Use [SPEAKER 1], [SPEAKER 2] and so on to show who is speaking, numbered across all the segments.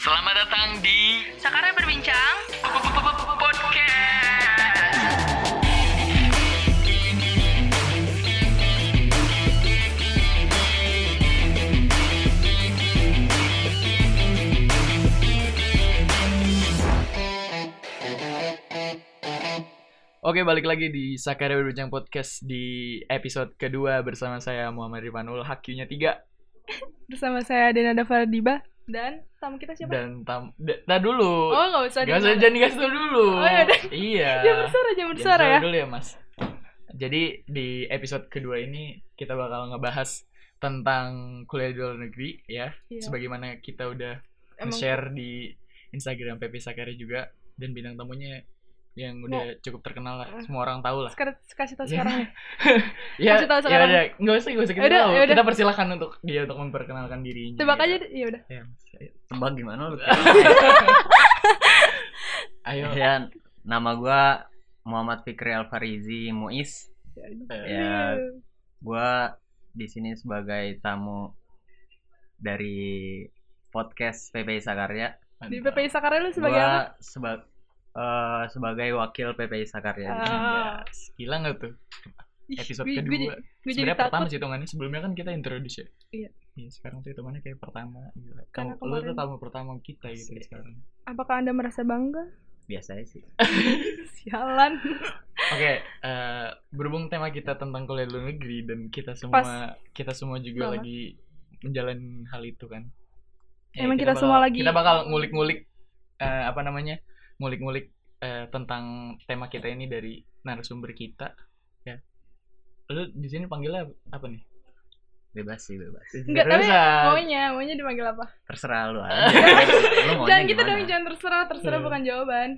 [SPEAKER 1] Selamat datang di
[SPEAKER 2] Sekarang berbincang.
[SPEAKER 1] podcast. Oke, balik lagi di Sakara Berbincang Podcast di episode kedua bersama saya Muhammad Rifanul, hakinya tiga
[SPEAKER 2] Bersama saya Denada Fardiba dan tamu kita siapa?
[SPEAKER 1] dan tam. Da, dah dulu.
[SPEAKER 2] Oh, nggak usah.
[SPEAKER 1] Gak usah
[SPEAKER 2] dimana.
[SPEAKER 1] jangan dikasih tau dulu.
[SPEAKER 2] Oh, iya, udah.
[SPEAKER 1] Iya.
[SPEAKER 2] Jangan bersuara, jangan bersuara
[SPEAKER 1] Jangan
[SPEAKER 2] ya.
[SPEAKER 1] dulu ya mas. Jadi di episode kedua ini kita bakal ngebahas tentang kuliah di luar negeri ya.
[SPEAKER 2] Iya.
[SPEAKER 1] Sebagaimana kita udah
[SPEAKER 2] Emang
[SPEAKER 1] share di Instagram PP Sakari juga dan bintang tamunya yang udah cukup terkenal lah.
[SPEAKER 2] Eh.
[SPEAKER 1] Semua orang tahu lah.
[SPEAKER 2] sekarang kasih tahu
[SPEAKER 1] Iya.
[SPEAKER 2] sekarang nih.
[SPEAKER 1] Ya,
[SPEAKER 2] Kasih tahu
[SPEAKER 1] ya
[SPEAKER 2] sekarang.
[SPEAKER 1] udah, nggak usah, nggak usah kita
[SPEAKER 2] Yaudah,
[SPEAKER 1] tahu.
[SPEAKER 2] yaudah.
[SPEAKER 1] Kita persilahkan untuk dia untuk memperkenalkan dirinya.
[SPEAKER 2] Tebak aja ya udah.
[SPEAKER 1] Ya, Mas. Ayo.
[SPEAKER 3] Tebak gimana lu?
[SPEAKER 2] Iya.
[SPEAKER 1] Ayo.
[SPEAKER 3] ya, nama gua Muhammad Fikri Alfarizi Muiz.
[SPEAKER 1] Iya.
[SPEAKER 2] Iya.
[SPEAKER 3] Ya. Gua di sini sebagai tamu dari podcast PPI Sakarya.
[SPEAKER 2] Di PPI Sakarya lu sebagai apa?
[SPEAKER 3] Gua seba- eh, sebagai wakil PPI Sakarya.
[SPEAKER 2] Ah.
[SPEAKER 1] Yes. Gila nggak tuh? episode kedua.
[SPEAKER 2] Gue jadi
[SPEAKER 1] Sebenarnya pertama
[SPEAKER 2] takut.
[SPEAKER 1] sih hitungannya sebelumnya kan kita introduce ya.
[SPEAKER 2] Iya.
[SPEAKER 1] Iya, sekarang tuh hitungannya kayak pertama gitu.
[SPEAKER 2] Karena
[SPEAKER 1] Kamu- lu tuh
[SPEAKER 2] kemarin-
[SPEAKER 1] tamu pertama kita gitu
[SPEAKER 3] Sih.
[SPEAKER 1] sekarang.
[SPEAKER 2] Apakah Anda merasa bangga?
[SPEAKER 3] Biasanya sih.
[SPEAKER 2] Sialan.
[SPEAKER 1] Oke, eh, berhubung tema kita tentang kuliah di luar negeri dan kita semua
[SPEAKER 2] Pas.
[SPEAKER 1] kita semua juga
[SPEAKER 2] Banget.
[SPEAKER 1] lagi menjalani hal itu kan.
[SPEAKER 2] Emang kita semua
[SPEAKER 1] bakal-
[SPEAKER 2] lagi-
[SPEAKER 1] kita bakal ngulik-ngulik eh, apa namanya? ngulik-ngulik eh, tentang tema kita ini dari narasumber kita ya. Lu di sini panggilnya apa nih?
[SPEAKER 3] Bebas sih, bebas.
[SPEAKER 2] Nggak, tapi
[SPEAKER 1] Terusan.
[SPEAKER 2] Maunya, maunya dipanggil apa?
[SPEAKER 3] Terserah lu aja. lu maunya
[SPEAKER 2] Jangan gitu
[SPEAKER 3] gimana?
[SPEAKER 2] dong, jangan terserah, terserah
[SPEAKER 1] Iya.
[SPEAKER 2] bukan jawaban.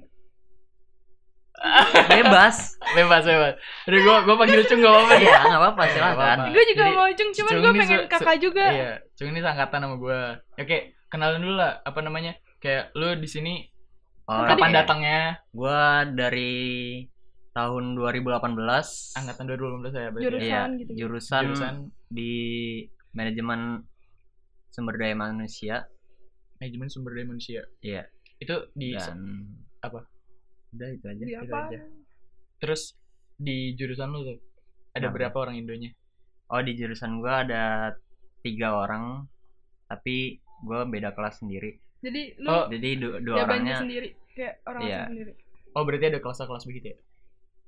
[SPEAKER 3] Bebas.
[SPEAKER 1] bebas bebas udah gua gua panggil cung gak apa-apa
[SPEAKER 3] Iya, enggak apa-apa,
[SPEAKER 1] Iya,
[SPEAKER 3] silakan.
[SPEAKER 1] nggak apa-apa.
[SPEAKER 2] Gue juga
[SPEAKER 1] Jadi,
[SPEAKER 2] mau Jung, cuman
[SPEAKER 1] Jung
[SPEAKER 2] gue
[SPEAKER 1] ini
[SPEAKER 2] pengen
[SPEAKER 1] se- se-
[SPEAKER 2] kakak juga.
[SPEAKER 1] iya cung ini seangkatan sama gua Ya, oke kenalin dulu lah apa namanya kayak lu di sini
[SPEAKER 3] Oh,
[SPEAKER 1] kapan
[SPEAKER 3] iya.
[SPEAKER 1] datangnya
[SPEAKER 3] Gua dari tahun 2018
[SPEAKER 1] angkatan 2018 saya ya, berarti
[SPEAKER 2] Jurusan
[SPEAKER 3] Iya,
[SPEAKER 2] gitu.
[SPEAKER 3] jurusan,
[SPEAKER 1] jurusan
[SPEAKER 3] di manajemen sumber daya manusia
[SPEAKER 1] manajemen sumber daya manusia
[SPEAKER 3] Iya.
[SPEAKER 1] itu di
[SPEAKER 3] dan
[SPEAKER 1] apa?
[SPEAKER 3] Udah itu aja.
[SPEAKER 2] Di
[SPEAKER 1] gitu
[SPEAKER 2] apa?
[SPEAKER 1] aja. terus di jurusan lu tuh ada
[SPEAKER 3] Apa?
[SPEAKER 1] berapa orang Indonya
[SPEAKER 3] Oh, di jurusan gua ada tiga orang tapi gua beda kelas sendiri.
[SPEAKER 2] Jadi lu
[SPEAKER 1] Oh,
[SPEAKER 3] Jadi du- dua
[SPEAKER 2] jawaban lu
[SPEAKER 3] orangnya
[SPEAKER 2] sendiri kayak orang
[SPEAKER 3] Iya.
[SPEAKER 2] asing sendiri.
[SPEAKER 1] oh berarti ada kelas-kelas begitu ya
[SPEAKER 3] iya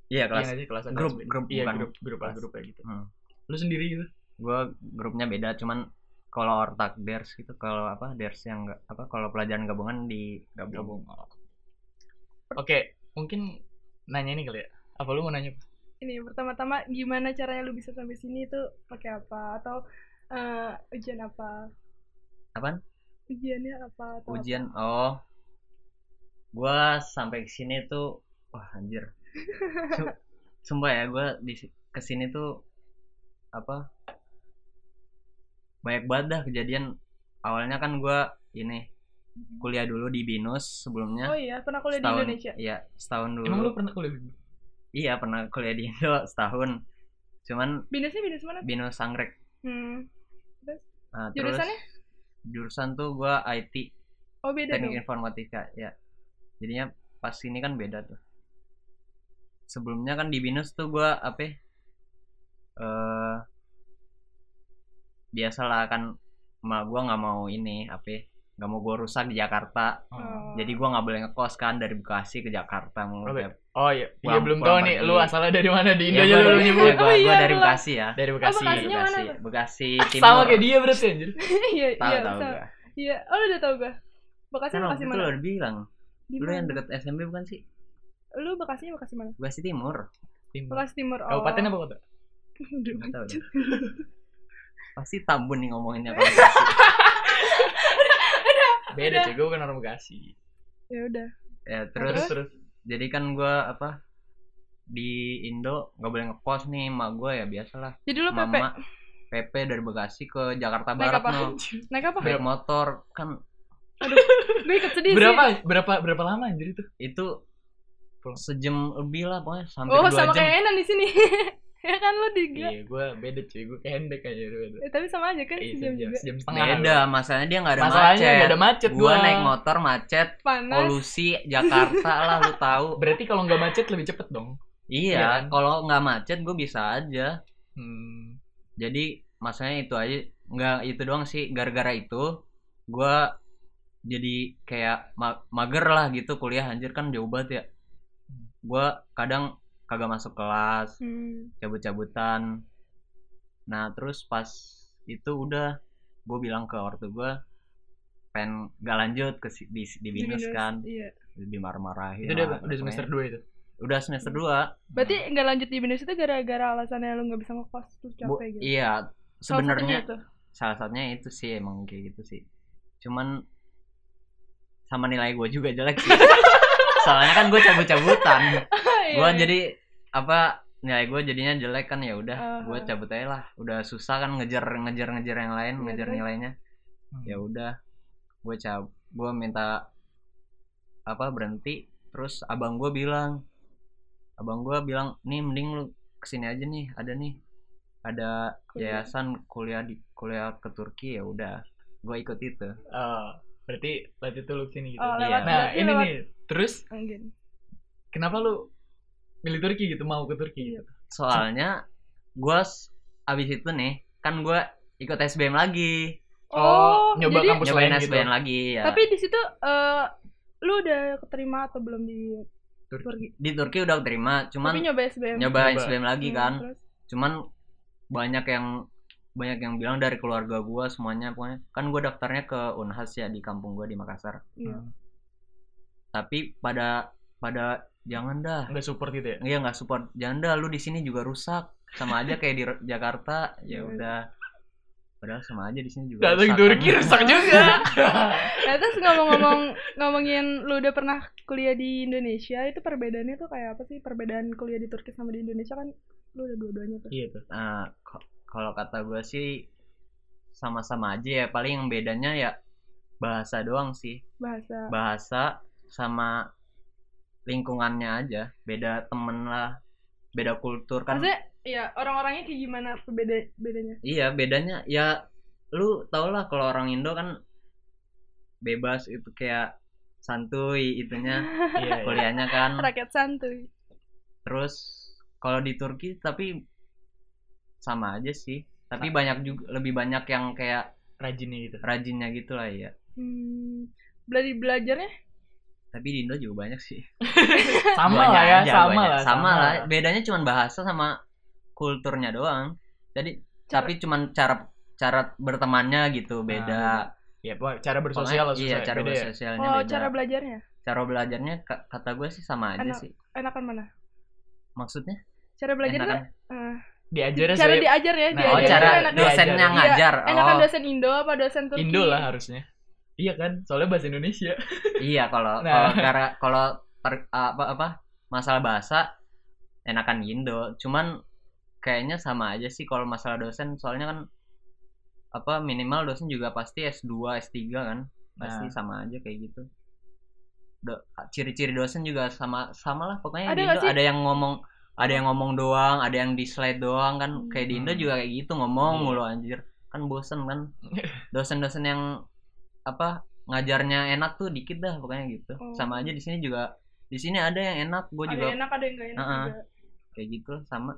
[SPEAKER 1] Iya
[SPEAKER 3] kelas.
[SPEAKER 1] nggak sih? kelas
[SPEAKER 3] Grup,
[SPEAKER 1] begitu.
[SPEAKER 3] grup,
[SPEAKER 1] iya
[SPEAKER 3] bukan
[SPEAKER 1] grup grup
[SPEAKER 3] kelas.
[SPEAKER 1] grup kayak gitu
[SPEAKER 3] Hmm.
[SPEAKER 1] lu sendiri gitu
[SPEAKER 3] Gua grupnya beda cuman kalau ortak ders gitu kalau apa ders yang enggak apa kalau pelajaran gabungan di gabung.
[SPEAKER 1] gabung oke mungkin nanya ini kali ya apa lu mau nanya
[SPEAKER 2] Ini pertama-tama gimana caranya lu bisa sampai sini itu pakai apa atau eh, ujian apa?
[SPEAKER 3] Apaan?
[SPEAKER 2] Ujiannya apa atau apa?
[SPEAKER 3] ujian oh gua sampai ke sini tuh wah anjir Su- sumpah ya gua di kesini tuh apa banyak banget dah kejadian awalnya kan gua ini kuliah dulu di binus sebelumnya
[SPEAKER 2] Oh iya, pernah kuliah di
[SPEAKER 3] Setahun-
[SPEAKER 2] Indonesia.
[SPEAKER 3] iya setahun dulu
[SPEAKER 1] Emang lu pernah kuliah di
[SPEAKER 3] iya pernah kuliah di indo setahun cuman
[SPEAKER 2] Binusnya binus mana?
[SPEAKER 3] binus anggrek
[SPEAKER 2] Hmm.
[SPEAKER 3] Nah, terus
[SPEAKER 2] Jurusannya?
[SPEAKER 3] jurusan tuh gua IT
[SPEAKER 2] Oh beda
[SPEAKER 3] teknik
[SPEAKER 2] dong.
[SPEAKER 3] informatika ya jadinya pas ini kan beda tuh sebelumnya kan di binus tuh gua apa ya, eh biasalah kan emak gua nggak mau ini apa ya, nggak mau gua rusak di Jakarta
[SPEAKER 1] Oh,
[SPEAKER 3] jadi gua nggak boleh ngekos kan dari Bekasi ke Jakarta mau
[SPEAKER 1] Oke.
[SPEAKER 3] tiap-
[SPEAKER 1] oh iya, dia
[SPEAKER 3] Kurang-
[SPEAKER 1] belum tahu
[SPEAKER 3] kurang
[SPEAKER 1] nih
[SPEAKER 3] pergi.
[SPEAKER 1] lu asalnya iya. dari mana di Indo
[SPEAKER 3] Ya,
[SPEAKER 1] aja
[SPEAKER 3] gua,
[SPEAKER 1] lu nyebut.
[SPEAKER 3] ya, gua-
[SPEAKER 2] Oh iya,
[SPEAKER 3] gua dari
[SPEAKER 2] belum.
[SPEAKER 3] Bekasi ya
[SPEAKER 1] Dari Bekasi.
[SPEAKER 2] Bekasi. Bekasinya
[SPEAKER 3] Bekasi,
[SPEAKER 2] mana tuh?
[SPEAKER 3] Bekasi Timur
[SPEAKER 1] Sama kayak dia berarti anjir.
[SPEAKER 2] Iya,
[SPEAKER 3] tahu
[SPEAKER 2] iya,
[SPEAKER 3] tahu
[SPEAKER 2] bisa.
[SPEAKER 3] gua.
[SPEAKER 2] Iya, oh lu udah tau gue. Bekasi
[SPEAKER 3] kan waktu
[SPEAKER 2] Bekasi
[SPEAKER 3] itu
[SPEAKER 2] mana?
[SPEAKER 3] lu udah bilang
[SPEAKER 2] Di
[SPEAKER 3] lu yang
[SPEAKER 2] mana?
[SPEAKER 3] Hmm. deket SMP bukan sih
[SPEAKER 2] Lu Bekasi Bekasi mana?
[SPEAKER 3] Bekasi Timur
[SPEAKER 1] Timur.
[SPEAKER 2] Bekasi Timur. Oh.
[SPEAKER 1] Kabupaten apa kota?
[SPEAKER 2] Aduh,
[SPEAKER 3] Nggak tahu
[SPEAKER 2] macet.
[SPEAKER 3] deh. Pasti Tambun nih ngomonginnya kalau gitu. Bekasi.
[SPEAKER 1] Beda
[SPEAKER 2] Udah.
[SPEAKER 1] cuy, gue bukan orang Bekasi.
[SPEAKER 2] Ya udah.
[SPEAKER 3] ya, terus
[SPEAKER 1] terus.
[SPEAKER 3] jadi kan gua apa di Indo nggak boleh ngekos nih mak gua ya biasalah
[SPEAKER 2] Jadi lu PP
[SPEAKER 3] mama PP dari Bekasi ke Jakarta
[SPEAKER 2] naik
[SPEAKER 3] Barat
[SPEAKER 2] apa?
[SPEAKER 3] no
[SPEAKER 2] Naik apa?
[SPEAKER 3] naik motor kan
[SPEAKER 2] Gue ikut sedih sih.
[SPEAKER 1] Berapa berapa berapa lama anjir itu?
[SPEAKER 3] itu
[SPEAKER 1] Pulang.
[SPEAKER 3] sejam lebih lah pokoknya sampai
[SPEAKER 2] Oh,
[SPEAKER 3] dua
[SPEAKER 2] sama
[SPEAKER 3] jam
[SPEAKER 2] kayak Enan di sini. ya kan lu diga
[SPEAKER 1] Iya, gue beda cuy, gue kehendek aja beda.
[SPEAKER 2] Eh, tapi sama aja kan
[SPEAKER 1] Iya,
[SPEAKER 2] sejam juga
[SPEAKER 1] sejam setengah.
[SPEAKER 3] Beda, masalahnya dia nggak ada
[SPEAKER 1] Masalahnya
[SPEAKER 3] macet.
[SPEAKER 1] nggak ada macet
[SPEAKER 3] gua
[SPEAKER 1] gua.
[SPEAKER 3] naik motor macet,
[SPEAKER 2] panas
[SPEAKER 3] polusi Jakarta lah lu tahu.
[SPEAKER 1] Berarti kalau nggak macet lebih cepet dong. Iya kan?
[SPEAKER 3] Iya, kalau nggak macet gue bisa aja.
[SPEAKER 1] Hmm.
[SPEAKER 3] Jadi masalahnya itu aja nggak itu doang sih gara-gara itu gua jadi kayak ma- mager lah gitu kuliah anjir kan jauh banget ya. Gua kadang kagak masuk kelas,
[SPEAKER 2] Hmm.
[SPEAKER 3] cabut-cabutan. Nah, terus pas itu udah gue bilang ke ortu gue pengen gak lanjut ke si- di, di binus
[SPEAKER 2] Jadi
[SPEAKER 3] kan
[SPEAKER 2] binus, iya
[SPEAKER 3] dimarah-marahin
[SPEAKER 1] Itu
[SPEAKER 3] lah,
[SPEAKER 1] udah, udah
[SPEAKER 3] pokoknya.
[SPEAKER 1] semester 2 itu.
[SPEAKER 3] udah semester 2
[SPEAKER 2] berarti nggak lanjut di binus itu gara-gara alasannya lu nggak bisa ngekos terus capek gitu
[SPEAKER 3] iya
[SPEAKER 2] Salah satunya
[SPEAKER 3] sebenarnya
[SPEAKER 2] itu.
[SPEAKER 3] salah satunya itu sih emang kayak gitu sih cuman sama nilai gue juga jelek sih soalnya kan gue cabut-cabutan
[SPEAKER 2] Iya,
[SPEAKER 3] gue
[SPEAKER 2] iya.
[SPEAKER 3] jadi apa nilai gue jadinya jelek kan ya udah gue
[SPEAKER 2] Aha.
[SPEAKER 3] cabut aja lah udah susah kan ngejar ngejar ngejar yang lain
[SPEAKER 2] Uh-huh. Iya,
[SPEAKER 3] ngejar
[SPEAKER 2] terus?
[SPEAKER 3] nilainya
[SPEAKER 1] Hmm.
[SPEAKER 3] ya udah gue cab gue minta apa berhenti terus abang gue bilang abang gue bilang nih mending lu kesini aja nih ada nih ada
[SPEAKER 2] Kuliah.
[SPEAKER 3] yayasan kuliah di kuliah ke Turki ya udah gue ikut itu
[SPEAKER 1] Eh, berarti berarti itu lu kesini gitu.
[SPEAKER 2] Oh,
[SPEAKER 3] Iya.
[SPEAKER 2] lewat,
[SPEAKER 1] nah,
[SPEAKER 2] berarti
[SPEAKER 1] ini
[SPEAKER 2] lewat-
[SPEAKER 1] nih. Terus
[SPEAKER 2] Mungkin.
[SPEAKER 1] kenapa lu milih Turki gitu, mau ke Turki gitu?
[SPEAKER 3] soalnya gue abis itu nih kan gue ikut SBM lagi
[SPEAKER 2] oh
[SPEAKER 1] nyoba
[SPEAKER 2] jadi
[SPEAKER 1] kampus
[SPEAKER 3] nyobain
[SPEAKER 1] lain gitu.
[SPEAKER 3] SBM lagi ya
[SPEAKER 2] tapi di situ eh, lu udah keterima atau belum di
[SPEAKER 1] Turki.
[SPEAKER 2] Turki
[SPEAKER 3] di Turki udah terima
[SPEAKER 2] tapi
[SPEAKER 3] cuman
[SPEAKER 2] nyoba SBM
[SPEAKER 3] nyobain
[SPEAKER 1] Nyoba.
[SPEAKER 3] SBM lagi
[SPEAKER 2] Hmm,
[SPEAKER 3] kan
[SPEAKER 2] terus
[SPEAKER 3] cuman banyak yang banyak yang bilang dari keluarga gua semuanya pokoknya kan gua daftarnya ke Unhas ya di kampung gua di Makassar
[SPEAKER 2] iya.
[SPEAKER 3] tapi pada pada jangan dah
[SPEAKER 1] Nggak support gitu ya?
[SPEAKER 3] iya nggak support jangan dah lu di sini juga rusak sama aja kayak di Ro- Jakarta
[SPEAKER 2] Iya.
[SPEAKER 3] ya udah padahal sama aja di sini juga
[SPEAKER 1] Datang
[SPEAKER 3] rusak
[SPEAKER 1] Turki
[SPEAKER 3] kan.
[SPEAKER 1] rusak juga.
[SPEAKER 2] Nah, terus ngomong-ngomong ngomongin lu udah pernah kuliah di Indonesia, itu perbedaannya tuh kayak apa sih? Perbedaan kuliah di Turki sama di Indonesia kan lu udah dua-duanya tuh.
[SPEAKER 1] Iya tuh.
[SPEAKER 3] Nah, ko- kalau kata gua sih sama-sama aja ya paling yang bedanya ya bahasa doang sih
[SPEAKER 2] Bahasa
[SPEAKER 3] bahasa sama lingkungannya aja beda temen lah beda kultur kan
[SPEAKER 2] Maksudnya ya orang-orangnya kayak gimana perbeda bedanya?
[SPEAKER 3] iya bedanya ya lu tau lah kalau orang Indo kan bebas itu kayak santuy itunya
[SPEAKER 1] Iya, iya.
[SPEAKER 3] kuliahnya kan
[SPEAKER 2] Rakyat santuy.
[SPEAKER 3] terus kalau di Turki tapi sama aja sih tapi banyak juga lebih banyak yang kayak
[SPEAKER 1] Rajinnya gitu.
[SPEAKER 3] rajinnya gitu lah ya
[SPEAKER 2] Hmm. Belajar belajarnya
[SPEAKER 3] tapi di Indo juga banyak sih
[SPEAKER 1] Sama
[SPEAKER 3] Duanya
[SPEAKER 1] lah ya,
[SPEAKER 3] aja,
[SPEAKER 1] sama
[SPEAKER 3] duanya.
[SPEAKER 1] lah.
[SPEAKER 3] sama lah bedanya cuman bahasa sama kulturnya doang jadi
[SPEAKER 2] Cara-
[SPEAKER 3] tapi cuman cara cara bertemannya gitu beda
[SPEAKER 1] Ya, pokoknya Nah, cara bersosial lah
[SPEAKER 3] Pokoknya- iya
[SPEAKER 1] susah. ya,
[SPEAKER 3] cara
[SPEAKER 1] beda ya.
[SPEAKER 3] bersosialnya
[SPEAKER 2] oh,
[SPEAKER 3] beda
[SPEAKER 2] cara belajarnya.
[SPEAKER 3] cara belajarnya ka- kata gue sih sama aja
[SPEAKER 2] Enak.
[SPEAKER 3] sih
[SPEAKER 2] Enakan mana?
[SPEAKER 3] maksudnya
[SPEAKER 2] Cara belajar
[SPEAKER 3] enakan
[SPEAKER 2] tuh eh,
[SPEAKER 1] Diajarnya
[SPEAKER 2] cara
[SPEAKER 1] sih
[SPEAKER 2] diajar ya,
[SPEAKER 1] Nah,
[SPEAKER 2] diajar
[SPEAKER 3] oh
[SPEAKER 1] diajarin
[SPEAKER 3] cara
[SPEAKER 2] tuh
[SPEAKER 1] enakan.
[SPEAKER 3] dosennya
[SPEAKER 1] Diajarin.
[SPEAKER 3] ngajar
[SPEAKER 2] Iya, enakan
[SPEAKER 3] oh
[SPEAKER 2] dosen Indo apa dosen Turki?
[SPEAKER 1] Indo lah harusnya. Iya kan, soalnya bahasa Indonesia.
[SPEAKER 3] iya kalau
[SPEAKER 1] Nah.
[SPEAKER 3] kalau gara kalau per- apa apa masalah bahasa enakan Indo cuman kayaknya sama aja sih kalau masalah dosen soalnya kan apa minimal dosen juga pasti S2 S3 kan
[SPEAKER 1] Nah,
[SPEAKER 2] Nah.
[SPEAKER 3] pasti sama aja kayak gitu Do- ciri-ciri dosen juga sama sama lah
[SPEAKER 2] Ada
[SPEAKER 3] pokoknya di
[SPEAKER 2] nggak
[SPEAKER 3] Indo
[SPEAKER 2] sih?
[SPEAKER 3] ada yang ngomong ada yang ngomong doang ada yang di slide doang kan kayak di Indo
[SPEAKER 1] Hmm.
[SPEAKER 3] juga kayak gitu ngomong
[SPEAKER 1] Iya.
[SPEAKER 3] mulu anjir kan bosen kan dosen-dosen yang apa ngajarnya enak tuh dikit dah pokoknya gitu
[SPEAKER 2] Oh.
[SPEAKER 3] sama aja di sini juga di sini ada yang enak gue
[SPEAKER 2] Ada
[SPEAKER 3] juga
[SPEAKER 2] yang enak, ada yang gak enak
[SPEAKER 3] Heeh.
[SPEAKER 2] juga.
[SPEAKER 3] kayak gitu sama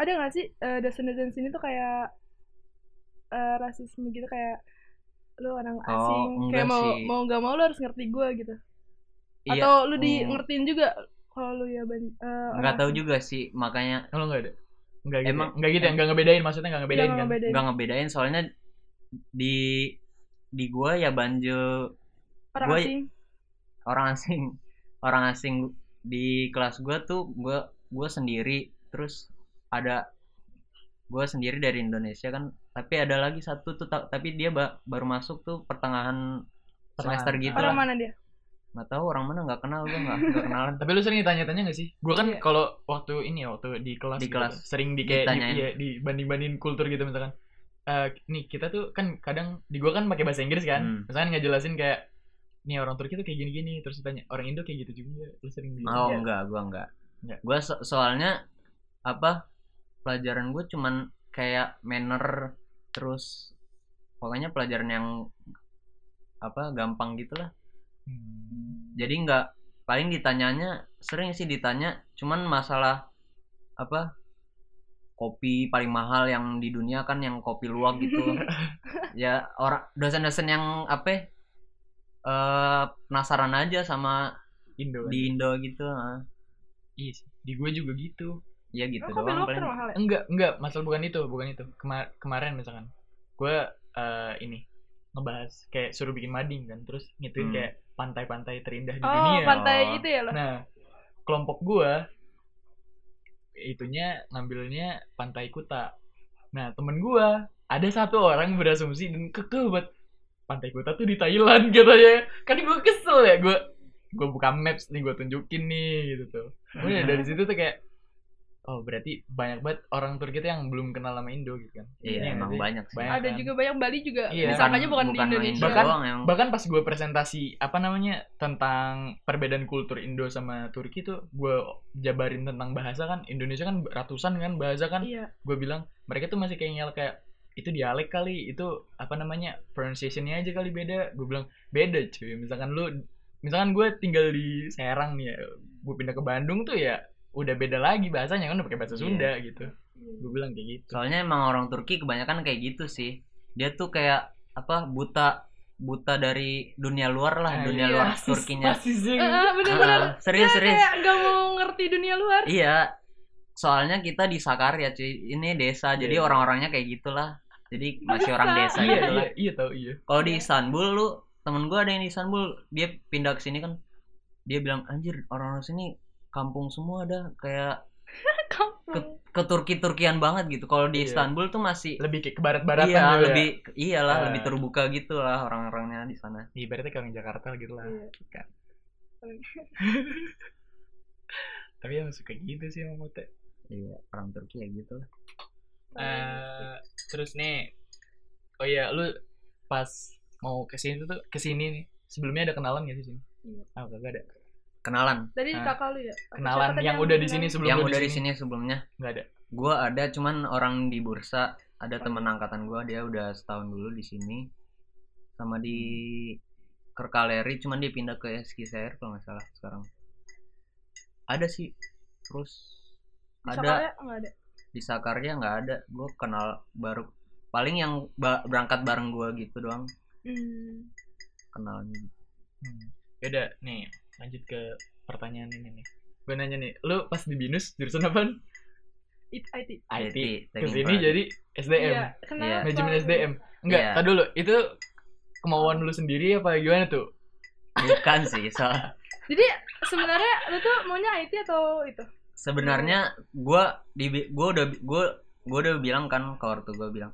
[SPEAKER 2] ada nggak sih eh, dosen-dosen sini tuh kayak eh, rasisme gitu kayak lu orang asing
[SPEAKER 3] Oh, enggak
[SPEAKER 2] kayak mau
[SPEAKER 3] sih.
[SPEAKER 2] mau nggak mau lu harus ngerti gue gitu
[SPEAKER 3] Iya,
[SPEAKER 2] atau lu di
[SPEAKER 3] mm,
[SPEAKER 2] ngertiin juga kalau lu ya ban- eh, orang
[SPEAKER 3] nggak tahu
[SPEAKER 2] asing.
[SPEAKER 3] juga sih makanya
[SPEAKER 1] Kalau nggak ada. Nggak gitu.
[SPEAKER 3] Emang-
[SPEAKER 1] Emang nggak gitu ya, nggak ngebedain maksudnya nggak
[SPEAKER 2] Nggak
[SPEAKER 1] ngebedain kan.
[SPEAKER 2] ngebedain.
[SPEAKER 3] nggak ngebedain soalnya di di gua ya Banjul
[SPEAKER 2] orang
[SPEAKER 3] Gua-
[SPEAKER 2] asing
[SPEAKER 3] orang asing orang asing di kelas gue tuh gue gue sendiri terus ada gue sendiri dari Indonesia kan tapi ada lagi satu tuh ta- tapi dia ba- baru masuk tuh pertengahan semester
[SPEAKER 1] Pertengahan.
[SPEAKER 3] gitu
[SPEAKER 2] orang
[SPEAKER 3] lah.
[SPEAKER 2] mana dia
[SPEAKER 3] nggak tahu orang mana nggak kenal gue nggak nggak kenalan
[SPEAKER 1] Tapi lu sering ditanya-tanya gak sih? Gue kan
[SPEAKER 2] Iya.
[SPEAKER 1] kalau waktu ini ya, waktu di kelas
[SPEAKER 3] Di
[SPEAKER 1] gitu,
[SPEAKER 3] kelas.
[SPEAKER 1] sering di kayak di,
[SPEAKER 3] Ditanyain.
[SPEAKER 1] iya, dibanding-bandingin kultur gitu misalkan. Eh nih kita tuh kan kadang di gua kan pakai bahasa Inggris
[SPEAKER 3] Hmm.
[SPEAKER 1] kan. Misalkan ngejelasin kayak nih orang Turki tuh kayak gini-gini terus ditanya orang Indo kayak gitu juga. Lu sering gitu.
[SPEAKER 3] oh
[SPEAKER 2] Iya.
[SPEAKER 3] enggak gue enggak
[SPEAKER 1] Nggak.
[SPEAKER 3] gue so- soalnya apa pelajaran gue cuman kayak manner terus pokoknya pelajaran yang apa gampang gitu gitulah
[SPEAKER 1] Hmm,
[SPEAKER 3] jadi nggak paling ditanyanya sering sih ditanya cuman masalah apa kopi paling mahal yang di dunia kan yang kopi luwak gitu ya orang dosen-dosen yang apa ya, eh, penasaran aja sama
[SPEAKER 1] Indo kan?
[SPEAKER 3] di Indo gitu ah.
[SPEAKER 1] Iya sih. Di gue juga gitu.
[SPEAKER 3] ya gitu
[SPEAKER 2] Oh, kopi
[SPEAKER 3] doang
[SPEAKER 2] luwak
[SPEAKER 3] paling
[SPEAKER 2] termahal ya?
[SPEAKER 1] Enggak, enggak, masalah bukan itu, bukan itu. Kema- kemarin misalkan gue eh, ini ngebahas kayak suruh bikin mading kan, terus ngituin
[SPEAKER 3] Hmm.
[SPEAKER 1] kayak pantai-pantai terindah di
[SPEAKER 2] Oh,
[SPEAKER 1] dunia.
[SPEAKER 2] pantai
[SPEAKER 3] Oh.
[SPEAKER 2] itu ya loh.
[SPEAKER 1] Nah, kelompok gue itunya ngambilnya pantai Kuta. Nah, temen gue ada satu orang berasumsi dan kekeh buat pantai Kuta tuh di Thailand katanya. Kan gue kesel ya gue gue buka maps nih gue tunjukin nih gitu tuh.
[SPEAKER 3] Iya.
[SPEAKER 1] Kemudian dari situ tuh kayak oh berarti banyak banget orang Turki tuh yang belum kenal sama Indo gitu kan. nggak
[SPEAKER 3] iya emang
[SPEAKER 1] sih?
[SPEAKER 3] banyak sih
[SPEAKER 1] Banyak.
[SPEAKER 2] Ada
[SPEAKER 1] kan?
[SPEAKER 2] juga banyak Bali juga.
[SPEAKER 1] Iya.
[SPEAKER 2] Iya. Sangkanya bukan, di Indonesia.
[SPEAKER 1] Bahkan-
[SPEAKER 3] doang yang
[SPEAKER 1] bahkan pas gue presentasi apa namanya tentang perbedaan kultur Indo sama Turki tuh gue jabarin tentang bahasa kan Indonesia kan ratusan kan bahasa kan
[SPEAKER 2] Iya.
[SPEAKER 1] gue bilang mereka tuh masih kayak ngel kayak itu dialek kali itu apa namanya pronunciationnya aja kali beda gue bilang beda cuy misalkan lu misalkan gue tinggal di Serang nih ya gue pindah ke Bandung tuh ya udah beda lagi bahasanya kan udah pakai bahasa
[SPEAKER 3] Iya.
[SPEAKER 1] Sunda gitu gue bilang kayak gitu
[SPEAKER 3] soalnya emang orang Turki kebanyakan kayak gitu sih dia tuh kayak apa buta buta dari dunia luar lah
[SPEAKER 1] Nah,
[SPEAKER 3] dunia
[SPEAKER 2] iya.
[SPEAKER 3] luar
[SPEAKER 1] Rasis-
[SPEAKER 3] Turkinya
[SPEAKER 1] rasis sih.
[SPEAKER 2] Eh, eh, bener-bener.
[SPEAKER 3] Ah, serius
[SPEAKER 1] Iya,
[SPEAKER 2] Dia
[SPEAKER 3] serius
[SPEAKER 2] Kayak nggak mau ngerti dunia luar.
[SPEAKER 3] Iya, soalnya kita di Sakarya cuy, ini desa, jadi
[SPEAKER 1] Iya.
[SPEAKER 3] orang-orangnya kayak gitulah. Jadi masih orang
[SPEAKER 1] iya
[SPEAKER 3] desa gitu
[SPEAKER 1] iya
[SPEAKER 3] lah.
[SPEAKER 1] iya tau iya
[SPEAKER 3] Kalau di Istanbul lu, temen gue ada yang di Istanbul, dia pindah ke sini kan, dia bilang anjir orang-orang sini kampung semua ada kayak
[SPEAKER 2] Kampung.
[SPEAKER 3] ke Turki-Turkian banget gitu. Kalau di
[SPEAKER 1] Iya.
[SPEAKER 3] Istanbul tuh masih
[SPEAKER 1] lebih kayak ke barat-baratan
[SPEAKER 3] iya
[SPEAKER 1] gitu ya.
[SPEAKER 3] lebih iyalah
[SPEAKER 1] Eh.
[SPEAKER 3] lebih terbuka gitu lah orang-orangnya di sana.
[SPEAKER 1] ibaratnya kayak orang Jakarta gitu lah
[SPEAKER 2] Iya.
[SPEAKER 1] kan tapi yang suka gitu sih sama Mute
[SPEAKER 3] Iya orang Turki ya gitu lah.
[SPEAKER 2] Oh, iya
[SPEAKER 1] Eh, terus nih oh iya lu pas mau kesini tuh kesini nih sebelumnya ada kenalan gak sih sini
[SPEAKER 2] Iya.
[SPEAKER 1] Ah, kagak ada.
[SPEAKER 3] Kenalan
[SPEAKER 2] Tadi
[SPEAKER 1] ah,
[SPEAKER 2] kakak lu ya. Apa
[SPEAKER 1] Kenalan
[SPEAKER 2] siapa tadi
[SPEAKER 1] yang udah di sini
[SPEAKER 2] bilang?
[SPEAKER 1] sebelum
[SPEAKER 3] yang
[SPEAKER 1] lu
[SPEAKER 3] udah di sini sebelumnya.
[SPEAKER 1] nggak ada.
[SPEAKER 3] gue ada cuman orang di bursa ada temen angkatan gue dia udah setahun dulu di sini sama di Kerkaleri cuman dia pindah ke Eskisehir kalau nggak salah sekarang ada sih terus
[SPEAKER 2] Di
[SPEAKER 3] ada
[SPEAKER 2] Sakarya ya? nggak ada.
[SPEAKER 3] di Sakarya nggak ada gue kenal baru paling yang ba- berangkat bareng gue gitu doang
[SPEAKER 2] Hmm.
[SPEAKER 3] kenalnya gitu.
[SPEAKER 1] Hmm. Yaudah, nih lanjut ke pertanyaan ini nih. Gue nanya nih, lu pas di binus jurusan apa?
[SPEAKER 2] It, IT.
[SPEAKER 1] IT.
[SPEAKER 3] teknik
[SPEAKER 1] Kesini
[SPEAKER 3] informasi.
[SPEAKER 1] jadi SDM.
[SPEAKER 2] Iya. Kenapa?
[SPEAKER 1] Manajemen SDM. Enggak,
[SPEAKER 3] Iya.
[SPEAKER 1] tar dulu. Itu kemauan lu sendiri apa gimana tuh?
[SPEAKER 3] bukan sih soal
[SPEAKER 2] Jadi sebenarnya lu tuh maunya IT atau itu?
[SPEAKER 3] sebenarnya gua di gua udah gua gua udah bilang kan ke ortu gua bilang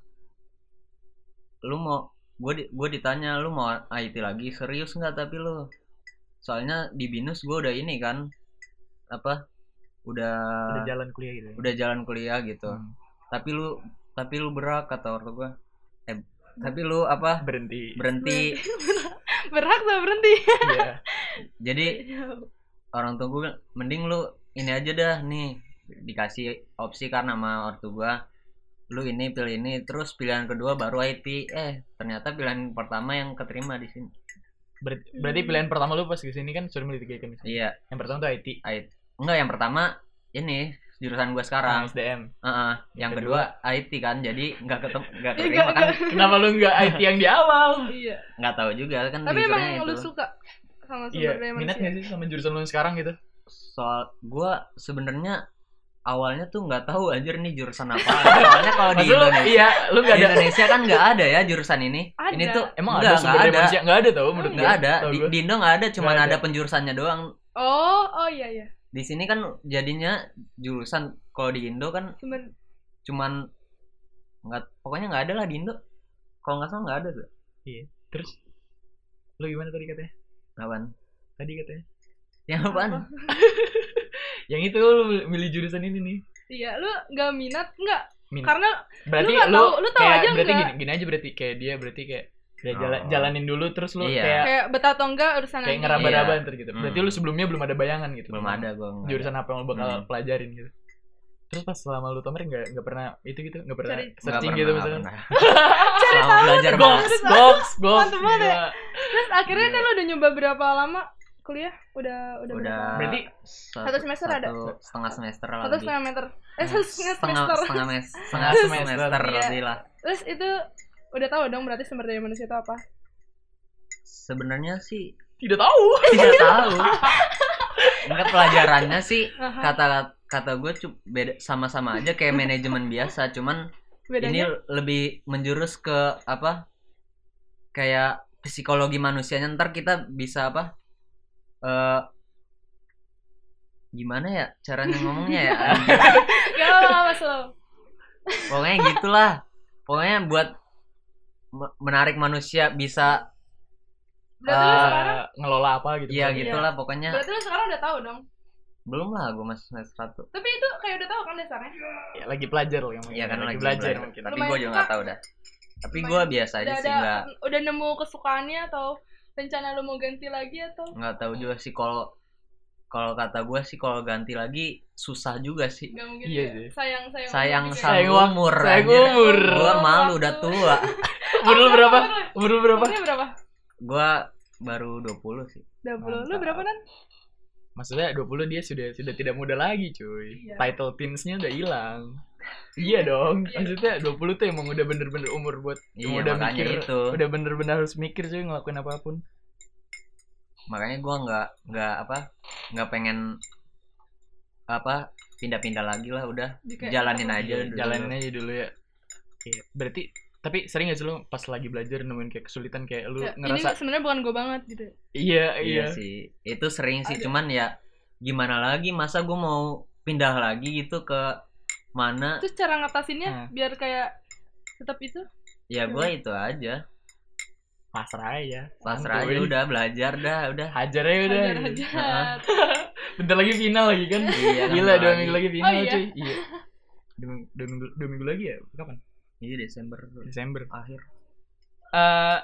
[SPEAKER 3] lu mau gua di- gua ditanya lu mau IT lagi serius nggak tapi lu soalnya di binus gua udah ini kan apa udah
[SPEAKER 1] Udah
[SPEAKER 3] udah jalan,
[SPEAKER 1] jalan kuliah gitu. ya?
[SPEAKER 3] kuliah gitu
[SPEAKER 1] Hmm.
[SPEAKER 3] tapi lu tapi lu berat kata ortu gua eh, tapi lu
[SPEAKER 1] Ah,
[SPEAKER 3] apa
[SPEAKER 1] Berhenti.
[SPEAKER 3] berhenti
[SPEAKER 2] Berhak lah berhenti. Iya.
[SPEAKER 1] Iya.
[SPEAKER 3] jadi orang tua gue bilang, mending lu ini aja dah nih dikasih opsi karena sama ortu gua lu ini pilih ini terus pilihan kedua baru IT eh ternyata pilihan pertama yang keterima di sini
[SPEAKER 1] Ber- berarti pilihan pertama lu pas kesini kan suruh milih tiga itu misalnya.
[SPEAKER 3] iya
[SPEAKER 1] Yang pertama tuh IT,
[SPEAKER 3] IT enggak yang pertama ini jurusan gua
[SPEAKER 1] nah,
[SPEAKER 3] sekarang
[SPEAKER 1] SDM.
[SPEAKER 3] Heeh, yang kedua IT kan jadi nggak ketemu nggak keterima
[SPEAKER 2] Enggak,
[SPEAKER 3] kan
[SPEAKER 1] Kenapa lu nggak IT yang di awal?
[SPEAKER 2] Iya.
[SPEAKER 3] nggak tahu juga kan
[SPEAKER 2] Tapi
[SPEAKER 3] jurusannya
[SPEAKER 2] emang lu
[SPEAKER 3] itu.
[SPEAKER 2] suka sama sumber
[SPEAKER 1] Iya,
[SPEAKER 2] daya
[SPEAKER 1] minat
[SPEAKER 2] manusia.
[SPEAKER 1] nggak sih sama jurusan lu yang sekarang gitu?
[SPEAKER 3] soal gua sebenarnya awalnya tuh nggak tahu anjir nih jurusan apa soalnya kalau Oh, di
[SPEAKER 1] Maksud lu,
[SPEAKER 3] Indonesia
[SPEAKER 1] iya, lu nggak
[SPEAKER 3] di
[SPEAKER 1] ada.
[SPEAKER 3] Indonesia kan nggak ada ya jurusan ini.
[SPEAKER 2] Ada.
[SPEAKER 3] Ini tuh
[SPEAKER 1] Emang
[SPEAKER 3] nggak,
[SPEAKER 1] ada sumber
[SPEAKER 3] nggak
[SPEAKER 1] daya manusia? Nggak ada
[SPEAKER 2] Iya,
[SPEAKER 1] tau menurut
[SPEAKER 3] Nggak
[SPEAKER 1] gua.
[SPEAKER 3] ada.
[SPEAKER 1] Tau
[SPEAKER 3] Di,
[SPEAKER 1] gua.
[SPEAKER 3] di Indo nggak ada, cuman
[SPEAKER 1] Nggak
[SPEAKER 3] ada.
[SPEAKER 1] ada.
[SPEAKER 3] penjurusannya doang.
[SPEAKER 2] Oh, oh iya iya.
[SPEAKER 3] Di sini kan jadinya jurusan kalau di Indo kan
[SPEAKER 2] Sumber
[SPEAKER 3] cuman nggak pokoknya nggak ada lah di Indo. Kalau nggak salah nggak ada tuh.
[SPEAKER 1] Terus lu gimana tadi katanya?
[SPEAKER 3] Apaan?
[SPEAKER 1] Tadi katanya.
[SPEAKER 3] Yang apaan?
[SPEAKER 2] Apa?
[SPEAKER 1] Yang itu lu milih jurusan ini nih.
[SPEAKER 2] Iya, lu nggak minat nggak?
[SPEAKER 1] Minat.
[SPEAKER 2] Karena
[SPEAKER 1] berarti
[SPEAKER 2] nggak
[SPEAKER 1] lu,
[SPEAKER 2] tahu- lu tahu
[SPEAKER 1] kayak,
[SPEAKER 2] aja
[SPEAKER 1] berarti
[SPEAKER 2] nggak?
[SPEAKER 1] gini, gini aja berarti kayak dia berarti kayak udah jala-
[SPEAKER 3] Oh.
[SPEAKER 1] jalanin dulu terus lu
[SPEAKER 3] Iya.
[SPEAKER 1] kayak
[SPEAKER 2] kayak betah atau enggak urusan Iya.
[SPEAKER 1] kayak
[SPEAKER 2] nanti.
[SPEAKER 1] ngeraba-raba ntar gitu. Berarti
[SPEAKER 3] Hmm.
[SPEAKER 1] lu sebelumnya belum ada bayangan gitu.
[SPEAKER 3] Belum ada gua. nggak
[SPEAKER 1] Jurusan apa yang lu bakal
[SPEAKER 3] Hmm.
[SPEAKER 1] pelajarin gitu. Terus pas selama lu tamer nggak nggak pernah itu gitu nggak pernah
[SPEAKER 2] Cari-
[SPEAKER 1] searching
[SPEAKER 3] Nggak
[SPEAKER 1] gitu
[SPEAKER 3] pernah,
[SPEAKER 1] misalkan.
[SPEAKER 3] nggak pernah. Selama belajar
[SPEAKER 1] Goks,
[SPEAKER 3] bahasa.
[SPEAKER 1] goks, goks.
[SPEAKER 2] Mantep banget ya.
[SPEAKER 1] gila.
[SPEAKER 2] Terus akhirnya
[SPEAKER 3] Iya.
[SPEAKER 2] nih lo udah nyoba berapa lama kuliah? Udah udah,
[SPEAKER 3] udah
[SPEAKER 2] berapa?
[SPEAKER 1] Berarti
[SPEAKER 3] satu,
[SPEAKER 2] satu semester ada?
[SPEAKER 3] satu setengah semester lah
[SPEAKER 2] Satu
[SPEAKER 3] lebih.
[SPEAKER 2] setengah meter. Eh satu setengah
[SPEAKER 3] setengah
[SPEAKER 2] semester.
[SPEAKER 3] setengah mes- setengah
[SPEAKER 1] Terus-
[SPEAKER 3] semester
[SPEAKER 2] Iya.
[SPEAKER 3] lebih lah
[SPEAKER 2] Terus itu udah tahu dong berarti sumber daya manusia itu apa?
[SPEAKER 3] sebenarnya sih
[SPEAKER 1] tidak tahu.
[SPEAKER 3] tidak tahu enggak pelajarannya sih
[SPEAKER 2] Aha.
[SPEAKER 3] kata kata gue beda sama-sama aja kayak manajemen biasa cuman ini
[SPEAKER 2] Bedanya
[SPEAKER 3] lebih menjurus ke apa kayak psikologi manusianya ntar kita bisa apa eh gimana ya caranya ngomongnya ya
[SPEAKER 2] gak apa-apa masuk.
[SPEAKER 3] pokoknya gitulah pokoknya buat me- menarik manusia bisa
[SPEAKER 2] Berarti lo
[SPEAKER 3] Ah,
[SPEAKER 2] sekarang
[SPEAKER 1] Eh, ngelola apa gitu.
[SPEAKER 3] iya
[SPEAKER 1] misalnya.
[SPEAKER 3] gitulah pokoknya
[SPEAKER 2] berarti lo sekarang udah tahu dong.
[SPEAKER 3] belum lah gue masih semester satu
[SPEAKER 2] Tapi itu kayak udah tahu kan dasarnya.
[SPEAKER 1] Ya, lagi pelajar loh yang
[SPEAKER 3] Iya kan lagi
[SPEAKER 1] belajar.
[SPEAKER 3] belajar.
[SPEAKER 1] mungkin.
[SPEAKER 3] Tapi
[SPEAKER 2] Lumayan
[SPEAKER 3] gue juga nggak
[SPEAKER 2] suka.
[SPEAKER 3] tahu dah. Tapi
[SPEAKER 2] Lumayan.
[SPEAKER 3] gue biasa aja
[SPEAKER 2] Udah
[SPEAKER 3] sih
[SPEAKER 2] ada
[SPEAKER 3] nggak
[SPEAKER 2] udah nemu kesukaannya atau rencana lo mau ganti lagi atau
[SPEAKER 3] nggak tahu juga sih kalau kalau kata gue sih kalau ganti lagi susah juga sih.
[SPEAKER 2] nggak mungkin
[SPEAKER 1] Iya
[SPEAKER 2] ya?
[SPEAKER 1] sih.
[SPEAKER 2] sayang sayang
[SPEAKER 3] Sayang
[SPEAKER 2] juga ya.
[SPEAKER 1] sayang
[SPEAKER 3] sang
[SPEAKER 1] waktu,
[SPEAKER 3] umur.
[SPEAKER 1] Saya umur.
[SPEAKER 3] Gue malu
[SPEAKER 2] Waktu.
[SPEAKER 3] udah tua.
[SPEAKER 1] Umur lu berapa? Umur lu berapa?
[SPEAKER 2] Umurnya berapa?
[SPEAKER 3] Gue baru 20 sih.
[SPEAKER 2] 20. Lu
[SPEAKER 1] Mantap.
[SPEAKER 2] berapa nan?
[SPEAKER 1] Maksudnya 20 dia sudah sudah tidak muda lagi, cuy.
[SPEAKER 2] Iya.
[SPEAKER 1] Title teens-nya udah hilang. Iya dong.
[SPEAKER 2] Iya.
[SPEAKER 1] Maksudnya 20 tuh emang udah bener-bener umur buat
[SPEAKER 3] Iya
[SPEAKER 1] udah
[SPEAKER 3] makanya
[SPEAKER 1] mikir,
[SPEAKER 3] itu.
[SPEAKER 1] udah bener-bener harus mikir cuy ngelakuin apapun.
[SPEAKER 3] Makanya gue nggak nggak apa nggak pengen apa pindah-pindah lagi lah udah
[SPEAKER 2] Jika-
[SPEAKER 3] jalanin aja
[SPEAKER 1] Iya,
[SPEAKER 3] dulu.
[SPEAKER 1] jalanin aja dulu ya. Iya, berarti tapi sering gak sih lu pas lagi belajar nemuin kayak kesulitan kayak lu
[SPEAKER 2] Ya,
[SPEAKER 1] ngerasa
[SPEAKER 2] ini sebenarnya bukan gue banget gitu.
[SPEAKER 1] iya iya.
[SPEAKER 3] Iya sih, itu sering sih,
[SPEAKER 2] Ada.
[SPEAKER 3] cuman ya gimana lagi masa gue mau pindah lagi gitu ke mana?
[SPEAKER 2] Terus cara ngatasinnya
[SPEAKER 1] Nah.
[SPEAKER 2] biar kayak tetap itu
[SPEAKER 3] Ya gue
[SPEAKER 1] Iya.
[SPEAKER 3] itu aja,
[SPEAKER 1] Pasrah aja.
[SPEAKER 3] pasrah aja
[SPEAKER 1] Santuy.
[SPEAKER 3] udah belajar dah, udah.
[SPEAKER 1] Hajar aja udah.
[SPEAKER 2] hajar hajar.
[SPEAKER 1] Bentar lagi final lagi kan.
[SPEAKER 3] Iya,
[SPEAKER 1] Gila
[SPEAKER 3] nambah
[SPEAKER 1] dua
[SPEAKER 3] lagi.
[SPEAKER 1] minggu lagi final
[SPEAKER 2] Oh, iya.
[SPEAKER 1] cuy. Iya. Dua, minggu- dua minggu dua minggu lagi ya? Kapan?
[SPEAKER 3] Iya Desember
[SPEAKER 1] Desember.
[SPEAKER 3] akhir.
[SPEAKER 1] Eh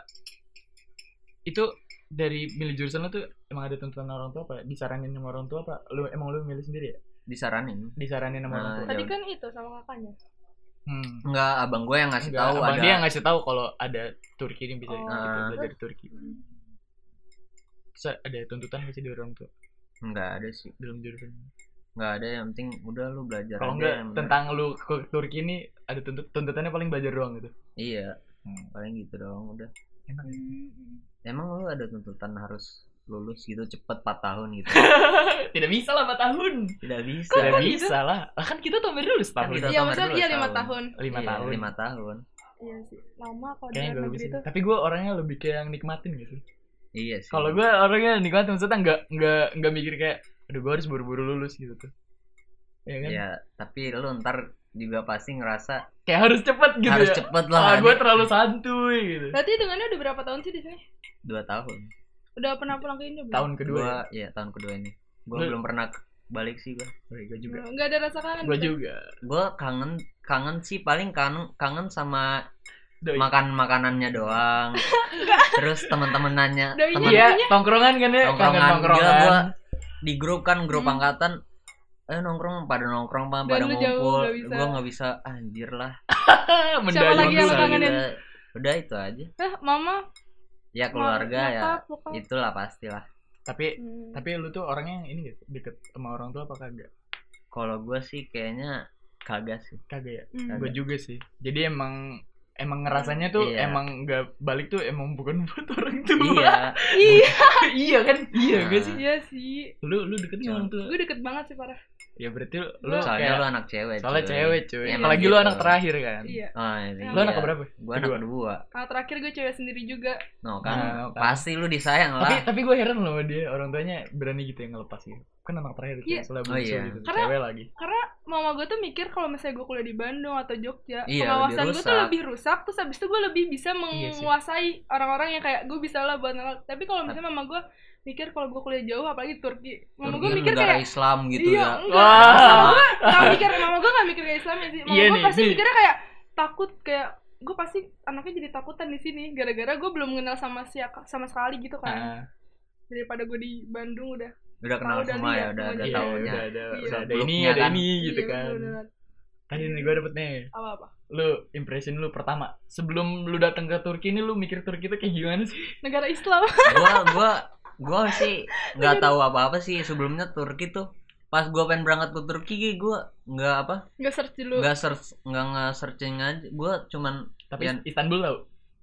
[SPEAKER 1] itu dari milih jurusan lu tuh emang ada tuntutan orang tua apa? Disaranin sama orang tua apa? Lu emang lu milih sendiri ya?
[SPEAKER 3] Disaranin.
[SPEAKER 1] Disaranin sama orang
[SPEAKER 3] Nah,
[SPEAKER 1] tua.
[SPEAKER 2] Tadi kan itu sama kakaknya.
[SPEAKER 1] Hmm.
[SPEAKER 3] Enggak, abang gue yang ngasih
[SPEAKER 1] Enggak,
[SPEAKER 3] tahu
[SPEAKER 1] abang
[SPEAKER 3] ada.
[SPEAKER 1] dia yang ngasih tahu kalau ada Turki ini bisa
[SPEAKER 2] Oh.
[SPEAKER 1] kita
[SPEAKER 3] Ah.
[SPEAKER 1] belajar di Turki. Terus ada tuntutan nggak sih dari orang tua
[SPEAKER 3] Enggak ada sih,
[SPEAKER 1] dalam jurusan? ini?
[SPEAKER 3] enggak ada yang penting udah lu belajar
[SPEAKER 1] Kalau
[SPEAKER 3] aja
[SPEAKER 1] enggak
[SPEAKER 3] yang bener.
[SPEAKER 1] tentang lu ke Turki ini ada tuntut tuntutannya paling belajar doang gitu.
[SPEAKER 3] Iya,
[SPEAKER 1] Hmm.
[SPEAKER 3] paling gitu doang udah.
[SPEAKER 1] Enak. ya?
[SPEAKER 3] Emang lu ada tuntutan harus lulus gitu cepet 4 tahun gitu.
[SPEAKER 1] Tidak bisa lah 4 tahun.
[SPEAKER 3] Tidak bisa.
[SPEAKER 1] Tidak
[SPEAKER 2] kok
[SPEAKER 1] bisa lah. Lah kan kita tamer dulu
[SPEAKER 3] Kan
[SPEAKER 1] setahun.
[SPEAKER 3] kita
[SPEAKER 2] Iya
[SPEAKER 3] tamer
[SPEAKER 2] maksudnya
[SPEAKER 3] dulu
[SPEAKER 2] iya
[SPEAKER 3] lah
[SPEAKER 2] lima
[SPEAKER 3] setahun.
[SPEAKER 2] tahun.
[SPEAKER 1] 5 tahun.
[SPEAKER 3] Iya, 5 tahun.
[SPEAKER 2] Iya sih. Lama kalau di
[SPEAKER 1] Kayaknya gak
[SPEAKER 2] luar negeri
[SPEAKER 1] bisa.
[SPEAKER 2] itu.
[SPEAKER 1] Tapi gue orangnya lebih kayak yang nikmatin gitu.
[SPEAKER 3] Iya sih.
[SPEAKER 1] Kalau gue orangnya nikmatin maksudnya nggak nggak nggak mikir kayak aduh gue harus buru-buru lulus gitu tuh. Iya kan?
[SPEAKER 3] Ya, tapi lu ntar juga pasti ngerasa
[SPEAKER 1] Kayak harus cepet gitu
[SPEAKER 3] harus
[SPEAKER 1] ya.
[SPEAKER 3] cepet
[SPEAKER 1] Ah,
[SPEAKER 3] lah. kan
[SPEAKER 1] gue
[SPEAKER 3] ini
[SPEAKER 1] terlalu santuy gitu.
[SPEAKER 2] Berarti hitungannya udah berapa tahun sih di sini?
[SPEAKER 3] dua tahun.
[SPEAKER 2] Udah pernah pulang ke Indo belum?
[SPEAKER 1] Tahun kedua.
[SPEAKER 3] Gua, ya tahun kedua ini. Gua
[SPEAKER 1] Lu-
[SPEAKER 3] belum pernah ke- balik sih gua.
[SPEAKER 1] Gue juga.
[SPEAKER 2] Enggak ada rasa kangen.
[SPEAKER 1] Gue
[SPEAKER 2] gitu?
[SPEAKER 1] juga.
[SPEAKER 3] Gua kangen kangen sih paling kangen kangen sama
[SPEAKER 1] Doi.
[SPEAKER 3] makan makanannya doang. Terus teman-temanannya
[SPEAKER 2] Doinya
[SPEAKER 3] teman
[SPEAKER 1] Iya, tongkrongan kan ya, kangen
[SPEAKER 3] tongkrongan gila
[SPEAKER 1] tongkrongan.
[SPEAKER 3] gua di grup kan grup
[SPEAKER 2] Hmm.
[SPEAKER 3] angkatan eh nongkrong pada nongkrong
[SPEAKER 2] Dan
[SPEAKER 3] Pak, pada
[SPEAKER 2] lu jauh,
[SPEAKER 3] ngumpul.
[SPEAKER 2] nggak bisa.
[SPEAKER 3] Gua nggak bisa anjir lah.
[SPEAKER 1] Mendayung
[SPEAKER 2] Siapa lagi yang
[SPEAKER 1] dulu.
[SPEAKER 2] lu kangenin?
[SPEAKER 3] Udah, udah itu aja.
[SPEAKER 2] Hah, Eh, mama,
[SPEAKER 3] Ya keluarga
[SPEAKER 2] ma-
[SPEAKER 3] ya.
[SPEAKER 2] nyokap, bokap.
[SPEAKER 3] Itulah pastilah.
[SPEAKER 1] Tapi
[SPEAKER 2] Hmm.
[SPEAKER 1] tapi lu tuh orangnya yang ini gak sih? deket sama orang tua apa kagak?
[SPEAKER 3] Kalau gue sih kayaknya kagak sih.
[SPEAKER 1] Kagak ya.
[SPEAKER 2] Hmm.
[SPEAKER 1] Gue juga sih. Jadi emang emang ngerasanya tuh
[SPEAKER 3] Iya.
[SPEAKER 1] emang gak balik tuh emang bukan buat orang tua.
[SPEAKER 3] iya,
[SPEAKER 2] Iya,
[SPEAKER 1] iya kan? Iya gak sih?
[SPEAKER 2] iya sih.
[SPEAKER 1] Lu lu deket sama orang tua.
[SPEAKER 2] Gue deket banget sih parah.
[SPEAKER 1] Ya berarti lu, lu
[SPEAKER 2] Gua-
[SPEAKER 3] Iya. soalnya
[SPEAKER 1] kayak
[SPEAKER 3] lu anak cewek.
[SPEAKER 1] soalnya
[SPEAKER 3] cuy.
[SPEAKER 1] cewek cuy.
[SPEAKER 3] Emang
[SPEAKER 1] Apalagi lu
[SPEAKER 3] Iya, gitu.
[SPEAKER 1] anak terakhir kan.
[SPEAKER 2] Iya.
[SPEAKER 3] Oh, iya.
[SPEAKER 1] Lu anak berapa?
[SPEAKER 3] Gue anak
[SPEAKER 1] Kedua.
[SPEAKER 3] kedua.
[SPEAKER 2] Ah, terakhir gue cewek sendiri juga.
[SPEAKER 3] No kan,
[SPEAKER 1] Nah, no, kan.
[SPEAKER 3] pasti lu disayang
[SPEAKER 1] Tapi
[SPEAKER 3] lah.
[SPEAKER 1] tapi gue heran loh sama dia orang tuanya berani gitu ya ngelepas gitu. Kan anak terakhir tuh
[SPEAKER 2] Iya.
[SPEAKER 1] soalnya
[SPEAKER 3] Oh,
[SPEAKER 1] bungsu
[SPEAKER 3] iya.
[SPEAKER 1] gitu.
[SPEAKER 2] Karena-
[SPEAKER 1] Cewek lagi.
[SPEAKER 2] Mama gue tuh mikir kalau misalnya gue kuliah di Bandung atau Jogja,
[SPEAKER 3] Iya,
[SPEAKER 2] pengawasan
[SPEAKER 3] lebih
[SPEAKER 2] gue tuh
[SPEAKER 3] rusak.
[SPEAKER 2] lebih rusak. Terus abis itu gue lebih bisa
[SPEAKER 1] Iya sih.
[SPEAKER 2] menguasai orang-orang yang kayak gue bisa lah buat nolak. Tapi kalau misalnya mama gue mikir kalau gue kuliah jauh, apalagi di Turki, mama gue
[SPEAKER 3] Turki
[SPEAKER 2] mikir
[SPEAKER 3] negara
[SPEAKER 2] kayak
[SPEAKER 3] Islam gitu
[SPEAKER 2] iya,
[SPEAKER 3] ya.
[SPEAKER 2] enggak.
[SPEAKER 1] Wah.
[SPEAKER 2] Mama gue nggak mikir, mama gue nggak mikir kayak Islam ya sih. Mama
[SPEAKER 1] Iya
[SPEAKER 2] gue
[SPEAKER 1] nih,
[SPEAKER 2] pasti
[SPEAKER 1] nih.
[SPEAKER 2] mikirnya kayak takut kayak gue pasti anaknya jadi takutan di sini gara-gara gue belum kenal sama siapa sama sekali gitu kan
[SPEAKER 1] Ah,
[SPEAKER 2] daripada gue di Bandung udah
[SPEAKER 3] Udah
[SPEAKER 2] Tahu
[SPEAKER 3] kenal
[SPEAKER 2] udah
[SPEAKER 3] semua ya,
[SPEAKER 2] lihat,
[SPEAKER 3] udah
[SPEAKER 2] udah
[SPEAKER 3] ada
[SPEAKER 1] iya,
[SPEAKER 2] lihat.
[SPEAKER 3] taunya.
[SPEAKER 1] udah ada
[SPEAKER 2] Iya.
[SPEAKER 1] udah ada ini
[SPEAKER 3] Grupnya
[SPEAKER 1] ada
[SPEAKER 3] kan.
[SPEAKER 1] ini gitu
[SPEAKER 2] Iya,
[SPEAKER 1] kan.
[SPEAKER 2] bener-bener.
[SPEAKER 1] Tadi nih gue dapet nih.
[SPEAKER 2] apa apa
[SPEAKER 1] Lu impression lu pertama sebelum lu datang ke Turki ini lu mikir Turki itu kayak gimana sih?
[SPEAKER 2] negara Islam
[SPEAKER 3] gua gua gua sih nggak tahu apa-apa sih sebelumnya Turki tuh pas gua pengen berangkat ke Turki gua nggak apa
[SPEAKER 2] nggak search dulu
[SPEAKER 3] nggak search nggak nge searching aja gua cuman
[SPEAKER 1] Tapi
[SPEAKER 3] Yan.
[SPEAKER 1] Istanbul tau?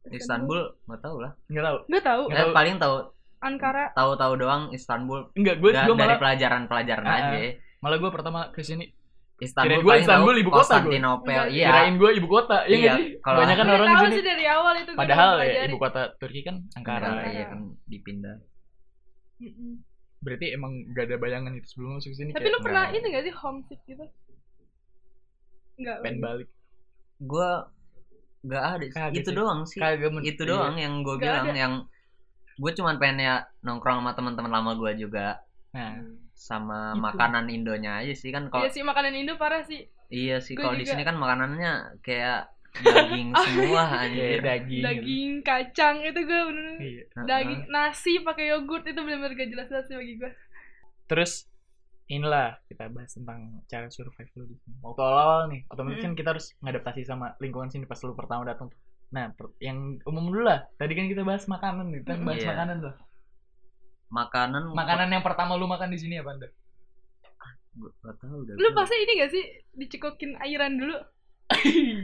[SPEAKER 3] Istanbul nggak tahu lah
[SPEAKER 1] Enggak tau.
[SPEAKER 2] nggak tahu
[SPEAKER 1] Nggak
[SPEAKER 3] Eh,
[SPEAKER 1] tahu.
[SPEAKER 3] paling tahu
[SPEAKER 2] Ankara
[SPEAKER 3] tahu-tahu doang Istanbul
[SPEAKER 1] Enggak, gue
[SPEAKER 3] Da-
[SPEAKER 1] gue
[SPEAKER 3] dari
[SPEAKER 1] malah
[SPEAKER 3] pelajaran-pelajaran
[SPEAKER 1] Ah,
[SPEAKER 3] aja
[SPEAKER 1] malah gue pertama ke sini Kirain
[SPEAKER 3] Istanbul
[SPEAKER 1] gua
[SPEAKER 3] paling
[SPEAKER 1] Istanbul
[SPEAKER 3] tahu
[SPEAKER 1] ibu kota gua.
[SPEAKER 3] Konstantinopel
[SPEAKER 2] Enggak,
[SPEAKER 3] iya
[SPEAKER 1] kirain gue ibu kota. Iya,
[SPEAKER 3] Iya,
[SPEAKER 1] nggak sih?
[SPEAKER 3] kalau-
[SPEAKER 1] Banyakan
[SPEAKER 2] Nggak
[SPEAKER 1] orang di
[SPEAKER 2] tahu
[SPEAKER 1] sini.
[SPEAKER 2] sih dari awal itu gua
[SPEAKER 1] Padahal
[SPEAKER 2] belum
[SPEAKER 1] ya
[SPEAKER 2] pelajari.
[SPEAKER 1] ibu kota Turki kan Ankara.
[SPEAKER 3] Ankara iya kan dipindah
[SPEAKER 2] Mm-mm.
[SPEAKER 1] Berarti emang gak ada bayangan itu sebelum masuk sini
[SPEAKER 2] tapi lu
[SPEAKER 1] kayak
[SPEAKER 2] pernah
[SPEAKER 3] Nggak.
[SPEAKER 2] ini nggak sih homesick gitu nggak
[SPEAKER 1] pengen balik.
[SPEAKER 3] gua nggak ada sih.
[SPEAKER 1] Kaget
[SPEAKER 3] itu
[SPEAKER 1] sih.
[SPEAKER 3] doang sih
[SPEAKER 1] Kagak men- iya.
[SPEAKER 3] itu gitu doang yang gue
[SPEAKER 2] Nggak
[SPEAKER 3] bilang
[SPEAKER 2] ada.
[SPEAKER 3] yang gue cuman pengen ya nongkrong sama teman-teman lama gue juga
[SPEAKER 1] Nah,
[SPEAKER 3] sama
[SPEAKER 1] Itu.
[SPEAKER 3] makanan Indonya aja sih kan
[SPEAKER 2] Iya
[SPEAKER 3] kalau
[SPEAKER 2] sih makanan Indo parah sih.
[SPEAKER 3] iya sih
[SPEAKER 2] Gua
[SPEAKER 3] kalau di
[SPEAKER 2] juga. Ah,
[SPEAKER 3] sini kan makanannya kayak daging semua
[SPEAKER 2] iya,
[SPEAKER 1] kayak
[SPEAKER 3] anjir
[SPEAKER 1] daging. gitu.
[SPEAKER 2] Daging kacang itu gue bener
[SPEAKER 1] Iya.
[SPEAKER 3] Heeh.
[SPEAKER 2] daging nasi pakai yogurt itu bener-bener gak jelas-jelas sih bagi gue.
[SPEAKER 1] Terus inilah kita bahas tentang cara survive lu di sini. Waktu awal-awal nih, otomatis kan kita harus ngadaptasi sama lingkungan sini pas lu pertama datang. Nah, per- yang umum dulu lah. Tadi kan kita bahas makanan nih, kita
[SPEAKER 2] Mm-mm.
[SPEAKER 1] bahas
[SPEAKER 3] Iya.
[SPEAKER 1] makanan tuh.
[SPEAKER 3] makanan
[SPEAKER 1] Makanan yang pertama lu makan di sini apa Anda?
[SPEAKER 3] gua nggak tahu dah
[SPEAKER 2] Lu
[SPEAKER 3] gua.
[SPEAKER 2] pasti ini gak sih dicekokin airan dulu?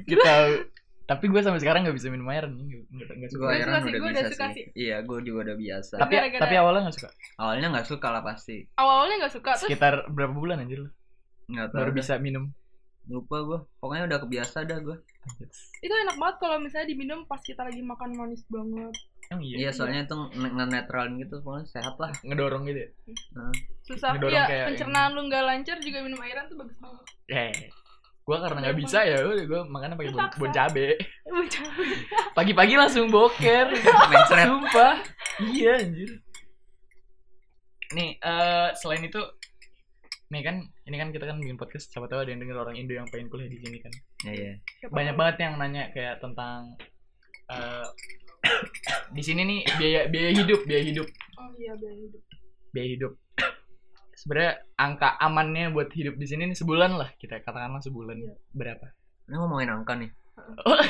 [SPEAKER 1] kita tapi gue sampai sekarang nggak bisa minum air nih, nggak- nggak
[SPEAKER 3] Gua
[SPEAKER 1] suka.
[SPEAKER 2] Gua
[SPEAKER 3] heran
[SPEAKER 2] suka sih,
[SPEAKER 3] udah
[SPEAKER 2] gua
[SPEAKER 3] bisa
[SPEAKER 2] udah suka
[SPEAKER 3] sih. iya gue juga udah biasa
[SPEAKER 1] Tapi
[SPEAKER 2] Gara-gara-
[SPEAKER 1] tapi awalnya nggak suka.
[SPEAKER 3] awalnya nggak suka lah pasti
[SPEAKER 2] Awal-awalnya gak suka terus
[SPEAKER 1] Sekitar berapa bulan anjir lu
[SPEAKER 3] nggak tahu
[SPEAKER 1] baru
[SPEAKER 3] dah.
[SPEAKER 1] bisa minum.
[SPEAKER 3] lupa gue pokoknya udah kebiasa dah gue
[SPEAKER 1] Anjir.
[SPEAKER 2] itu enak banget kalau misalnya diminum pas kita lagi makan manis banget.
[SPEAKER 1] Emang iya.
[SPEAKER 3] iya soalnya itu nge- nge-netralin gitu pokoknya sehat lah
[SPEAKER 1] Ngedorong gitu ya.
[SPEAKER 2] Susah
[SPEAKER 1] Ngedorong
[SPEAKER 2] ya
[SPEAKER 1] kayak
[SPEAKER 2] pencernaan lu gak lancar juga minum airan tuh bagus banget.
[SPEAKER 1] Eh. Gue karena nggak bisa ya, udah gue makannya pakai bon,
[SPEAKER 2] Terpaksa.
[SPEAKER 1] bon cabe.
[SPEAKER 2] Eh, jangan.
[SPEAKER 1] Pagi-pagi langsung boker.
[SPEAKER 3] mencret
[SPEAKER 1] Sumpah. Iya anjir. Nih, eh selain itu nih kan ini kan kita kan bikin podcast siapa tahu ada yang denger orang Indo yang pengen kuliah di sini kan.
[SPEAKER 3] iya
[SPEAKER 2] Siapa
[SPEAKER 1] Banyak
[SPEAKER 2] tahu.
[SPEAKER 1] banget yang nanya kayak tentang eh di sini nih biaya biaya hidup, biaya hidup,
[SPEAKER 2] Oh iya biaya hidup.
[SPEAKER 1] biaya hidup. Sebenarnya angka amannya buat hidup di sini nih sebulan lah kita katakanlah sebulan
[SPEAKER 2] Iya.
[SPEAKER 1] berapa?
[SPEAKER 3] ini ngomongin angka nih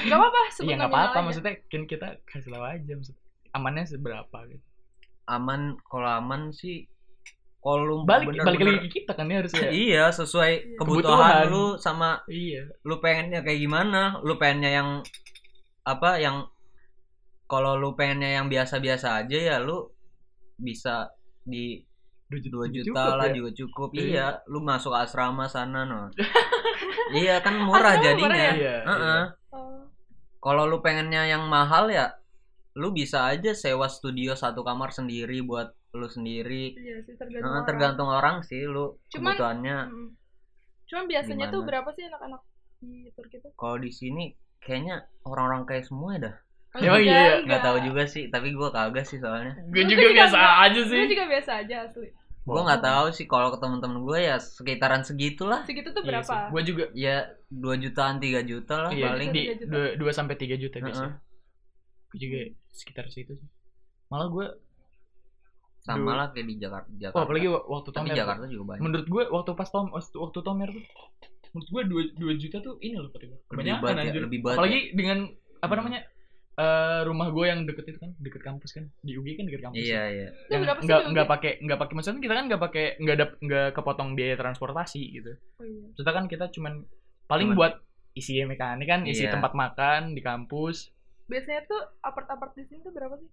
[SPEAKER 2] Gak apa-apa sebut
[SPEAKER 1] Iya nggak
[SPEAKER 2] nominal
[SPEAKER 1] apa-apa
[SPEAKER 2] aja.
[SPEAKER 1] maksudnya kan kita kasih tahu aja maksudnya amannya seberapa gitu.
[SPEAKER 3] aman kalau aman sih kalau lu
[SPEAKER 1] Balik balik
[SPEAKER 3] bener-bener-
[SPEAKER 1] lagi ke kita kan ya harusnya.
[SPEAKER 3] iya sesuai
[SPEAKER 1] Kebutuhan.
[SPEAKER 3] kebutuhan, lu sama
[SPEAKER 1] iya.
[SPEAKER 3] lu pengennya kayak gimana lu pengennya yang apa yang kalau lu pengennya yang biasa-biasa aja ya lu bisa di
[SPEAKER 1] 2 juta,
[SPEAKER 3] 2 juta
[SPEAKER 1] cukup
[SPEAKER 3] lah
[SPEAKER 1] ya?
[SPEAKER 3] juga cukup
[SPEAKER 1] Iya.
[SPEAKER 3] iya lu masuk asrama sana no iya kan murah
[SPEAKER 2] Asrama
[SPEAKER 3] jadinya
[SPEAKER 2] murah ya?
[SPEAKER 1] Iya,
[SPEAKER 3] Heeh.
[SPEAKER 1] iya.
[SPEAKER 2] Oh.
[SPEAKER 3] kalau lu pengennya yang mahal ya lu bisa aja sewa studio satu kamar sendiri buat lu sendiri
[SPEAKER 2] Iya sih tergantung.
[SPEAKER 3] Nah,
[SPEAKER 2] orang.
[SPEAKER 3] tergantung orang sih lu
[SPEAKER 2] Cuman-
[SPEAKER 3] kebutuhannya
[SPEAKER 2] Mm-mm. Cuman biasanya tuh
[SPEAKER 3] Gimana?
[SPEAKER 2] berapa sih anak-anak di Turki tuh?
[SPEAKER 3] kalau di sini kayaknya orang-orang kaya semua ya dah
[SPEAKER 1] Emang iya, iya.
[SPEAKER 3] nggak tahu juga sih tapi gua kagak sih soalnya
[SPEAKER 1] Gue
[SPEAKER 2] Lu
[SPEAKER 1] juga
[SPEAKER 2] juga
[SPEAKER 1] biasa
[SPEAKER 2] nggak-
[SPEAKER 1] aja sih. Iya
[SPEAKER 2] Gue juga biasa aja asli.
[SPEAKER 3] gua nggak tahu sih kalau ke temen-temen gua ya sekitaran segitulah
[SPEAKER 2] Segitu
[SPEAKER 1] Iya
[SPEAKER 2] tuh berapa?
[SPEAKER 1] Gue juga
[SPEAKER 3] ya 2 jutaan 3 juta lah
[SPEAKER 1] iya,
[SPEAKER 3] paling
[SPEAKER 1] di
[SPEAKER 2] 3 juta.
[SPEAKER 1] 2 2 sampai 3 juta
[SPEAKER 3] Heeh.
[SPEAKER 1] biasa. Gue juga sekitar situ sih. Malah gue
[SPEAKER 3] sama
[SPEAKER 1] Duh.
[SPEAKER 3] lah kayak di Jakarta, Jakarta.
[SPEAKER 1] oh, apalagi wa- waktu
[SPEAKER 3] tapi
[SPEAKER 1] Tomer.
[SPEAKER 3] Jakarta juga banyak
[SPEAKER 1] Menurut gue waktu pas Tom waktu waktu Tomer tuh menurut gue 2 2 juta tuh ini loh Pak. Kebanyakan
[SPEAKER 3] banget ya,
[SPEAKER 1] anjir.
[SPEAKER 3] lebih banget
[SPEAKER 1] apalagi dengan apa
[SPEAKER 3] Hmm.
[SPEAKER 1] namanya? eh rumah gue yang deket itu kan deket kampus kan di UGI kan deket kampus
[SPEAKER 3] iya iya
[SPEAKER 2] Lu berapa sih?
[SPEAKER 1] nggak
[SPEAKER 2] lu?
[SPEAKER 1] nggak pakai nggak pakai maksudnya kita kan nggak pakai nggak ada nggak kepotong biaya transportasi gitu
[SPEAKER 2] Oh, iya.
[SPEAKER 1] Maksudnya kan kita cuman paling
[SPEAKER 3] Cuman-
[SPEAKER 1] buat isi mekanik kan, isi
[SPEAKER 3] Iya.
[SPEAKER 1] tempat makan di kampus.
[SPEAKER 2] Biasanya tuh apart-apart di sini tuh berapa sih?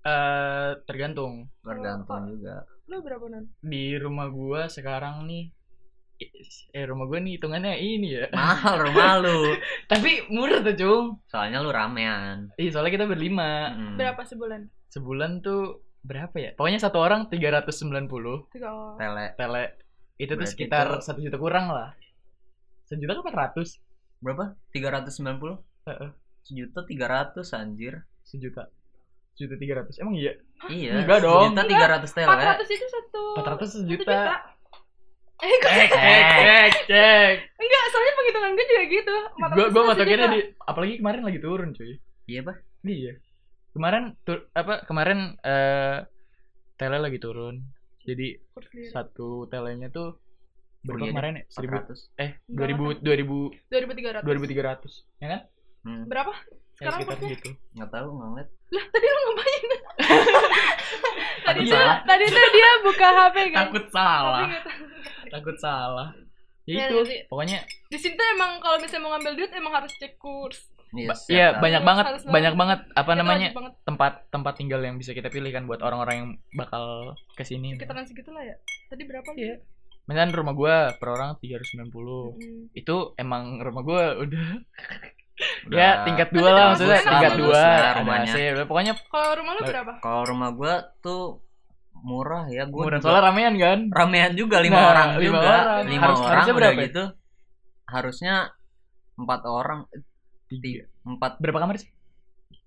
[SPEAKER 1] eh tergantung.
[SPEAKER 3] tergantung juga
[SPEAKER 2] Lu berapa non?
[SPEAKER 1] Di rumah gua sekarang nih eh rumah gua nih hitungannya ini ya.
[SPEAKER 3] mahal rumah lu
[SPEAKER 1] Tapi murah tuh, Cung.
[SPEAKER 3] soalnya lu ramean
[SPEAKER 1] Ih, Iya, soalnya kita berlima.
[SPEAKER 3] Mm.
[SPEAKER 2] Berapa sebulan?
[SPEAKER 1] Sebulan tuh berapa ya? Pokoknya satu orang 390
[SPEAKER 2] Tiga oh.
[SPEAKER 3] tele
[SPEAKER 1] tele. Itu tuh
[SPEAKER 3] Berarti
[SPEAKER 1] sekitar
[SPEAKER 3] itu-
[SPEAKER 1] satu juta kurang lah. Sejuta kan 400
[SPEAKER 3] berapa 390
[SPEAKER 1] Heeh.
[SPEAKER 3] sejuta 300 anjir
[SPEAKER 1] sejuta. Sejuta 300. Emang iya?
[SPEAKER 3] Iya,
[SPEAKER 1] Enggak dong.
[SPEAKER 3] Sejuta tiga ratus ya. tele.
[SPEAKER 2] 400 itu satu.
[SPEAKER 1] 400
[SPEAKER 2] satu
[SPEAKER 1] sejuta.
[SPEAKER 2] Eh, kok-
[SPEAKER 1] Cek, cek, cek, cek.
[SPEAKER 2] enggak, soalnya penghitungan gue juga gitu.
[SPEAKER 1] Gua
[SPEAKER 2] 400
[SPEAKER 1] gua
[SPEAKER 2] itu
[SPEAKER 1] matokinnya
[SPEAKER 2] sejuta.
[SPEAKER 1] di apalagi kemarin lagi turun, cuy.
[SPEAKER 3] Iya pak.
[SPEAKER 1] Iya. Kemarin tur, apa kemarin eh tele lagi turun. Jadi
[SPEAKER 2] Kurs liar.
[SPEAKER 1] satu telenya tuh berapa
[SPEAKER 3] Kuliah
[SPEAKER 1] kemarin ya? 1000
[SPEAKER 3] 400.
[SPEAKER 1] eh
[SPEAKER 2] Enggak
[SPEAKER 1] 2000 2000
[SPEAKER 2] 2300.
[SPEAKER 1] 2300 ya kan?
[SPEAKER 3] Hmm,
[SPEAKER 2] Berapa?
[SPEAKER 1] Ya,
[SPEAKER 2] Sekarang
[SPEAKER 1] sekitar
[SPEAKER 2] maksudnya?
[SPEAKER 1] gitu.
[SPEAKER 3] nggak tahu nggak ngeliat.
[SPEAKER 2] Lah, tadi lu ngapain? tadi
[SPEAKER 3] Takut
[SPEAKER 2] dia,
[SPEAKER 3] salah.
[SPEAKER 2] Iya, tadi tuh dia buka HP kan.
[SPEAKER 1] Takut
[SPEAKER 2] Tapi
[SPEAKER 1] salah,
[SPEAKER 2] nggak tahu.
[SPEAKER 1] takut salah. Ya
[SPEAKER 2] Ya,
[SPEAKER 1] itu,
[SPEAKER 2] nanti-
[SPEAKER 1] pokoknya
[SPEAKER 2] Di sini tuh emang kalau misalnya mau ngambil duit emang harus cek kurs.
[SPEAKER 3] Iya,
[SPEAKER 1] ba-
[SPEAKER 3] siap
[SPEAKER 1] iya
[SPEAKER 3] tahu.
[SPEAKER 1] banyak
[SPEAKER 2] Harus-
[SPEAKER 1] banget,
[SPEAKER 2] harus banget.
[SPEAKER 1] banyak banget apa
[SPEAKER 2] Itu
[SPEAKER 1] namanya
[SPEAKER 2] wajib banget
[SPEAKER 1] tempat tempat tinggal yang bisa kita pilih kan buat orang-orang yang bakal kesini.
[SPEAKER 2] sekitaran segitulah ya. Tadi berapa lu?
[SPEAKER 1] Iya. Misalnya rumah gua per orang 390.
[SPEAKER 2] Mm.
[SPEAKER 1] Itu emang rumah gua udah
[SPEAKER 3] Udah.
[SPEAKER 1] ya tingkat dua
[SPEAKER 2] Tapi
[SPEAKER 1] lah
[SPEAKER 2] bagus
[SPEAKER 1] maksudnya
[SPEAKER 2] lah,
[SPEAKER 1] tingkat
[SPEAKER 2] bagus
[SPEAKER 1] dua
[SPEAKER 3] lah
[SPEAKER 1] ada
[SPEAKER 3] rumahnya.
[SPEAKER 1] AC udah, pokoknya
[SPEAKER 2] Kalau rumah lu
[SPEAKER 1] Baik.
[SPEAKER 2] berapa?
[SPEAKER 3] Kalau rumah gua tuh murah ya, gua
[SPEAKER 1] murah
[SPEAKER 3] juga-
[SPEAKER 1] soalnya ramean kan
[SPEAKER 3] ramean juga lima
[SPEAKER 1] Nah,
[SPEAKER 3] orang
[SPEAKER 1] lima
[SPEAKER 3] juga,
[SPEAKER 1] orang.
[SPEAKER 3] lima
[SPEAKER 1] Harus-
[SPEAKER 3] orang
[SPEAKER 1] harusnya
[SPEAKER 3] udah
[SPEAKER 1] berapa ya?
[SPEAKER 3] gitu. Harusnya empat orang, tiga, empat
[SPEAKER 1] berapa kamar sih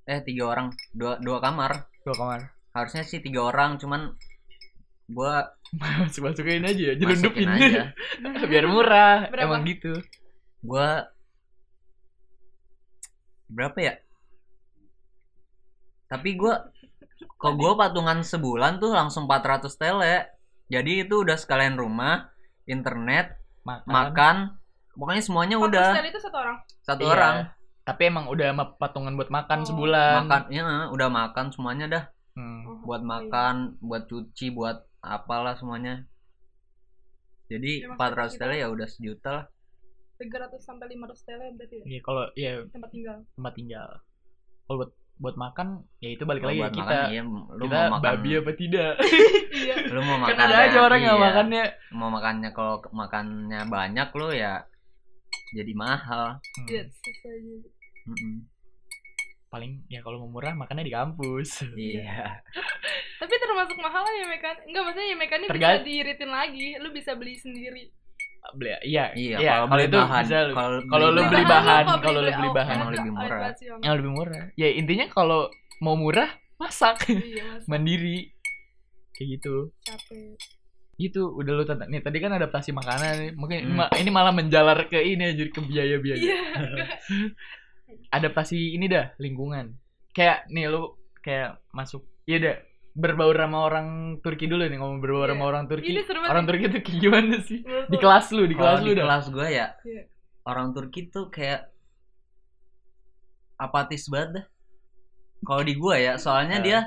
[SPEAKER 3] eh tiga orang, dua dua kamar.
[SPEAKER 1] dua kamar
[SPEAKER 3] Harusnya sih tiga orang, cuman gua
[SPEAKER 1] masuk masukin aja ya
[SPEAKER 3] masukin
[SPEAKER 1] jelundupin
[SPEAKER 3] aja.
[SPEAKER 1] biar murah
[SPEAKER 2] Berapa?
[SPEAKER 1] emang gitu
[SPEAKER 3] Gua berapa ya? Tapi gua kok gua patungan sebulan tuh langsung 400 tele. Jadi itu udah sekalian rumah, internet,
[SPEAKER 1] makan,
[SPEAKER 3] makan, pokoknya semuanya
[SPEAKER 2] Empat
[SPEAKER 3] udah
[SPEAKER 2] hostel itu satu orang.
[SPEAKER 3] satu
[SPEAKER 1] Iya.
[SPEAKER 3] orang.
[SPEAKER 1] tapi emang udah sama patungan buat makan
[SPEAKER 2] Oh.
[SPEAKER 1] sebulan
[SPEAKER 3] makan ya udah makan semuanya dah
[SPEAKER 1] Hmm.
[SPEAKER 2] Oh,
[SPEAKER 3] buat
[SPEAKER 2] iya.
[SPEAKER 3] makan buat cuci buat apalah semuanya jadi
[SPEAKER 2] Ya, maksudnya kita-
[SPEAKER 3] 400 tele ya udah sejuta lah
[SPEAKER 2] 300 sampai 500 TL berarti ya
[SPEAKER 1] Iya, kalau ya
[SPEAKER 2] tempat tinggal.
[SPEAKER 1] tempat tinggal kalau buat buat makan ya itu balik
[SPEAKER 3] Kalau
[SPEAKER 1] lagi ke
[SPEAKER 3] buat
[SPEAKER 1] kita
[SPEAKER 3] makan iya lu
[SPEAKER 1] kita
[SPEAKER 3] mau makan
[SPEAKER 1] babi apa tidak
[SPEAKER 2] iya.
[SPEAKER 3] lu mau makan Iya.
[SPEAKER 1] kan ada aja orang yang makannya
[SPEAKER 3] mau makannya kalau ke- makannya banyak lu ya jadi mahal
[SPEAKER 1] Hmm,
[SPEAKER 2] Iya, sesuai juga.
[SPEAKER 3] Mm-mm.
[SPEAKER 1] paling ya kalau mau murah makannya di kampus
[SPEAKER 3] iya
[SPEAKER 2] Tapi termasuk mahal lah ya mekan. Enggak maksudnya ya mekan ini bisa
[SPEAKER 1] Tergant-
[SPEAKER 2] diiritin lagi. Lu bisa beli sendiri.
[SPEAKER 1] Beli- iya
[SPEAKER 3] iya
[SPEAKER 1] iya kalau
[SPEAKER 3] beli
[SPEAKER 1] itu
[SPEAKER 3] bahan
[SPEAKER 1] bisa lu-
[SPEAKER 3] kalau
[SPEAKER 1] kalau lu beli bahan,
[SPEAKER 2] kok,
[SPEAKER 1] kalau lu beli
[SPEAKER 2] oh,
[SPEAKER 1] bahan.
[SPEAKER 2] enak
[SPEAKER 3] Emang lebih
[SPEAKER 2] banget
[SPEAKER 3] murah.
[SPEAKER 2] sih, emang.
[SPEAKER 1] yang lebih murah ya intinya kalau mau murah masak
[SPEAKER 2] Iya, Mas.
[SPEAKER 1] mandiri kayak gitu
[SPEAKER 2] Capek.
[SPEAKER 1] gitu udah lu tentang nih tadi kan adaptasi makanan nih. mungkin ini
[SPEAKER 3] Hmm.
[SPEAKER 1] ma- ini malah menjalar ke ini jadi ke biaya biaya
[SPEAKER 2] Iya.
[SPEAKER 1] adaptasi ini dah lingkungan kayak nih lu kayak masuk iya dah berbaur sama orang Turki dulu nih ngomong berbaur
[SPEAKER 2] Iya.
[SPEAKER 1] sama orang Turki
[SPEAKER 2] Ini seru banget.
[SPEAKER 1] orang Turki tuh kayak gimana sih
[SPEAKER 2] Menurut
[SPEAKER 1] di
[SPEAKER 2] lu-
[SPEAKER 1] kelas lu di kelas
[SPEAKER 3] kalau
[SPEAKER 1] lu
[SPEAKER 3] di
[SPEAKER 1] dah
[SPEAKER 3] kelas gua ya
[SPEAKER 2] Iya.
[SPEAKER 3] orang Turki tuh kayak apatis banget dah. Kalau di gua ya, soalnya
[SPEAKER 1] Eh.
[SPEAKER 3] dia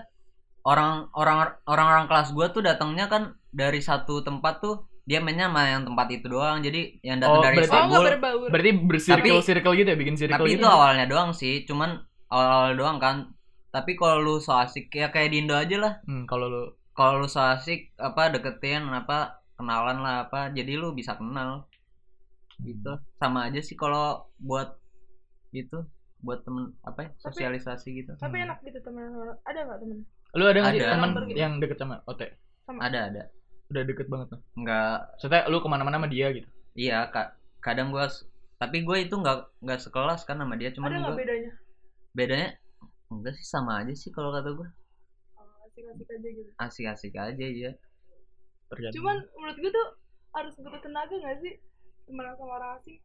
[SPEAKER 3] orang orang orang orang kelas gua tuh datangnya kan dari satu tempat tuh dia mainnya sama yang tempat itu doang. Jadi yang datang
[SPEAKER 1] Oh,
[SPEAKER 3] dari
[SPEAKER 1] berarti-
[SPEAKER 2] Oh, enggak
[SPEAKER 3] Istanbul.
[SPEAKER 2] berbaur.
[SPEAKER 1] berarti bersirkel circle gitu ya bikin circle
[SPEAKER 3] Tapi
[SPEAKER 1] gitu.
[SPEAKER 3] itu awalnya doang sih, cuman awal-awal doang kan. Tapi kalau lu so asik ya kayak di Indo aja lah.
[SPEAKER 1] Hmm, kalau lu
[SPEAKER 3] Kalau lu so asik apa deketin apa kenalan lah apa, jadi lu bisa kenal gitu. Sama aja sih kalau buat itu buat temen apa ya,
[SPEAKER 2] Tapi-
[SPEAKER 3] sosialisasi gitu.
[SPEAKER 2] Tapi
[SPEAKER 1] Hmm.
[SPEAKER 2] enak gitu teman Ada enggak teman?
[SPEAKER 1] lu ada nggak sih
[SPEAKER 3] Ada.
[SPEAKER 1] teman
[SPEAKER 2] Orang Turki.
[SPEAKER 1] yang deket sama Ote
[SPEAKER 3] Ada ada.
[SPEAKER 1] udah deket banget tuh
[SPEAKER 3] Enggak
[SPEAKER 1] maksudnya lu kemana-mana sama dia gitu
[SPEAKER 3] Iya, ka- kadang gua s- tapi gue itu nggak nggak sekelas kan sama dia,
[SPEAKER 2] Ada
[SPEAKER 3] cuman
[SPEAKER 2] enggak
[SPEAKER 3] gua
[SPEAKER 2] bedanya?
[SPEAKER 3] bedanya enggak sih sama aja sih kalau kata gue
[SPEAKER 2] Oh, Asik-asik aja gitu.
[SPEAKER 3] asik-asik aja ya.
[SPEAKER 1] tergantung.
[SPEAKER 2] Cuman menurut gue tuh harus butuh tenaga gak sih temenan sama orang asing?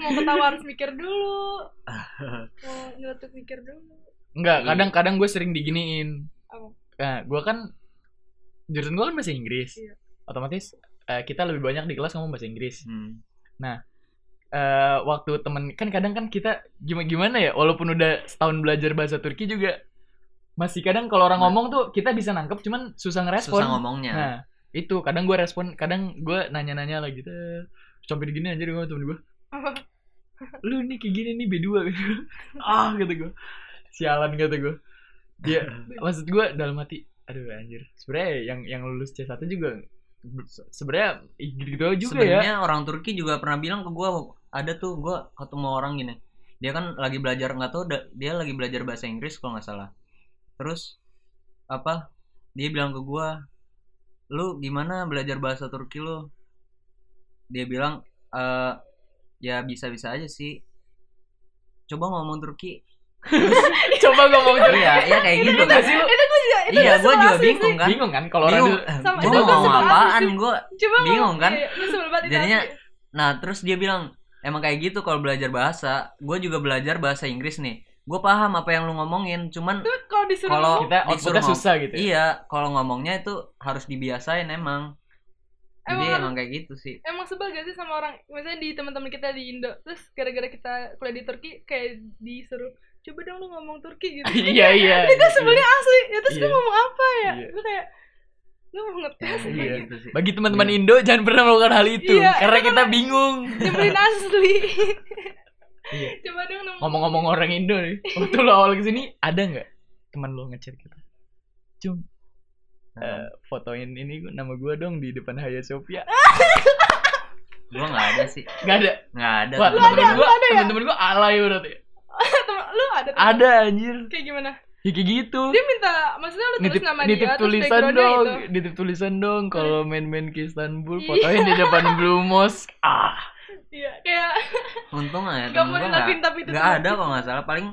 [SPEAKER 2] Mau ketawa harus mikir dulu. Mau nyeletuk mikir dulu.
[SPEAKER 1] Enggak,
[SPEAKER 3] Iya.
[SPEAKER 1] kadang-kadang gue sering diginiin.
[SPEAKER 2] Apa?
[SPEAKER 1] Nah, gue kan jurusan gue kan bahasa Inggris.
[SPEAKER 2] Iya.
[SPEAKER 1] Otomatis eh, kita lebih banyak di kelas ngomong bahasa Inggris.
[SPEAKER 3] Hmm.
[SPEAKER 1] Eh, waktu temen kan kadang kan kita gimana gimana ya, walaupun udah setahun belajar bahasa Turki juga masih kadang kalau orang
[SPEAKER 3] Nah.
[SPEAKER 1] ngomong tuh kita bisa nangkep cuman susah ngerespon.
[SPEAKER 3] Susah ngomongnya.
[SPEAKER 1] Nah, itu kadang gue respon, kadang gue nanya-nanya lagi gitu. Sampai gini aja gue temen gue.
[SPEAKER 2] Apa?
[SPEAKER 1] Lu nih kayak gini nih B2 gitu. ah, gitu gue. Sialan kata gue. Dia maksud gue dalam hati, aduh anjir. Sebenarnya yang yang lulus C1 juga se- sebenarnya gitu juga ya.
[SPEAKER 3] Sebenarnya orang Turki juga pernah bilang ke gua ada tuh gua ketemu orang gini. Dia kan lagi belajar nggak tahu da- dia lagi belajar bahasa Inggris kalau nggak salah. Terus apa? Dia bilang ke gua, "Lu gimana belajar bahasa Turki lu?" Dia bilang, "Eh, ya bisa-bisa aja sih. Coba ngomong Turki."
[SPEAKER 1] Coba ngomong Turki.
[SPEAKER 3] Iya, iya kayak gitu.
[SPEAKER 1] Gak sih lu
[SPEAKER 2] Itu gue juga, itu
[SPEAKER 3] Iya, gua
[SPEAKER 2] sebel
[SPEAKER 3] juga
[SPEAKER 2] asli
[SPEAKER 3] bingung kan.
[SPEAKER 1] bingung kan kalau orang
[SPEAKER 3] Bingung.
[SPEAKER 1] dulu-
[SPEAKER 2] Sama-
[SPEAKER 3] Gua
[SPEAKER 2] itu
[SPEAKER 3] mau
[SPEAKER 2] gua
[SPEAKER 3] ngomong
[SPEAKER 2] sebel asli
[SPEAKER 3] apaan
[SPEAKER 2] sih.
[SPEAKER 3] gua?
[SPEAKER 2] sih. Coba
[SPEAKER 3] Bingung kan?
[SPEAKER 2] Iya, gue sebel banget itu
[SPEAKER 3] Jadinya-
[SPEAKER 2] asli.
[SPEAKER 3] Nah terus dia bilang emang kayak gitu kalau belajar bahasa. Gue juga belajar bahasa Inggris nih. Gue paham apa yang lu ngomongin, cuman iya,
[SPEAKER 2] Itu kalau disuruh
[SPEAKER 3] Kalau-
[SPEAKER 2] ngomong,
[SPEAKER 1] kita
[SPEAKER 3] Disuruh
[SPEAKER 1] outputnya
[SPEAKER 3] ngomong.
[SPEAKER 1] susah gitu. ya.
[SPEAKER 3] iya kalau ngomongnya itu harus dibiasain emang. Jadi
[SPEAKER 2] Emang-
[SPEAKER 3] emang kayak gitu sih.
[SPEAKER 2] emang sebel gak sih sama orang misalnya di teman-teman kita di Indo terus gara-gara kita kuliah di Turki kayak disuruh coba dong lu ngomong Turki gitu
[SPEAKER 1] Iya, iya.
[SPEAKER 2] itu sebenarnya asli ya terus gue
[SPEAKER 1] Iya.
[SPEAKER 2] ngomong apa ya
[SPEAKER 1] Iya.
[SPEAKER 2] gue kayak gue mau ngetes
[SPEAKER 1] Iya.
[SPEAKER 3] Kayak gitu sih.
[SPEAKER 1] Bagi teman-teman Indo jangan pernah melakukan hal itu
[SPEAKER 2] Iya,
[SPEAKER 1] karena
[SPEAKER 2] itu
[SPEAKER 1] kita
[SPEAKER 2] kan-
[SPEAKER 1] bingung.
[SPEAKER 2] nyebelin asli
[SPEAKER 1] Iya.
[SPEAKER 2] coba dong ngomong
[SPEAKER 1] Ngomong-ngomong orang Indo nih, waktu lo awal kesini ada nggak teman lo ngechat kita? Cum,
[SPEAKER 3] Nah,
[SPEAKER 1] eh, fotoin ini gua- nama gue dong di depan Hagia Sophia.
[SPEAKER 3] Gua nggak ada sih.
[SPEAKER 1] Gak ada.
[SPEAKER 3] Nggak ada.
[SPEAKER 1] Wah,
[SPEAKER 3] temen-temen
[SPEAKER 1] temen-temen
[SPEAKER 2] lu
[SPEAKER 1] gue,
[SPEAKER 2] ada ya?
[SPEAKER 1] temen-temen gue alay berarti.
[SPEAKER 2] Temen- lu ada temen-
[SPEAKER 1] Ada anjir.
[SPEAKER 2] kayak gimana
[SPEAKER 1] Ya, kayak gitu.
[SPEAKER 2] dia minta maksudnya lu tulis
[SPEAKER 1] nitip,
[SPEAKER 2] nama
[SPEAKER 1] nitip
[SPEAKER 2] dia terus
[SPEAKER 1] tulisan
[SPEAKER 2] backgroundnya gitu.
[SPEAKER 1] dong,
[SPEAKER 2] itu
[SPEAKER 1] nitip tulisan dong kalau main-main ke Istanbul
[SPEAKER 2] Iya.
[SPEAKER 1] fotoin di depan Blue Mosque. Ah,
[SPEAKER 2] iya kayak
[SPEAKER 3] Untung aja
[SPEAKER 2] Nggak
[SPEAKER 3] temen
[SPEAKER 2] mau
[SPEAKER 3] gua
[SPEAKER 2] dilakuin,
[SPEAKER 3] nggak-
[SPEAKER 2] tapi itu
[SPEAKER 3] nggak
[SPEAKER 2] temen
[SPEAKER 3] ada kok nggak salah paling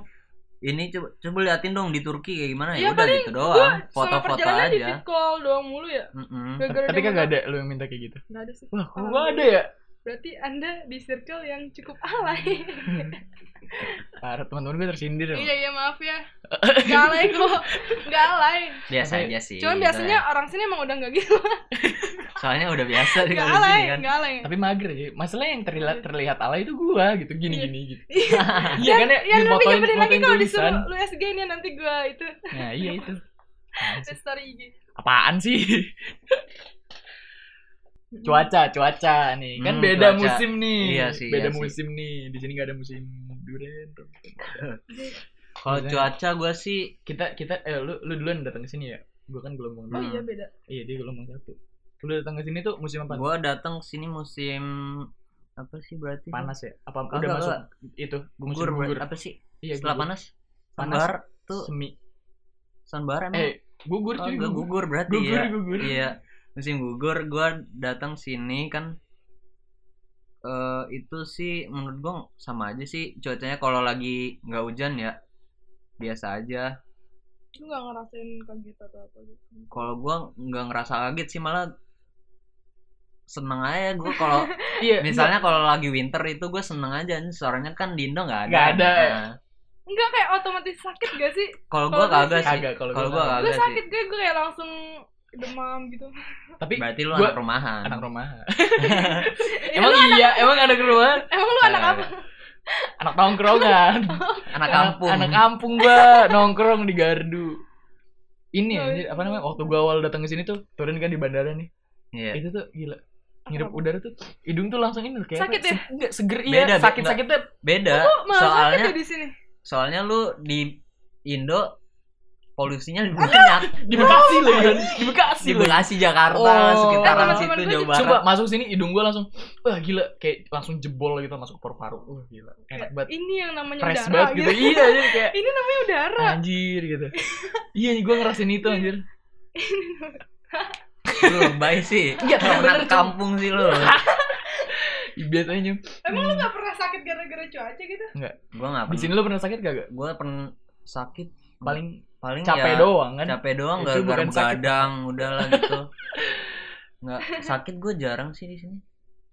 [SPEAKER 3] ini coba coba liatin dong di Turki kayak gimana
[SPEAKER 2] Iya,
[SPEAKER 3] ya udah
[SPEAKER 2] paling
[SPEAKER 3] gitu
[SPEAKER 2] gue
[SPEAKER 3] doang
[SPEAKER 2] sama
[SPEAKER 3] foto-foto
[SPEAKER 2] perjalanan di
[SPEAKER 3] aja
[SPEAKER 2] fit call doang mulu ya
[SPEAKER 3] Mm-mm.
[SPEAKER 2] Gara-gara
[SPEAKER 1] Hmm. tapi
[SPEAKER 2] dia
[SPEAKER 1] kan
[SPEAKER 2] minta-
[SPEAKER 1] gak ada lu yang minta kayak gitu.
[SPEAKER 2] nggak ada sih
[SPEAKER 1] Wah, kok
[SPEAKER 2] Alhamdulillah.
[SPEAKER 1] gak ada ya?
[SPEAKER 2] Berarti Anda di circle yang cukup alay.
[SPEAKER 1] Parah teman-teman gue tersindir. loh.
[SPEAKER 2] iya, iya maaf ya. Gak alay kok. Gak alay.
[SPEAKER 3] biasa
[SPEAKER 1] Tapi-
[SPEAKER 3] aja sih
[SPEAKER 2] Cuman
[SPEAKER 3] gitu
[SPEAKER 2] biasanya
[SPEAKER 3] ya.
[SPEAKER 2] orang sini emang udah gak gitu.
[SPEAKER 3] soalnya udah biasa
[SPEAKER 1] Iya,
[SPEAKER 3] di
[SPEAKER 2] Gak
[SPEAKER 3] kalau di
[SPEAKER 2] alay,
[SPEAKER 3] sini kan
[SPEAKER 2] gak alay.
[SPEAKER 1] Tapi mager ya. Masalah yang
[SPEAKER 3] Iya.
[SPEAKER 1] terlihat terlihat alay itu gua gitu
[SPEAKER 2] Iya.
[SPEAKER 1] gini-gini gitu.
[SPEAKER 2] Iya.
[SPEAKER 1] Iya kan ya,
[SPEAKER 2] Yang lebih
[SPEAKER 1] dipotoin
[SPEAKER 2] nyebelin lagi
[SPEAKER 1] fotoin
[SPEAKER 2] kalau
[SPEAKER 1] tulisan.
[SPEAKER 2] disuruh lu SG nih nanti gua itu
[SPEAKER 1] Nah, iya itu. Apaan sih?
[SPEAKER 2] story IG.
[SPEAKER 1] Apaan sih? cuaca, cuaca nih. Kan
[SPEAKER 3] Hmm,
[SPEAKER 1] beda
[SPEAKER 3] cuaca.
[SPEAKER 1] musim nih.
[SPEAKER 3] Iya sih,
[SPEAKER 1] beda
[SPEAKER 3] iya sih.
[SPEAKER 1] musim nih. Di sini gak ada musim durian.
[SPEAKER 3] kalau
[SPEAKER 1] Biasanya.
[SPEAKER 3] cuaca gua sih
[SPEAKER 1] Kita kita eh lu lu duluan datang ke sini ya. Gua kan gelombang
[SPEAKER 2] Oh
[SPEAKER 1] dua.
[SPEAKER 3] Hmm.
[SPEAKER 2] iya beda.
[SPEAKER 1] Iya, dia gelombang satu. Lu datang ke sini tuh musim apa?
[SPEAKER 3] gua datang sini musim apa sih berarti
[SPEAKER 1] Panas ya? Apa
[SPEAKER 3] Agak,
[SPEAKER 1] udah masuk
[SPEAKER 3] agak.
[SPEAKER 1] itu musim
[SPEAKER 3] gugur berarti. apa sih
[SPEAKER 1] Iya,
[SPEAKER 3] setelah
[SPEAKER 1] gugur.
[SPEAKER 3] panas
[SPEAKER 1] Panas.
[SPEAKER 3] Sanbar tuh
[SPEAKER 1] Semi.
[SPEAKER 3] sanbar emang
[SPEAKER 1] Eh, gugur
[SPEAKER 3] Oh,
[SPEAKER 1] cuy.
[SPEAKER 3] gua
[SPEAKER 1] gugur.
[SPEAKER 3] gugur berarti
[SPEAKER 1] Gugur,
[SPEAKER 3] ya
[SPEAKER 1] gugur.
[SPEAKER 3] iya musim gugur gua datang sini kan eh itu sih menurut gua sama aja sih cuacanya kalau lagi nggak hujan ya biasa aja
[SPEAKER 2] Lu gak ngerasain kaget atau apa gitu.
[SPEAKER 3] kalau gua nggak ngerasa kaget sih malah seneng aja gua kalau
[SPEAKER 1] Iya.
[SPEAKER 3] misalnya kalau lagi winter itu gue seneng aja anjing. soalnya kan di Indo nggak ada
[SPEAKER 1] Nggak ada.
[SPEAKER 3] Nah,
[SPEAKER 2] Enggak kayak otomatis sakit gak sih? Kalau
[SPEAKER 3] kalau gue
[SPEAKER 2] gua
[SPEAKER 3] kagak
[SPEAKER 1] enggak.
[SPEAKER 3] Iya sih
[SPEAKER 1] kagak kalau
[SPEAKER 3] kalau
[SPEAKER 1] gua
[SPEAKER 3] gue
[SPEAKER 1] kagak.
[SPEAKER 2] Gue
[SPEAKER 3] kagak sih
[SPEAKER 2] sakit gue gue kayak langsung demam gitu.
[SPEAKER 1] Tapi
[SPEAKER 3] berarti lu
[SPEAKER 1] gua-
[SPEAKER 3] anak rumahan
[SPEAKER 1] anak rumah.
[SPEAKER 2] Ya,
[SPEAKER 1] emang
[SPEAKER 2] lu-
[SPEAKER 1] iya, emang anak rumah,
[SPEAKER 2] emang lu anak apa?
[SPEAKER 1] anak tongkrongan.
[SPEAKER 3] anak kampung
[SPEAKER 1] Anak kampung gua nongkrong di Gardu. Ini anjir, apa namanya? Waktu gua awal datang ke sini tuh turun kan di bandara nih.
[SPEAKER 3] Iya.
[SPEAKER 1] Itu tuh gila. Ngirup
[SPEAKER 2] Apa?
[SPEAKER 1] udara tuh hidung tuh langsung ini loh, kayak
[SPEAKER 2] Sakit
[SPEAKER 1] apa,
[SPEAKER 2] ya?
[SPEAKER 1] se- enggak seger
[SPEAKER 3] Beda,
[SPEAKER 1] iya,
[SPEAKER 3] be-
[SPEAKER 1] sakit-sakitnya
[SPEAKER 3] beda
[SPEAKER 2] Malah sakit
[SPEAKER 3] soalnya
[SPEAKER 2] ya di sini.
[SPEAKER 3] soalnya lu di Indo polusinya lebih banyak
[SPEAKER 1] di Bekasi loh kan. Di Bekasi
[SPEAKER 3] di
[SPEAKER 1] loh.
[SPEAKER 3] Bekasi Jakarta
[SPEAKER 1] Oh.
[SPEAKER 2] Eh,
[SPEAKER 3] sekitaran
[SPEAKER 2] teman-teman
[SPEAKER 3] situ
[SPEAKER 2] gua
[SPEAKER 3] Jawa
[SPEAKER 2] juga-
[SPEAKER 3] Barat
[SPEAKER 1] Coba masuk sini hidung gua langsung wah gila kayak langsung jebol gitu masuk ke paru-paru. Wah gila. Enak banget.
[SPEAKER 2] Ini yang namanya
[SPEAKER 1] Fresh
[SPEAKER 2] Iya. udara
[SPEAKER 1] banget gitu.
[SPEAKER 2] gitu.
[SPEAKER 1] Iya, iya kayak
[SPEAKER 2] Ini namanya udara.
[SPEAKER 1] anjir gitu. Iya, gue ngerasain itu anjir.
[SPEAKER 3] lu lebay sih
[SPEAKER 1] Iya,
[SPEAKER 3] Anak
[SPEAKER 1] bener, Cuk.
[SPEAKER 3] kampung sih lu
[SPEAKER 1] Biasanya Nyum.
[SPEAKER 2] Emang lu gak pernah sakit gara-gara cuaca gitu?
[SPEAKER 3] gue nggak
[SPEAKER 1] di sini lo pernah sakit gak gak?
[SPEAKER 3] gue pernah sakit
[SPEAKER 1] Paling
[SPEAKER 3] paling
[SPEAKER 1] capek
[SPEAKER 3] ya,
[SPEAKER 1] doang kan?
[SPEAKER 3] capek doang
[SPEAKER 1] Itu
[SPEAKER 3] gara-gara
[SPEAKER 1] bukan sakit.
[SPEAKER 3] begadang udahlah gitu nggak sakit gue jarang sih di sini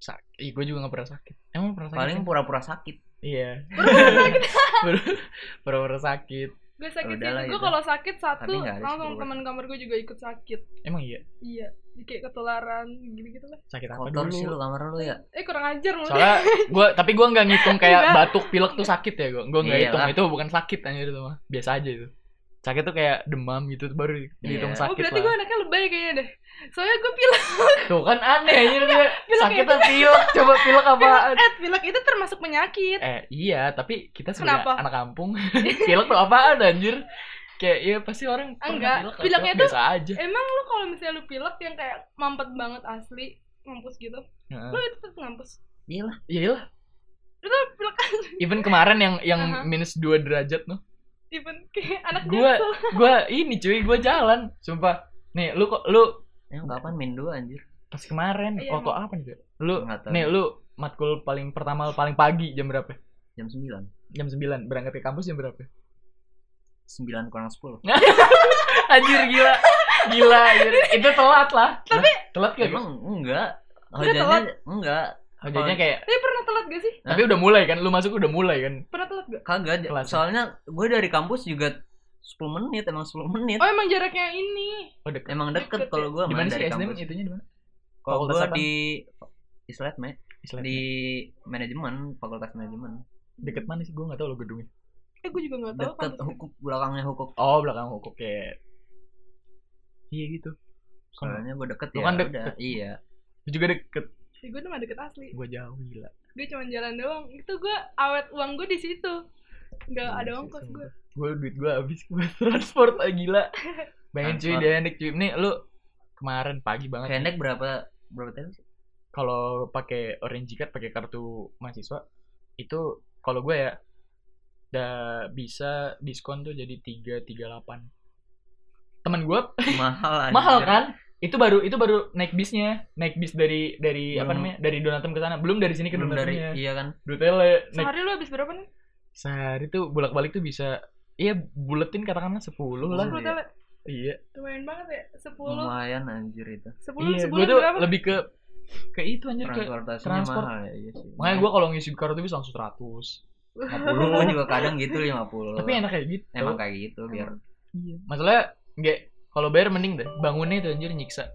[SPEAKER 1] Sakit. Ih, gue juga gak pernah sakit. Emang pernah sakit?
[SPEAKER 3] paling
[SPEAKER 1] sih?
[SPEAKER 3] pura-pura sakit
[SPEAKER 1] iya. Pernah sakit.
[SPEAKER 2] Gue sakit
[SPEAKER 3] Udahlah,
[SPEAKER 1] ya
[SPEAKER 2] sih. Gue
[SPEAKER 3] gitu.
[SPEAKER 2] kalau sakit satu
[SPEAKER 3] Tapi nggak ada
[SPEAKER 2] langsung
[SPEAKER 3] sih,
[SPEAKER 2] teman kamar gue juga ikut sakit.
[SPEAKER 1] Emang iya.
[SPEAKER 2] Iya, kayak ketularan gitu-gitu lah.
[SPEAKER 1] Sakit apa
[SPEAKER 3] kotor sih
[SPEAKER 1] dulu?
[SPEAKER 3] lu kamar lu ya
[SPEAKER 2] Eh kurang ajar lu.
[SPEAKER 1] Soalnya gue tapi gue nggak ngitung kayak
[SPEAKER 2] Enggak.
[SPEAKER 1] batuk pilek tuh sakit ya gue. Gue nggak
[SPEAKER 3] Iyalah.
[SPEAKER 1] hitung itu bukan sakit anjir itu mah. Biasa aja itu. Sakit tuh kayak demam gitu tuh baru dihitung
[SPEAKER 2] Oh,
[SPEAKER 3] Iya.
[SPEAKER 1] sakit
[SPEAKER 2] berarti gue
[SPEAKER 1] lah.
[SPEAKER 2] anaknya lebay kayaknya deh. Soalnya gue pilek.
[SPEAKER 1] Tuh kan aneh anjir dia.
[SPEAKER 2] pilek
[SPEAKER 1] Sakit
[SPEAKER 2] itu.
[SPEAKER 1] tuh pilek. Coba pilek apaan?
[SPEAKER 2] Eh, pilek itu termasuk penyakit.
[SPEAKER 1] Eh iya, tapi kita sebagai
[SPEAKER 2] Kenapa?
[SPEAKER 1] anak kampung pilek tuh apaan anjir? Kayak ya pasti orang pernah
[SPEAKER 2] Enggak,
[SPEAKER 1] pilek,
[SPEAKER 2] pileknya
[SPEAKER 1] pilek
[SPEAKER 2] tuh-
[SPEAKER 1] biasa aja.
[SPEAKER 2] Emang lu kalau misalnya lu pilek yang kayak mampet banget asli, mampus gitu.
[SPEAKER 1] Heeh.
[SPEAKER 2] Lu itu tetap mampus.
[SPEAKER 3] iya lah
[SPEAKER 1] Iya lah.
[SPEAKER 2] Lu tuh pilek kan? asli.
[SPEAKER 1] Even kemarin yang yang
[SPEAKER 2] Aha.
[SPEAKER 1] minus 2 derajat tuh.
[SPEAKER 2] Even kayak anak
[SPEAKER 1] Gua-
[SPEAKER 2] jaksel.
[SPEAKER 1] Gua ini cuy, gua jalan. Sumpah. Nih, lu kok lu
[SPEAKER 3] emang kapan main dua anjir
[SPEAKER 1] pas kemarin
[SPEAKER 2] Iya,
[SPEAKER 1] waktu apa nih? Dek? Lu
[SPEAKER 3] Nggak tahu.
[SPEAKER 1] nih lu matkul paling pertama paling pagi jam berapa?
[SPEAKER 3] jam sembilan
[SPEAKER 1] Jam 9 berangkat ke kampus jam berapa?
[SPEAKER 3] sembilan kurang sepuluh
[SPEAKER 1] Anjir gila. Gila, anjir. itu telat lah. Tapi telat gak? Emang?
[SPEAKER 3] emang enggak
[SPEAKER 2] Enggak telat.
[SPEAKER 3] Hajanya enggak
[SPEAKER 1] Hajanya kayak
[SPEAKER 2] Tapi pernah telat gak sih?
[SPEAKER 1] tapi udah mulai kan? Lu masuk udah mulai kan?
[SPEAKER 2] Pernah telat gak?
[SPEAKER 3] kagak
[SPEAKER 1] Kelas.
[SPEAKER 3] soalnya gue dari kampus juga 10 menit emang 10 menit
[SPEAKER 2] Oh, emang jaraknya ini.
[SPEAKER 1] Oh, deket.
[SPEAKER 3] emang deket
[SPEAKER 2] Deket ya?
[SPEAKER 3] kalau gue
[SPEAKER 1] Di mana iya.
[SPEAKER 3] main
[SPEAKER 1] sih
[SPEAKER 3] dari
[SPEAKER 1] SDM
[SPEAKER 3] kampus
[SPEAKER 1] itunya di mana?
[SPEAKER 3] Kalau
[SPEAKER 1] Fakultas
[SPEAKER 3] gue
[SPEAKER 1] apa?
[SPEAKER 3] di Islet, me,
[SPEAKER 1] Islam
[SPEAKER 3] di manajemen, fakultas manajemen.
[SPEAKER 1] deket mana sih gue nggak tahu lo gedungnya
[SPEAKER 2] eh gue juga nggak tahu
[SPEAKER 3] Deket hukum belakangnya hukum.
[SPEAKER 1] oh belakang hukum kayak iya gitu kan
[SPEAKER 3] Soalnya gue deket
[SPEAKER 1] Lu
[SPEAKER 3] ya.
[SPEAKER 1] kan
[SPEAKER 3] udah.
[SPEAKER 1] deket.
[SPEAKER 3] Iya.
[SPEAKER 1] lu juga deket
[SPEAKER 2] ya, gue tuh mah deket asli
[SPEAKER 1] gue jauh gila
[SPEAKER 2] gue cuma jalan doang itu gue awet uang gue di situ nggak ada ongkos gue
[SPEAKER 1] gue duit gue habis gue transport ah, gila bayangin cuy
[SPEAKER 3] Transport.
[SPEAKER 1] denek cuy nih lu kemarin pagi banget
[SPEAKER 3] Pendek berapa berapa tahun sih?
[SPEAKER 1] kalau pakai orange card pakai kartu mahasiswa itu kalau gue ya udah bisa diskon tuh jadi tiga tiga delapan teman gue
[SPEAKER 3] Mahal anjir.
[SPEAKER 1] mahal kan itu baru itu baru naik bisnya naik bis dari dari apa
[SPEAKER 3] Belum.
[SPEAKER 1] namanya dari Donatem ke sana belum dari sini ke
[SPEAKER 3] Belum dari
[SPEAKER 1] Donatemnya
[SPEAKER 3] iya kan.
[SPEAKER 1] Dutele naik
[SPEAKER 2] sehari lu habis berapa nih
[SPEAKER 1] sehari tuh bolak balik tuh bisa iya buletin katakanlah 10 lah
[SPEAKER 2] sepuluh
[SPEAKER 3] iya.
[SPEAKER 2] tele
[SPEAKER 1] iya
[SPEAKER 2] lumayan banget ya sepuluh
[SPEAKER 3] Lumayan anjir itu.
[SPEAKER 2] sepuluh
[SPEAKER 1] iya gue
[SPEAKER 2] sebulan
[SPEAKER 1] tuh
[SPEAKER 2] berapa
[SPEAKER 1] lebih ke ke itu anjir ke
[SPEAKER 3] Transportasinya
[SPEAKER 1] Iya, transport.
[SPEAKER 3] mahal ya. Iya sih.
[SPEAKER 1] makanya gue kalau ngisi kartu bisa langsung 100
[SPEAKER 3] 50 gue juga kadang gitu 50
[SPEAKER 1] tapi enak kayak gitu
[SPEAKER 3] Emang kayak gitu biar
[SPEAKER 1] Iya. Masalahnya nggak kalau bayar mending deh. Bangunnya itu anjir nyiksa.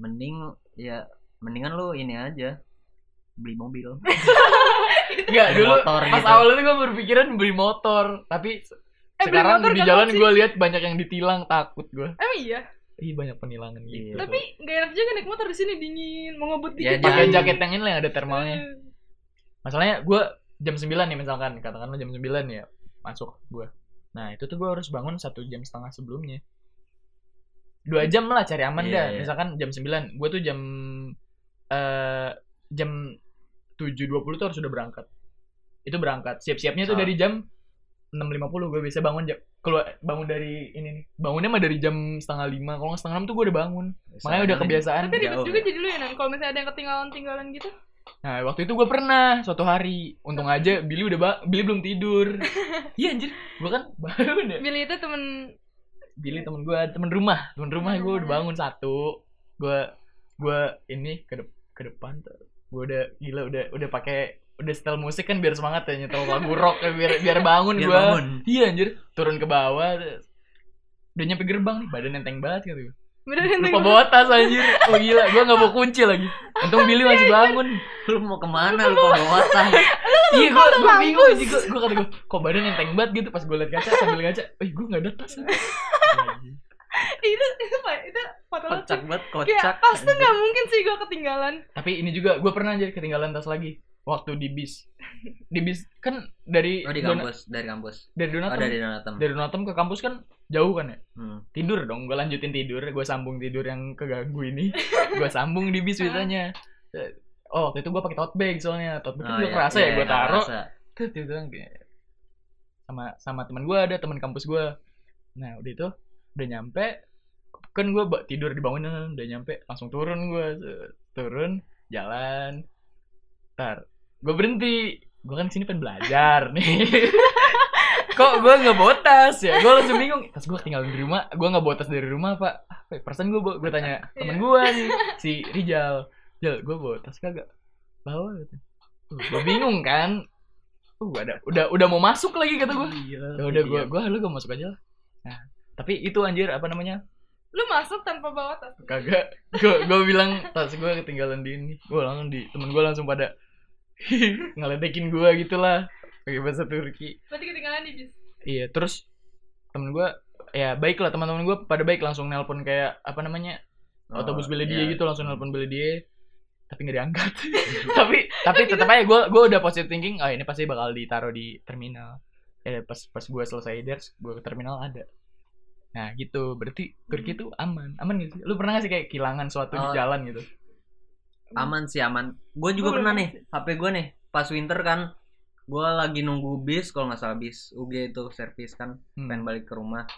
[SPEAKER 3] mending ya mendingan lu ini aja beli mobil.
[SPEAKER 1] Enggak,
[SPEAKER 3] Beli
[SPEAKER 1] dulu
[SPEAKER 3] motor
[SPEAKER 1] pas
[SPEAKER 3] gitu.
[SPEAKER 1] awal itu gue berpikiran beli motor, tapi se-
[SPEAKER 2] Eh, beli
[SPEAKER 1] sekarang
[SPEAKER 2] motor
[SPEAKER 1] di
[SPEAKER 2] kan
[SPEAKER 1] jalan
[SPEAKER 2] wajib.
[SPEAKER 1] gue lihat banyak yang ditilang, takut gue.
[SPEAKER 2] emang iya
[SPEAKER 1] Ih, banyak penilangan gitu.
[SPEAKER 3] Iya.
[SPEAKER 2] tapi nggak enak juga naik motor di sini dingin mau ngebut
[SPEAKER 3] Ya,
[SPEAKER 2] dikit
[SPEAKER 1] Iya, pakai
[SPEAKER 3] jangan.
[SPEAKER 1] jaket yang ini lah yang ada thermalnya.
[SPEAKER 2] Eh,
[SPEAKER 1] Masalahnya gue jam 9 nih misalkan, katakanlah jam 9 ya masuk gue. Nah, itu tuh gue harus bangun satu jam setengah sebelumnya. Dua jam lah cari aman
[SPEAKER 3] Iya,
[SPEAKER 1] dah.
[SPEAKER 3] iya.
[SPEAKER 1] Misalkan jam 9, gue tuh jam eh jam 7.20 tuh harus udah berangkat. Itu berangkat. Siap-siapnya tuh
[SPEAKER 3] Ah.
[SPEAKER 1] dari jam 6.50 gue bisa bangun jam keluar bangun dari ini nih. Bangunnya mah dari jam setengah lima, kalau nggak setengah enam tuh gue udah bangun. Makanya udah kebiasaan.
[SPEAKER 2] tapi ribet
[SPEAKER 3] Jauh
[SPEAKER 2] juga
[SPEAKER 3] ya.
[SPEAKER 2] jadi lu ya nan kalau misalnya ada yang ketinggalan tinggalan gitu
[SPEAKER 1] Nah, waktu itu gue pernah suatu hari. Untung aja Billy udah ba- Billy belum tidur. Iya anjir, gue kan bangun ya.
[SPEAKER 2] Billy itu temen
[SPEAKER 1] Billy temen gue, temen rumah, temen rumah gue udah bangun satu. Gue gue ini ke dep- ke depan tuh. Gue udah gila udah udah pakai udah setel musik kan biar semangat ya nyetel lagu rock ya, biar biar bangun
[SPEAKER 3] Biar
[SPEAKER 1] gue.
[SPEAKER 3] bangun.
[SPEAKER 1] Iya anjir, turun ke bawah terus udah nyampe gerbang nih badan enteng banget gitu
[SPEAKER 2] beneran yang
[SPEAKER 1] lupa bawa tas anjir oh gila gue nggak bawa kunci lagi untung Billy masih bangun
[SPEAKER 3] Lu mau kemana lu bawa wawasan?
[SPEAKER 1] Iya gue gue bingung sih gue gue kata gue kok badan enteng banget gitu pas gue liat kaca sambil ngaca, eh gue nggak ada tas.
[SPEAKER 2] itu itu apa ya? itu foto lu
[SPEAKER 3] Kocak banget,
[SPEAKER 2] kayak
[SPEAKER 3] kocak.
[SPEAKER 2] tas tuh nggak mungkin sih gue ketinggalan
[SPEAKER 1] Tapi ini juga gue pernah aja ketinggalan tas lagi waktu di bis. Di bis kan dari
[SPEAKER 3] Oh di
[SPEAKER 1] Dona-
[SPEAKER 3] kampus, dari kampus.
[SPEAKER 1] dari
[SPEAKER 3] Oh
[SPEAKER 1] Donatem
[SPEAKER 3] dari Donatem.
[SPEAKER 1] dari Donatem ke kampus kan jauh kan ya.
[SPEAKER 3] Hmm.
[SPEAKER 1] Tidur dong gue lanjutin tidur gue sambung tidur yang keganggu ini gue sambung di bis biasanya. Oh waktu itu gue pakai tote bag soalnya tote bag
[SPEAKER 3] Oh,
[SPEAKER 1] itu
[SPEAKER 3] iya,
[SPEAKER 1] gak kerasa
[SPEAKER 3] iya,
[SPEAKER 1] ya gue
[SPEAKER 3] nggak
[SPEAKER 1] taruh
[SPEAKER 3] kerasa.
[SPEAKER 1] terus dia bilang kayak sama sama teman gue ada teman kampus gue nah udah itu udah nyampe kan gue tidur di bangunan udah nyampe langsung turun gue turun jalan ntar gue berhenti gue kan sini pengen belajar nih kok gue nggak bawa tas ya gue langsung bingung tas gue tinggal di rumah gue nggak bawa tas dari rumah pak apa ya? perasaan gue gue tanya temen gue nih si Rijal Jal gue bawa tas kagak bawa gitu gue bingung kan uh ada udah udah mau masuk lagi kata gue
[SPEAKER 3] Iya.
[SPEAKER 1] ya udah gue gue lu gue masuk aja lah nah tapi itu anjir apa namanya
[SPEAKER 2] lu masuk tanpa bawa tas
[SPEAKER 1] kagak gue gue bilang tas gue ketinggalan di ini gue langsung di temen gue langsung pada ngeledekin gue gitulah pakai bahasa Turki
[SPEAKER 2] berarti ketinggalan di bis
[SPEAKER 1] iya terus temen gue ya baik lah teman-teman gue pada baik langsung nelpon kayak apa namanya
[SPEAKER 3] Oh,
[SPEAKER 1] autobus beli
[SPEAKER 3] iya.
[SPEAKER 1] dia gitu langsung nelpon beli dia tapi nggak diangkat tapi tapi tetap aja gue gue udah positive thinking oh ini pasti bakal ditaruh di terminal ya pas pas gue selesai ders gue ke terminal ada nah gitu berarti Turki tuh aman aman gitu sih lu pernah gak sih kayak kehilangan suatu di
[SPEAKER 3] Oh.
[SPEAKER 1] jalan gitu
[SPEAKER 3] Aman sih aman. Gue juga
[SPEAKER 2] Gua
[SPEAKER 3] pernah
[SPEAKER 2] belum
[SPEAKER 3] nih, HP gue nih pas winter kan gue lagi nunggu bis kalau nggak salah bis UG itu servis kan
[SPEAKER 1] Hmm.
[SPEAKER 3] pengen balik ke rumah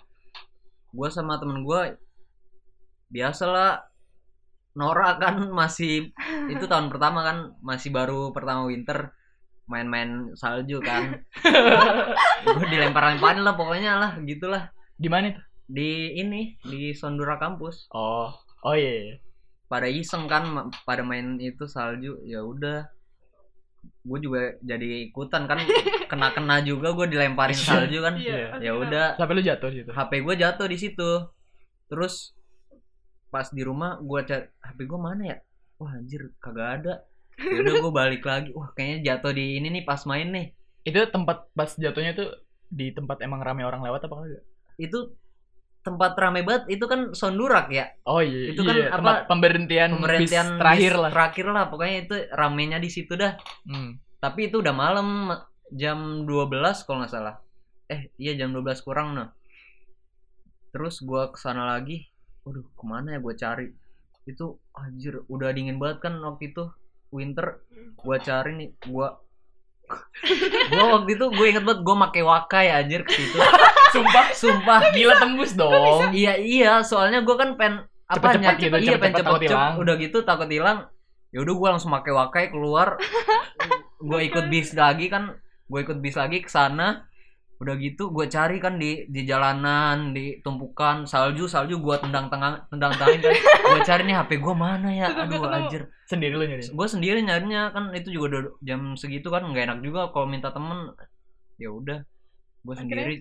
[SPEAKER 3] gue sama temen gue biasalah Nora kan masih itu tahun pertama kan masih baru pertama winter main-main salju kan gue dilempar-lemparin lah pokoknya lah gitulah
[SPEAKER 1] di mana tuh
[SPEAKER 3] di ini di Sondura kampus
[SPEAKER 1] oh oh iya, iya.
[SPEAKER 3] pada iseng kan ma- pada main itu salju ya udah gue juga jadi ikutan kan kena-kena juga gue dilemparin salju kan
[SPEAKER 1] Iya.
[SPEAKER 3] ya udah
[SPEAKER 1] sampai lu jatuh gitu
[SPEAKER 3] HP gue jatuh di situ. Terus pas di rumah gue cari HP gue mana ya? wah anjir kagak ada udah gue balik lagi wah kayaknya jatuh di ini nih pas main nih
[SPEAKER 1] Itu tempat pas jatuhnya tuh di tempat emang rame orang lewat apa enggak?
[SPEAKER 3] itu tempat rame banget itu kan sondurak ya
[SPEAKER 1] Oh iya,
[SPEAKER 3] Itu
[SPEAKER 1] iya,
[SPEAKER 3] kan
[SPEAKER 1] tempat
[SPEAKER 3] apa,
[SPEAKER 1] pemberhentian,
[SPEAKER 3] pemerintian
[SPEAKER 1] bis terakhir
[SPEAKER 3] bis
[SPEAKER 1] lah.
[SPEAKER 3] terakhir lah pokoknya itu ramenya di situ dah
[SPEAKER 1] Hmm.
[SPEAKER 3] tapi itu udah malam jam 12 kalau nggak salah eh iya jam 12 kurang nah terus gua kesana lagi waduh kemana ya gua cari itu anjir udah dingin banget kan waktu itu winter gua cari nih gua gua waktu itu gue inget banget gua make wakai anjir ke situ
[SPEAKER 1] Sumpah
[SPEAKER 3] sumpah
[SPEAKER 1] gila tembus dong.
[SPEAKER 3] iya iya soalnya gua kan pen apa
[SPEAKER 1] Cepet-cepet
[SPEAKER 3] nyari-
[SPEAKER 1] gitu,
[SPEAKER 3] iya pengen
[SPEAKER 1] cepet-cepet takut
[SPEAKER 3] cepet-cepet.
[SPEAKER 1] hilang.
[SPEAKER 3] udah gitu takut hilang ya udah gue langsung pakai wakai keluar gue ikut bis lagi kan gue ikut bis lagi ke sana udah gitu gue cari kan di di jalanan di tumpukan salju salju gue tendang tendang tendang tendangin kan gue cari nih hp gue mana ya
[SPEAKER 2] Tetep
[SPEAKER 3] aduh
[SPEAKER 2] ketemu.
[SPEAKER 3] anjir
[SPEAKER 1] Sendiri lu nyari.
[SPEAKER 3] gue sendiri nyarinya kan itu juga udah jam segitu kan nggak enak juga kalau minta temen ya udah gue sendiri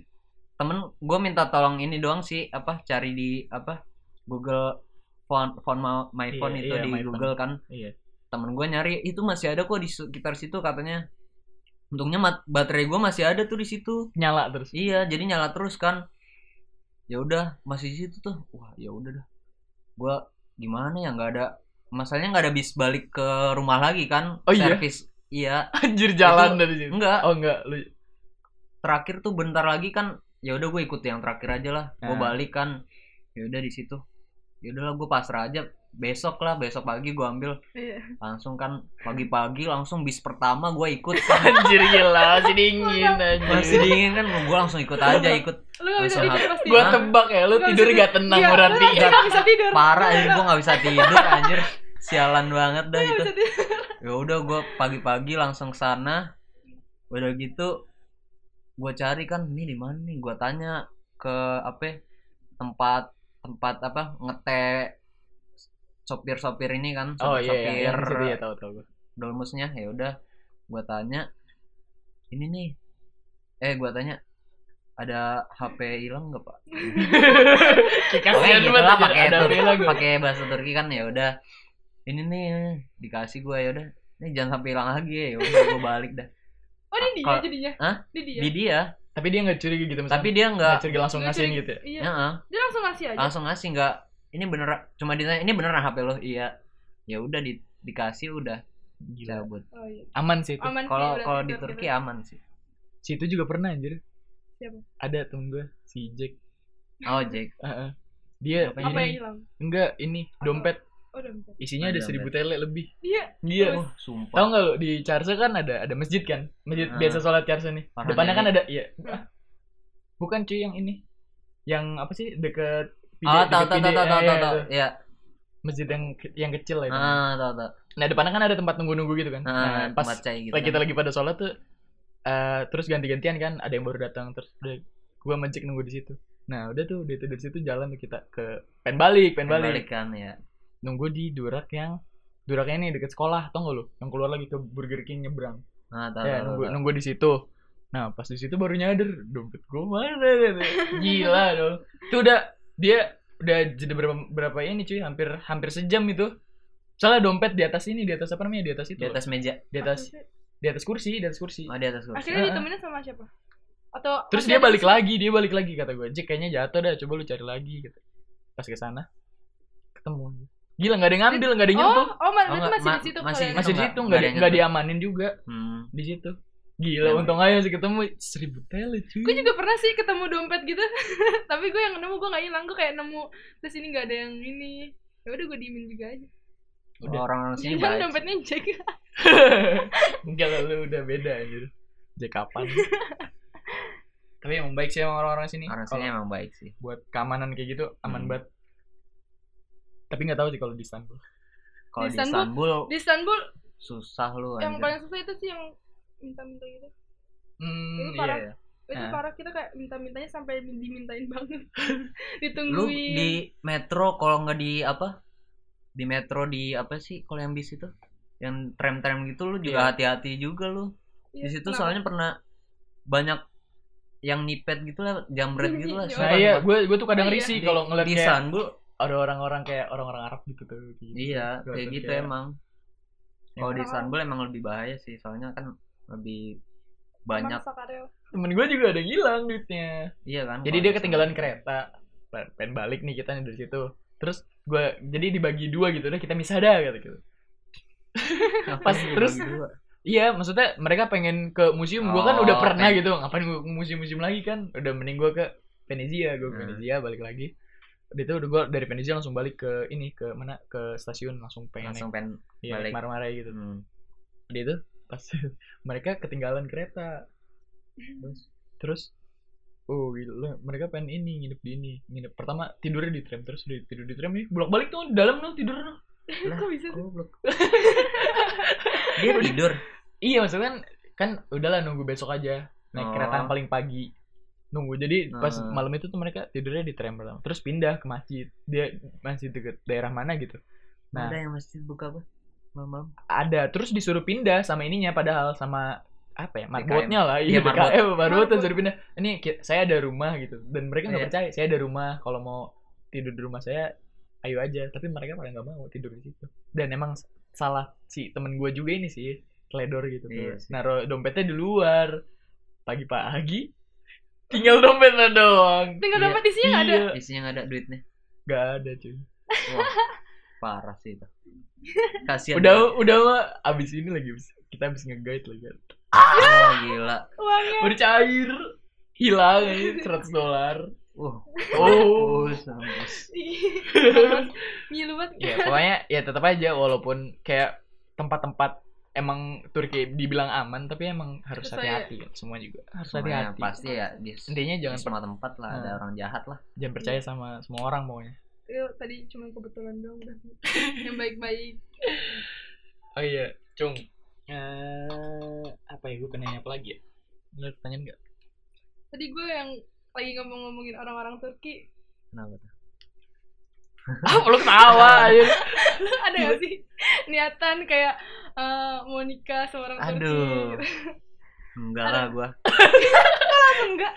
[SPEAKER 3] temen gue minta tolong ini doang sih apa cari di apa Google phone phone ma- my
[SPEAKER 1] Iya,
[SPEAKER 3] phone itu
[SPEAKER 1] iya,
[SPEAKER 3] di
[SPEAKER 1] my
[SPEAKER 3] Google kan
[SPEAKER 1] Iya.
[SPEAKER 3] temen gue nyari itu masih ada kok di sekitar situ katanya untungnya mat- baterai gue masih ada tuh di situ
[SPEAKER 1] Nyala terus.
[SPEAKER 3] iya jadi nyala terus kan ya udah masih di situ tuh wah ya udah dah gue gimana ya nggak ada masalahnya nggak ada bis balik ke rumah lagi kan
[SPEAKER 1] Oh iya?
[SPEAKER 3] Servis. iya
[SPEAKER 1] Anjir jalan
[SPEAKER 3] Itu-
[SPEAKER 1] dari situ.
[SPEAKER 3] enggak
[SPEAKER 1] Oh enggak lu.
[SPEAKER 3] terakhir tuh bentar lagi kan ya udah gue ikut yang terakhir aja lah gue
[SPEAKER 1] Nah.
[SPEAKER 3] balik kan ya udah di situ ya udahlah gue pasrah aja besok lah besok pagi gue ambil
[SPEAKER 2] Iya.
[SPEAKER 3] langsung kan pagi-pagi langsung bis pertama gue ikut kan.
[SPEAKER 1] Anjir gila, masih dingin anjir.
[SPEAKER 3] masih dingin kan gue langsung ikut aja ikut
[SPEAKER 2] Lu gak bisa
[SPEAKER 3] Langsung
[SPEAKER 2] tidur pasti.
[SPEAKER 1] Gua
[SPEAKER 3] Hah?
[SPEAKER 1] tebak ya, lu
[SPEAKER 2] Nggak
[SPEAKER 1] tidur
[SPEAKER 2] bisa
[SPEAKER 1] gak tenang
[SPEAKER 2] Iya,
[SPEAKER 1] berarti. ya?
[SPEAKER 2] lu gak bisa tidur.
[SPEAKER 3] parah anjir gue nggak bisa tidur anjir sialan banget dah
[SPEAKER 1] Iya,
[SPEAKER 2] Nggak
[SPEAKER 3] itu
[SPEAKER 2] bisa tidur.
[SPEAKER 3] ya udah gue pagi-pagi langsung ke sana udah gitu gue cari kan ini di mana nih gue tanya ke apa ya, tempat tempat apa ngete sopir sopir ini kan
[SPEAKER 1] Oh
[SPEAKER 3] sopir
[SPEAKER 1] iya, iya,
[SPEAKER 3] sopir
[SPEAKER 1] yang di situ ya tahu tahu gua.
[SPEAKER 3] dolmusnya ya udah gue tanya ini nih eh gue tanya ada HP hilang nggak pak?
[SPEAKER 1] Kayak
[SPEAKER 3] Pokoknya
[SPEAKER 1] Kan Kasihan
[SPEAKER 3] gitu lah
[SPEAKER 1] banget ya,
[SPEAKER 3] pakai
[SPEAKER 1] ada
[SPEAKER 3] Tur-
[SPEAKER 1] bela gua.
[SPEAKER 3] pakai bahasa Turki kan ya udah ini nih dikasih gue ya udah ini jangan sampai hilang lagi ya udah gue balik dah
[SPEAKER 2] Oh ini dia
[SPEAKER 3] Kalau-
[SPEAKER 2] jadinya.
[SPEAKER 3] Hah?
[SPEAKER 2] Ini
[SPEAKER 1] Iya.
[SPEAKER 2] dia.
[SPEAKER 3] di dia
[SPEAKER 1] Tapi dia gak curiga gitu
[SPEAKER 3] tapi dia nggak
[SPEAKER 1] curiga langsung
[SPEAKER 2] Nggak
[SPEAKER 1] ngasihin
[SPEAKER 2] curiga.
[SPEAKER 1] gitu ya.
[SPEAKER 2] Iya.
[SPEAKER 3] Heeh,
[SPEAKER 2] Dia langsung ngasih aja.
[SPEAKER 3] langsung ngasih nggak ini bener cuma ditanya ini beneran HP lo iya ya udah di- dikasih udah
[SPEAKER 1] Gila.
[SPEAKER 3] cabut
[SPEAKER 2] Oh iya.
[SPEAKER 1] Aman sih itu.
[SPEAKER 2] Aman sih,
[SPEAKER 3] kalau
[SPEAKER 2] berarti
[SPEAKER 3] kalau di
[SPEAKER 2] Turki
[SPEAKER 3] Turki
[SPEAKER 2] berarti.
[SPEAKER 3] aman sih
[SPEAKER 1] Situ juga pernah anjir.
[SPEAKER 2] Siapa?
[SPEAKER 1] Ada temen gua si Jack.
[SPEAKER 3] oh Jack
[SPEAKER 1] Heeh. Dia
[SPEAKER 3] Apa
[SPEAKER 2] Apa yang
[SPEAKER 1] ini,
[SPEAKER 2] hilang?
[SPEAKER 1] enggak ini dompet
[SPEAKER 2] Oh dompet.
[SPEAKER 1] isinya
[SPEAKER 3] Oh,
[SPEAKER 1] ada
[SPEAKER 3] dompet.
[SPEAKER 1] seribu tele lebih.
[SPEAKER 2] Iya.
[SPEAKER 1] Iya.
[SPEAKER 3] wah
[SPEAKER 1] Tahu
[SPEAKER 3] sumpah
[SPEAKER 1] nggak lu di Charse kan ada ada masjid kan? Masjid
[SPEAKER 3] Ah.
[SPEAKER 1] biasa sholat Charse nih.
[SPEAKER 3] Parah
[SPEAKER 1] Depannya kan
[SPEAKER 3] nenek.
[SPEAKER 1] ada iya. Ah. Bukan cuy yang ini. Yang apa sih deket Pide-
[SPEAKER 3] ah tahu
[SPEAKER 1] deket
[SPEAKER 3] tahu
[SPEAKER 1] Pide.
[SPEAKER 3] tahu tahu
[SPEAKER 1] Ah,
[SPEAKER 3] tahu
[SPEAKER 1] iya,
[SPEAKER 3] tahu
[SPEAKER 1] itu.
[SPEAKER 3] ya
[SPEAKER 1] Masjid yang ke- yang kecil lah itu.
[SPEAKER 3] ah tahu tahu
[SPEAKER 1] Nah, depannya kan ada tempat nunggu-nunggu gitu kan.
[SPEAKER 3] ah
[SPEAKER 1] ya, Nah, pas
[SPEAKER 3] tempat cai gitu
[SPEAKER 1] lagi kita
[SPEAKER 3] kan.
[SPEAKER 1] lagi pada sholat tuh eh terus ganti-gantian kan, ada yang baru datang terus udah gua mencek nunggu di situ. Nah, udah tuh dia tuh dari situ jalan tuh kita ke pen balik, pen
[SPEAKER 3] Pengen
[SPEAKER 1] balik.
[SPEAKER 3] balik kan ya
[SPEAKER 1] Nunggu di durak yang duraknya ini deket sekolah, tau gak lu? Yang keluar lagi ke Burger King nyebrang.
[SPEAKER 3] ah tahu
[SPEAKER 1] ya
[SPEAKER 3] tahu
[SPEAKER 1] nunggu
[SPEAKER 3] tahu.
[SPEAKER 1] nunggu di situ nah pas di situ baru nyadar dompet gue mana gitu. gila dong itu udah dia udah jadi berapa berapa ini cuy hampir hampir sejam itu salah dompet di atas ini di atas apa namanya di atas itu
[SPEAKER 3] di atas meja
[SPEAKER 1] di atas di atas kursi di atas kursi
[SPEAKER 3] oh di atas kursi
[SPEAKER 2] Akhirnya
[SPEAKER 1] Heeh.
[SPEAKER 2] ditemenin sama siapa? Atau
[SPEAKER 1] terus
[SPEAKER 2] masih
[SPEAKER 1] dia
[SPEAKER 2] ada-
[SPEAKER 1] balik lagi dia balik lagi kata gue Jack kayaknya jatuh dah coba lu cari lagi gitu pas ke sana ketemu gila nggak ada yang ngambil nggak ada yang
[SPEAKER 2] Oh,
[SPEAKER 1] nyentuh
[SPEAKER 2] oh,
[SPEAKER 3] Oh,
[SPEAKER 2] berarti
[SPEAKER 3] nggak,
[SPEAKER 2] masih di
[SPEAKER 3] ma-
[SPEAKER 2] situ
[SPEAKER 3] masih-
[SPEAKER 2] kalian.
[SPEAKER 1] masih di
[SPEAKER 3] nggak-
[SPEAKER 1] situ
[SPEAKER 3] nggak
[SPEAKER 1] nggak
[SPEAKER 3] ada
[SPEAKER 1] di-
[SPEAKER 3] yang
[SPEAKER 1] nggak
[SPEAKER 3] nyentuh.
[SPEAKER 1] diamanin juga
[SPEAKER 3] hmm.
[SPEAKER 1] di situ gila untung aja sih ketemu seribu tele cuy
[SPEAKER 2] Gue juga pernah sih ketemu dompet gitu. Tapi gue yang nemu gue gak hilang, gue kayak nemu terus ini gak ada yang ini. Ya udah gue diemin juga aja.
[SPEAKER 1] Udah.
[SPEAKER 3] orang-orang
[SPEAKER 2] Kan
[SPEAKER 3] sini baik
[SPEAKER 2] dompetnya Jack.
[SPEAKER 1] Enggak lah, lu udah beda anjir. Sejak kapan? Tapi emang baik sih emang orang-orang sini.
[SPEAKER 3] orang
[SPEAKER 1] Kalau
[SPEAKER 3] sini emang baik sih
[SPEAKER 1] buat keamanan kayak gitu aman
[SPEAKER 3] Hmm.
[SPEAKER 1] banget. Tapi nggak tahu sih kalau di Hmm, Istanbul.
[SPEAKER 3] kalau
[SPEAKER 2] Di
[SPEAKER 3] di
[SPEAKER 2] Istanbul-
[SPEAKER 3] Istanbul
[SPEAKER 2] Di Istanbul
[SPEAKER 3] susah lu
[SPEAKER 2] yang
[SPEAKER 3] anjir.
[SPEAKER 2] paling susah itu sih yang minta-minta gitu.
[SPEAKER 1] Hmm,
[SPEAKER 2] Lu parah.
[SPEAKER 1] iya.
[SPEAKER 2] Itu
[SPEAKER 1] Ah.
[SPEAKER 2] parah kita kayak minta-mintanya sampai dimintain banget.
[SPEAKER 3] Nah. lu
[SPEAKER 2] Ditungguin.
[SPEAKER 3] di metro kalau nggak di apa di metro di apa sih kalau yang bis itu yang tram tram gitu lu
[SPEAKER 1] Iya.
[SPEAKER 3] juga hati-hati juga lu
[SPEAKER 2] Iya,
[SPEAKER 3] di situ
[SPEAKER 2] kenapa?
[SPEAKER 3] soalnya pernah banyak yang nipet gitu lah jamret gitu lah
[SPEAKER 2] Iya,
[SPEAKER 1] Nah
[SPEAKER 3] Sumpah,
[SPEAKER 1] iya,
[SPEAKER 3] sumpah.
[SPEAKER 1] gue gue tuh kadang
[SPEAKER 2] Iya.
[SPEAKER 1] risih
[SPEAKER 3] Di-
[SPEAKER 1] kalau ngeliat
[SPEAKER 3] di
[SPEAKER 1] kayak
[SPEAKER 3] Istanbul
[SPEAKER 1] ada orang-orang kayak orang-orang Arab gitu tuh kayak gitu.
[SPEAKER 3] Iya,
[SPEAKER 1] Gua
[SPEAKER 3] kayak
[SPEAKER 1] tuh
[SPEAKER 3] gitu
[SPEAKER 1] kayak-
[SPEAKER 3] emang. Kalau di
[SPEAKER 2] Emang.
[SPEAKER 3] Istanbul emang lebih bahaya sih, soalnya kan lebih banyak.
[SPEAKER 2] Maksa Karel.
[SPEAKER 1] temen gue juga ada yang hilang duitnya
[SPEAKER 3] Iya kan.
[SPEAKER 1] jadi
[SPEAKER 3] kalau
[SPEAKER 1] dia
[SPEAKER 3] di
[SPEAKER 1] ketinggalan
[SPEAKER 3] Istanbul.
[SPEAKER 1] kereta Pen- pengen balik nih kita nih dari situ terus gue jadi dibagi dua gitu udah kita misah dah gitu gitu
[SPEAKER 3] Ngapain
[SPEAKER 1] Pas
[SPEAKER 3] dibagi
[SPEAKER 1] terus-
[SPEAKER 3] dua?
[SPEAKER 1] iya maksudnya mereka pengen ke museum gue kan udah
[SPEAKER 3] Oh,
[SPEAKER 1] pernah
[SPEAKER 3] pengen-
[SPEAKER 1] gitu ngapain gue ke museum-museum lagi kan udah mending gue ke Venezia gue ke
[SPEAKER 3] Hmm.
[SPEAKER 1] Venezia balik lagi Udah itu udah gue dari Venezia langsung balik ke ini ke mana ke stasiun langsung pengen
[SPEAKER 3] langsung
[SPEAKER 1] naik
[SPEAKER 3] pengen
[SPEAKER 1] iya,
[SPEAKER 3] balik.
[SPEAKER 1] marah-marah gitu
[SPEAKER 3] hmm.
[SPEAKER 1] dia itu pas mereka ketinggalan kereta terus terus oh gila mereka pengen ini nginep di ini nginep pertama tidurnya di tram terus udah tidur di tram nih bolak balik tuh di dalam tuh tidur tuh
[SPEAKER 3] Lah,
[SPEAKER 2] Kok bisa sih?
[SPEAKER 3] goblok. dia tidur.
[SPEAKER 1] iya maksudnya kan kan udahlah nunggu besok aja naik
[SPEAKER 3] Oh.
[SPEAKER 1] kereta yang paling pagi nunggu jadi pas
[SPEAKER 3] Hmm.
[SPEAKER 1] malam itu tuh mereka tidurnya di tram pertama terus pindah ke masjid dia masih deket daerah mana gitu Nah.
[SPEAKER 3] Ada yang masjid buka apa? Malam-malam.
[SPEAKER 1] ada terus disuruh pindah sama ininya padahal sama apa ya marbotnya lah
[SPEAKER 3] Iya,
[SPEAKER 1] iya
[SPEAKER 3] marbot.
[SPEAKER 1] DKM marbot
[SPEAKER 2] Marbot.
[SPEAKER 1] disuruh pindah ini ki- saya ada rumah gitu dan mereka nggak
[SPEAKER 3] Iya.
[SPEAKER 1] percaya saya ada rumah kalau mau tidur di rumah saya ayo aja tapi mereka pada nggak mau tidur di situ dan emang s- salah si temen gue juga ini sih teledor gitu tuh.
[SPEAKER 3] Iya sih.
[SPEAKER 1] naro dompetnya di luar pagi-pagi tinggal dompetnya doang
[SPEAKER 2] Tinggal
[SPEAKER 3] Iya,
[SPEAKER 2] dompet isinya nggak ada.
[SPEAKER 1] Iya,
[SPEAKER 3] Isinya nggak ada duitnya.
[SPEAKER 1] nggak ada cuy
[SPEAKER 3] Iya, Wah, parah sih itu. Kasihan.
[SPEAKER 1] udah
[SPEAKER 3] banget.
[SPEAKER 1] udah mah abis ini lagi abis- kita abis nge-guide lagi
[SPEAKER 3] Oh, gila.
[SPEAKER 2] Uangnya.
[SPEAKER 1] udah cair hilang ini 100 dolar
[SPEAKER 3] Uh.
[SPEAKER 1] Oh.
[SPEAKER 3] mampus, mampus.
[SPEAKER 2] Ngilu banget.
[SPEAKER 3] Iya.
[SPEAKER 1] ya pokoknya ya tetap aja walaupun kayak tempat-tempat emang Turki dibilang aman tapi emang harus
[SPEAKER 2] Terus saya-
[SPEAKER 1] hati-hati kan, semua juga harus
[SPEAKER 3] Semuanya
[SPEAKER 1] hati-hati
[SPEAKER 3] pasti ya di, di
[SPEAKER 1] intinya jangan
[SPEAKER 3] semua tempat lah ada
[SPEAKER 1] Hmm.
[SPEAKER 3] orang jahat lah.
[SPEAKER 1] jangan percaya sama semua orang pokoknya
[SPEAKER 2] Iya, tadi cuma kebetulan doang udah. Yang baik-baik.
[SPEAKER 1] oh iya cung Eh, apa ya gue pengen nanya apa lagi ya lu ada pertanyaan nggak
[SPEAKER 2] Tadi gue yang lagi ngomong-ngomongin orang-orang Turki.
[SPEAKER 3] Kenapa tuh?
[SPEAKER 1] ah lu ketawa aja
[SPEAKER 2] ada
[SPEAKER 3] Iya.
[SPEAKER 2] gak sih niatan kayak eh, mau nikah sama orang Turki? gitu.
[SPEAKER 3] Aduh. Enggak lah gua.
[SPEAKER 2] Enggak.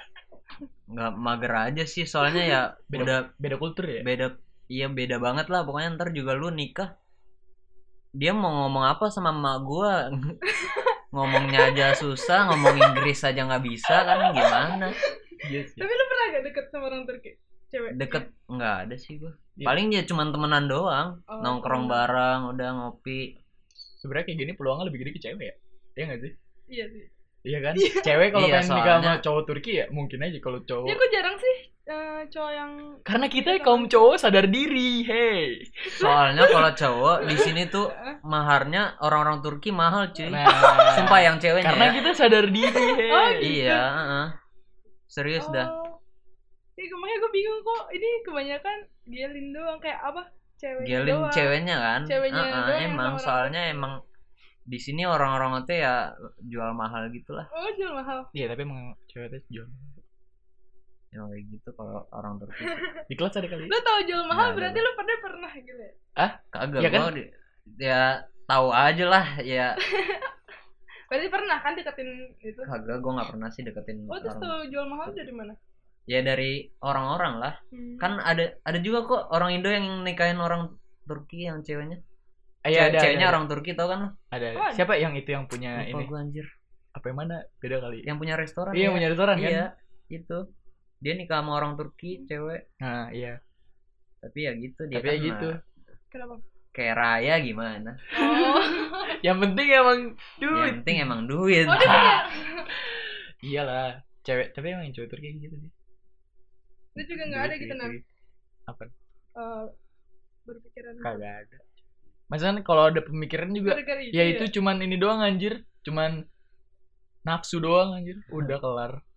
[SPEAKER 3] Enggak mager aja sih soalnya ya
[SPEAKER 1] Beda-
[SPEAKER 3] udah
[SPEAKER 1] beda kultur ya
[SPEAKER 3] beda iya beda banget lah pokoknya ntar juga lu nikah dia mau ngomong apa sama emak gua ngomongnya aja susah ngomong Inggris aja nggak bisa kan gimana
[SPEAKER 1] iya sih
[SPEAKER 2] Tapi lu pernah gak deket sama orang Turki? Cewek.
[SPEAKER 3] deket nggak ada sih gua
[SPEAKER 1] Iya.
[SPEAKER 3] paling ya cuman temenan doang
[SPEAKER 2] Oh,
[SPEAKER 3] nongkrong
[SPEAKER 2] temenan.
[SPEAKER 3] bareng udah ngopi
[SPEAKER 1] sebenarnya kayak gini peluangnya lebih gede ke cewek ya iya nggak sih
[SPEAKER 2] Iya sih.
[SPEAKER 1] iya kan cewek kalau
[SPEAKER 3] Iya,
[SPEAKER 1] pengen nikah sama
[SPEAKER 3] soalnya-
[SPEAKER 1] cowok Turki ya mungkin aja kalau
[SPEAKER 3] Oh.
[SPEAKER 1] cowok
[SPEAKER 2] Ya gue jarang sih eh, cowok yang
[SPEAKER 1] Karena kita kaum cowok sadar diri, hey.
[SPEAKER 3] soalnya kalau cowok di sini tuh
[SPEAKER 2] Heeh.
[SPEAKER 3] maharnya orang-orang Turki mahal cuy
[SPEAKER 1] Nah,
[SPEAKER 3] sumpah yang ceweknya
[SPEAKER 1] Karena
[SPEAKER 3] ya.
[SPEAKER 1] kita sadar diri, hey.
[SPEAKER 2] Oh, gitu.
[SPEAKER 3] iya heeh. serius
[SPEAKER 1] Oh.
[SPEAKER 3] dah
[SPEAKER 2] Ya, makanya gue bingung kok ini kebanyakan gelin doang kayak apa? Cewek
[SPEAKER 3] Gelin
[SPEAKER 2] doang.
[SPEAKER 3] ceweknya kan?
[SPEAKER 2] Ceweknya
[SPEAKER 3] Ah, ah,
[SPEAKER 2] doang yang
[SPEAKER 3] emang
[SPEAKER 2] sama orang
[SPEAKER 3] soalnya emang di sini orang-orang itu ya jual mahal gitulah.
[SPEAKER 2] Oh, jual mahal.
[SPEAKER 1] Iya, tapi emang cewek itu jual.
[SPEAKER 3] Emang kayak gitu kalau orang Turki.
[SPEAKER 1] Di kelas ada kali.
[SPEAKER 2] Lu tau jual mahal
[SPEAKER 3] Nah,
[SPEAKER 2] berarti lu pernah pernah gitu ya?
[SPEAKER 3] Kagak
[SPEAKER 1] Ya
[SPEAKER 3] gua
[SPEAKER 1] kan?
[SPEAKER 3] di- ya tahu aja lah ya
[SPEAKER 2] Berarti pernah kan deketin itu.
[SPEAKER 3] kagak gua nggak pernah sih deketin
[SPEAKER 2] Oh, terus
[SPEAKER 3] orang.
[SPEAKER 2] tau jual mahal dari mana?
[SPEAKER 3] Ya dari orang-orang lah.
[SPEAKER 2] Hmm.
[SPEAKER 3] Kan ada ada juga kok orang Indo yang nikahin orang Turki yang ceweknya.
[SPEAKER 1] Eh, iya,
[SPEAKER 3] Cewe-
[SPEAKER 1] ada,
[SPEAKER 3] ceweknya
[SPEAKER 1] ada,
[SPEAKER 3] orang Turki tau kan?
[SPEAKER 1] ada.
[SPEAKER 2] Oh, ada.
[SPEAKER 1] Siapa yang itu yang punya
[SPEAKER 3] Lupa
[SPEAKER 1] ini?
[SPEAKER 3] gua anjir.
[SPEAKER 1] Apa yang mana? Beda kali.
[SPEAKER 3] Yang punya restoran.
[SPEAKER 1] iya, yang punya restoran kan?
[SPEAKER 3] Iya, itu. Dia nikah sama orang Turki cewek,
[SPEAKER 1] Nah, iya.
[SPEAKER 3] tapi ya gitu dia
[SPEAKER 1] tapi ya
[SPEAKER 3] kan,
[SPEAKER 1] gitu.
[SPEAKER 3] nah,
[SPEAKER 2] Kenapa?
[SPEAKER 3] kayak raya gimana?
[SPEAKER 2] Oh.
[SPEAKER 1] Yang penting emang
[SPEAKER 3] Yang
[SPEAKER 1] duit.
[SPEAKER 3] penting emang duit.
[SPEAKER 2] Oh, dia punya.
[SPEAKER 1] Iyalah, cewek. Tapi emang yang cewek Turki gitu sih.
[SPEAKER 2] Lu juga nggak ada
[SPEAKER 1] Duit,
[SPEAKER 2] gitu
[SPEAKER 1] duit,
[SPEAKER 2] nah.
[SPEAKER 1] duit. Apa?
[SPEAKER 2] eh, berpikiran
[SPEAKER 1] Kagak ada. Maksudnya kan kalau ada pemikiran juga
[SPEAKER 2] gara-gara
[SPEAKER 1] Ya itu cuman ini doang anjir, cuman nafsu doang anjir. Udah kelar. Iya.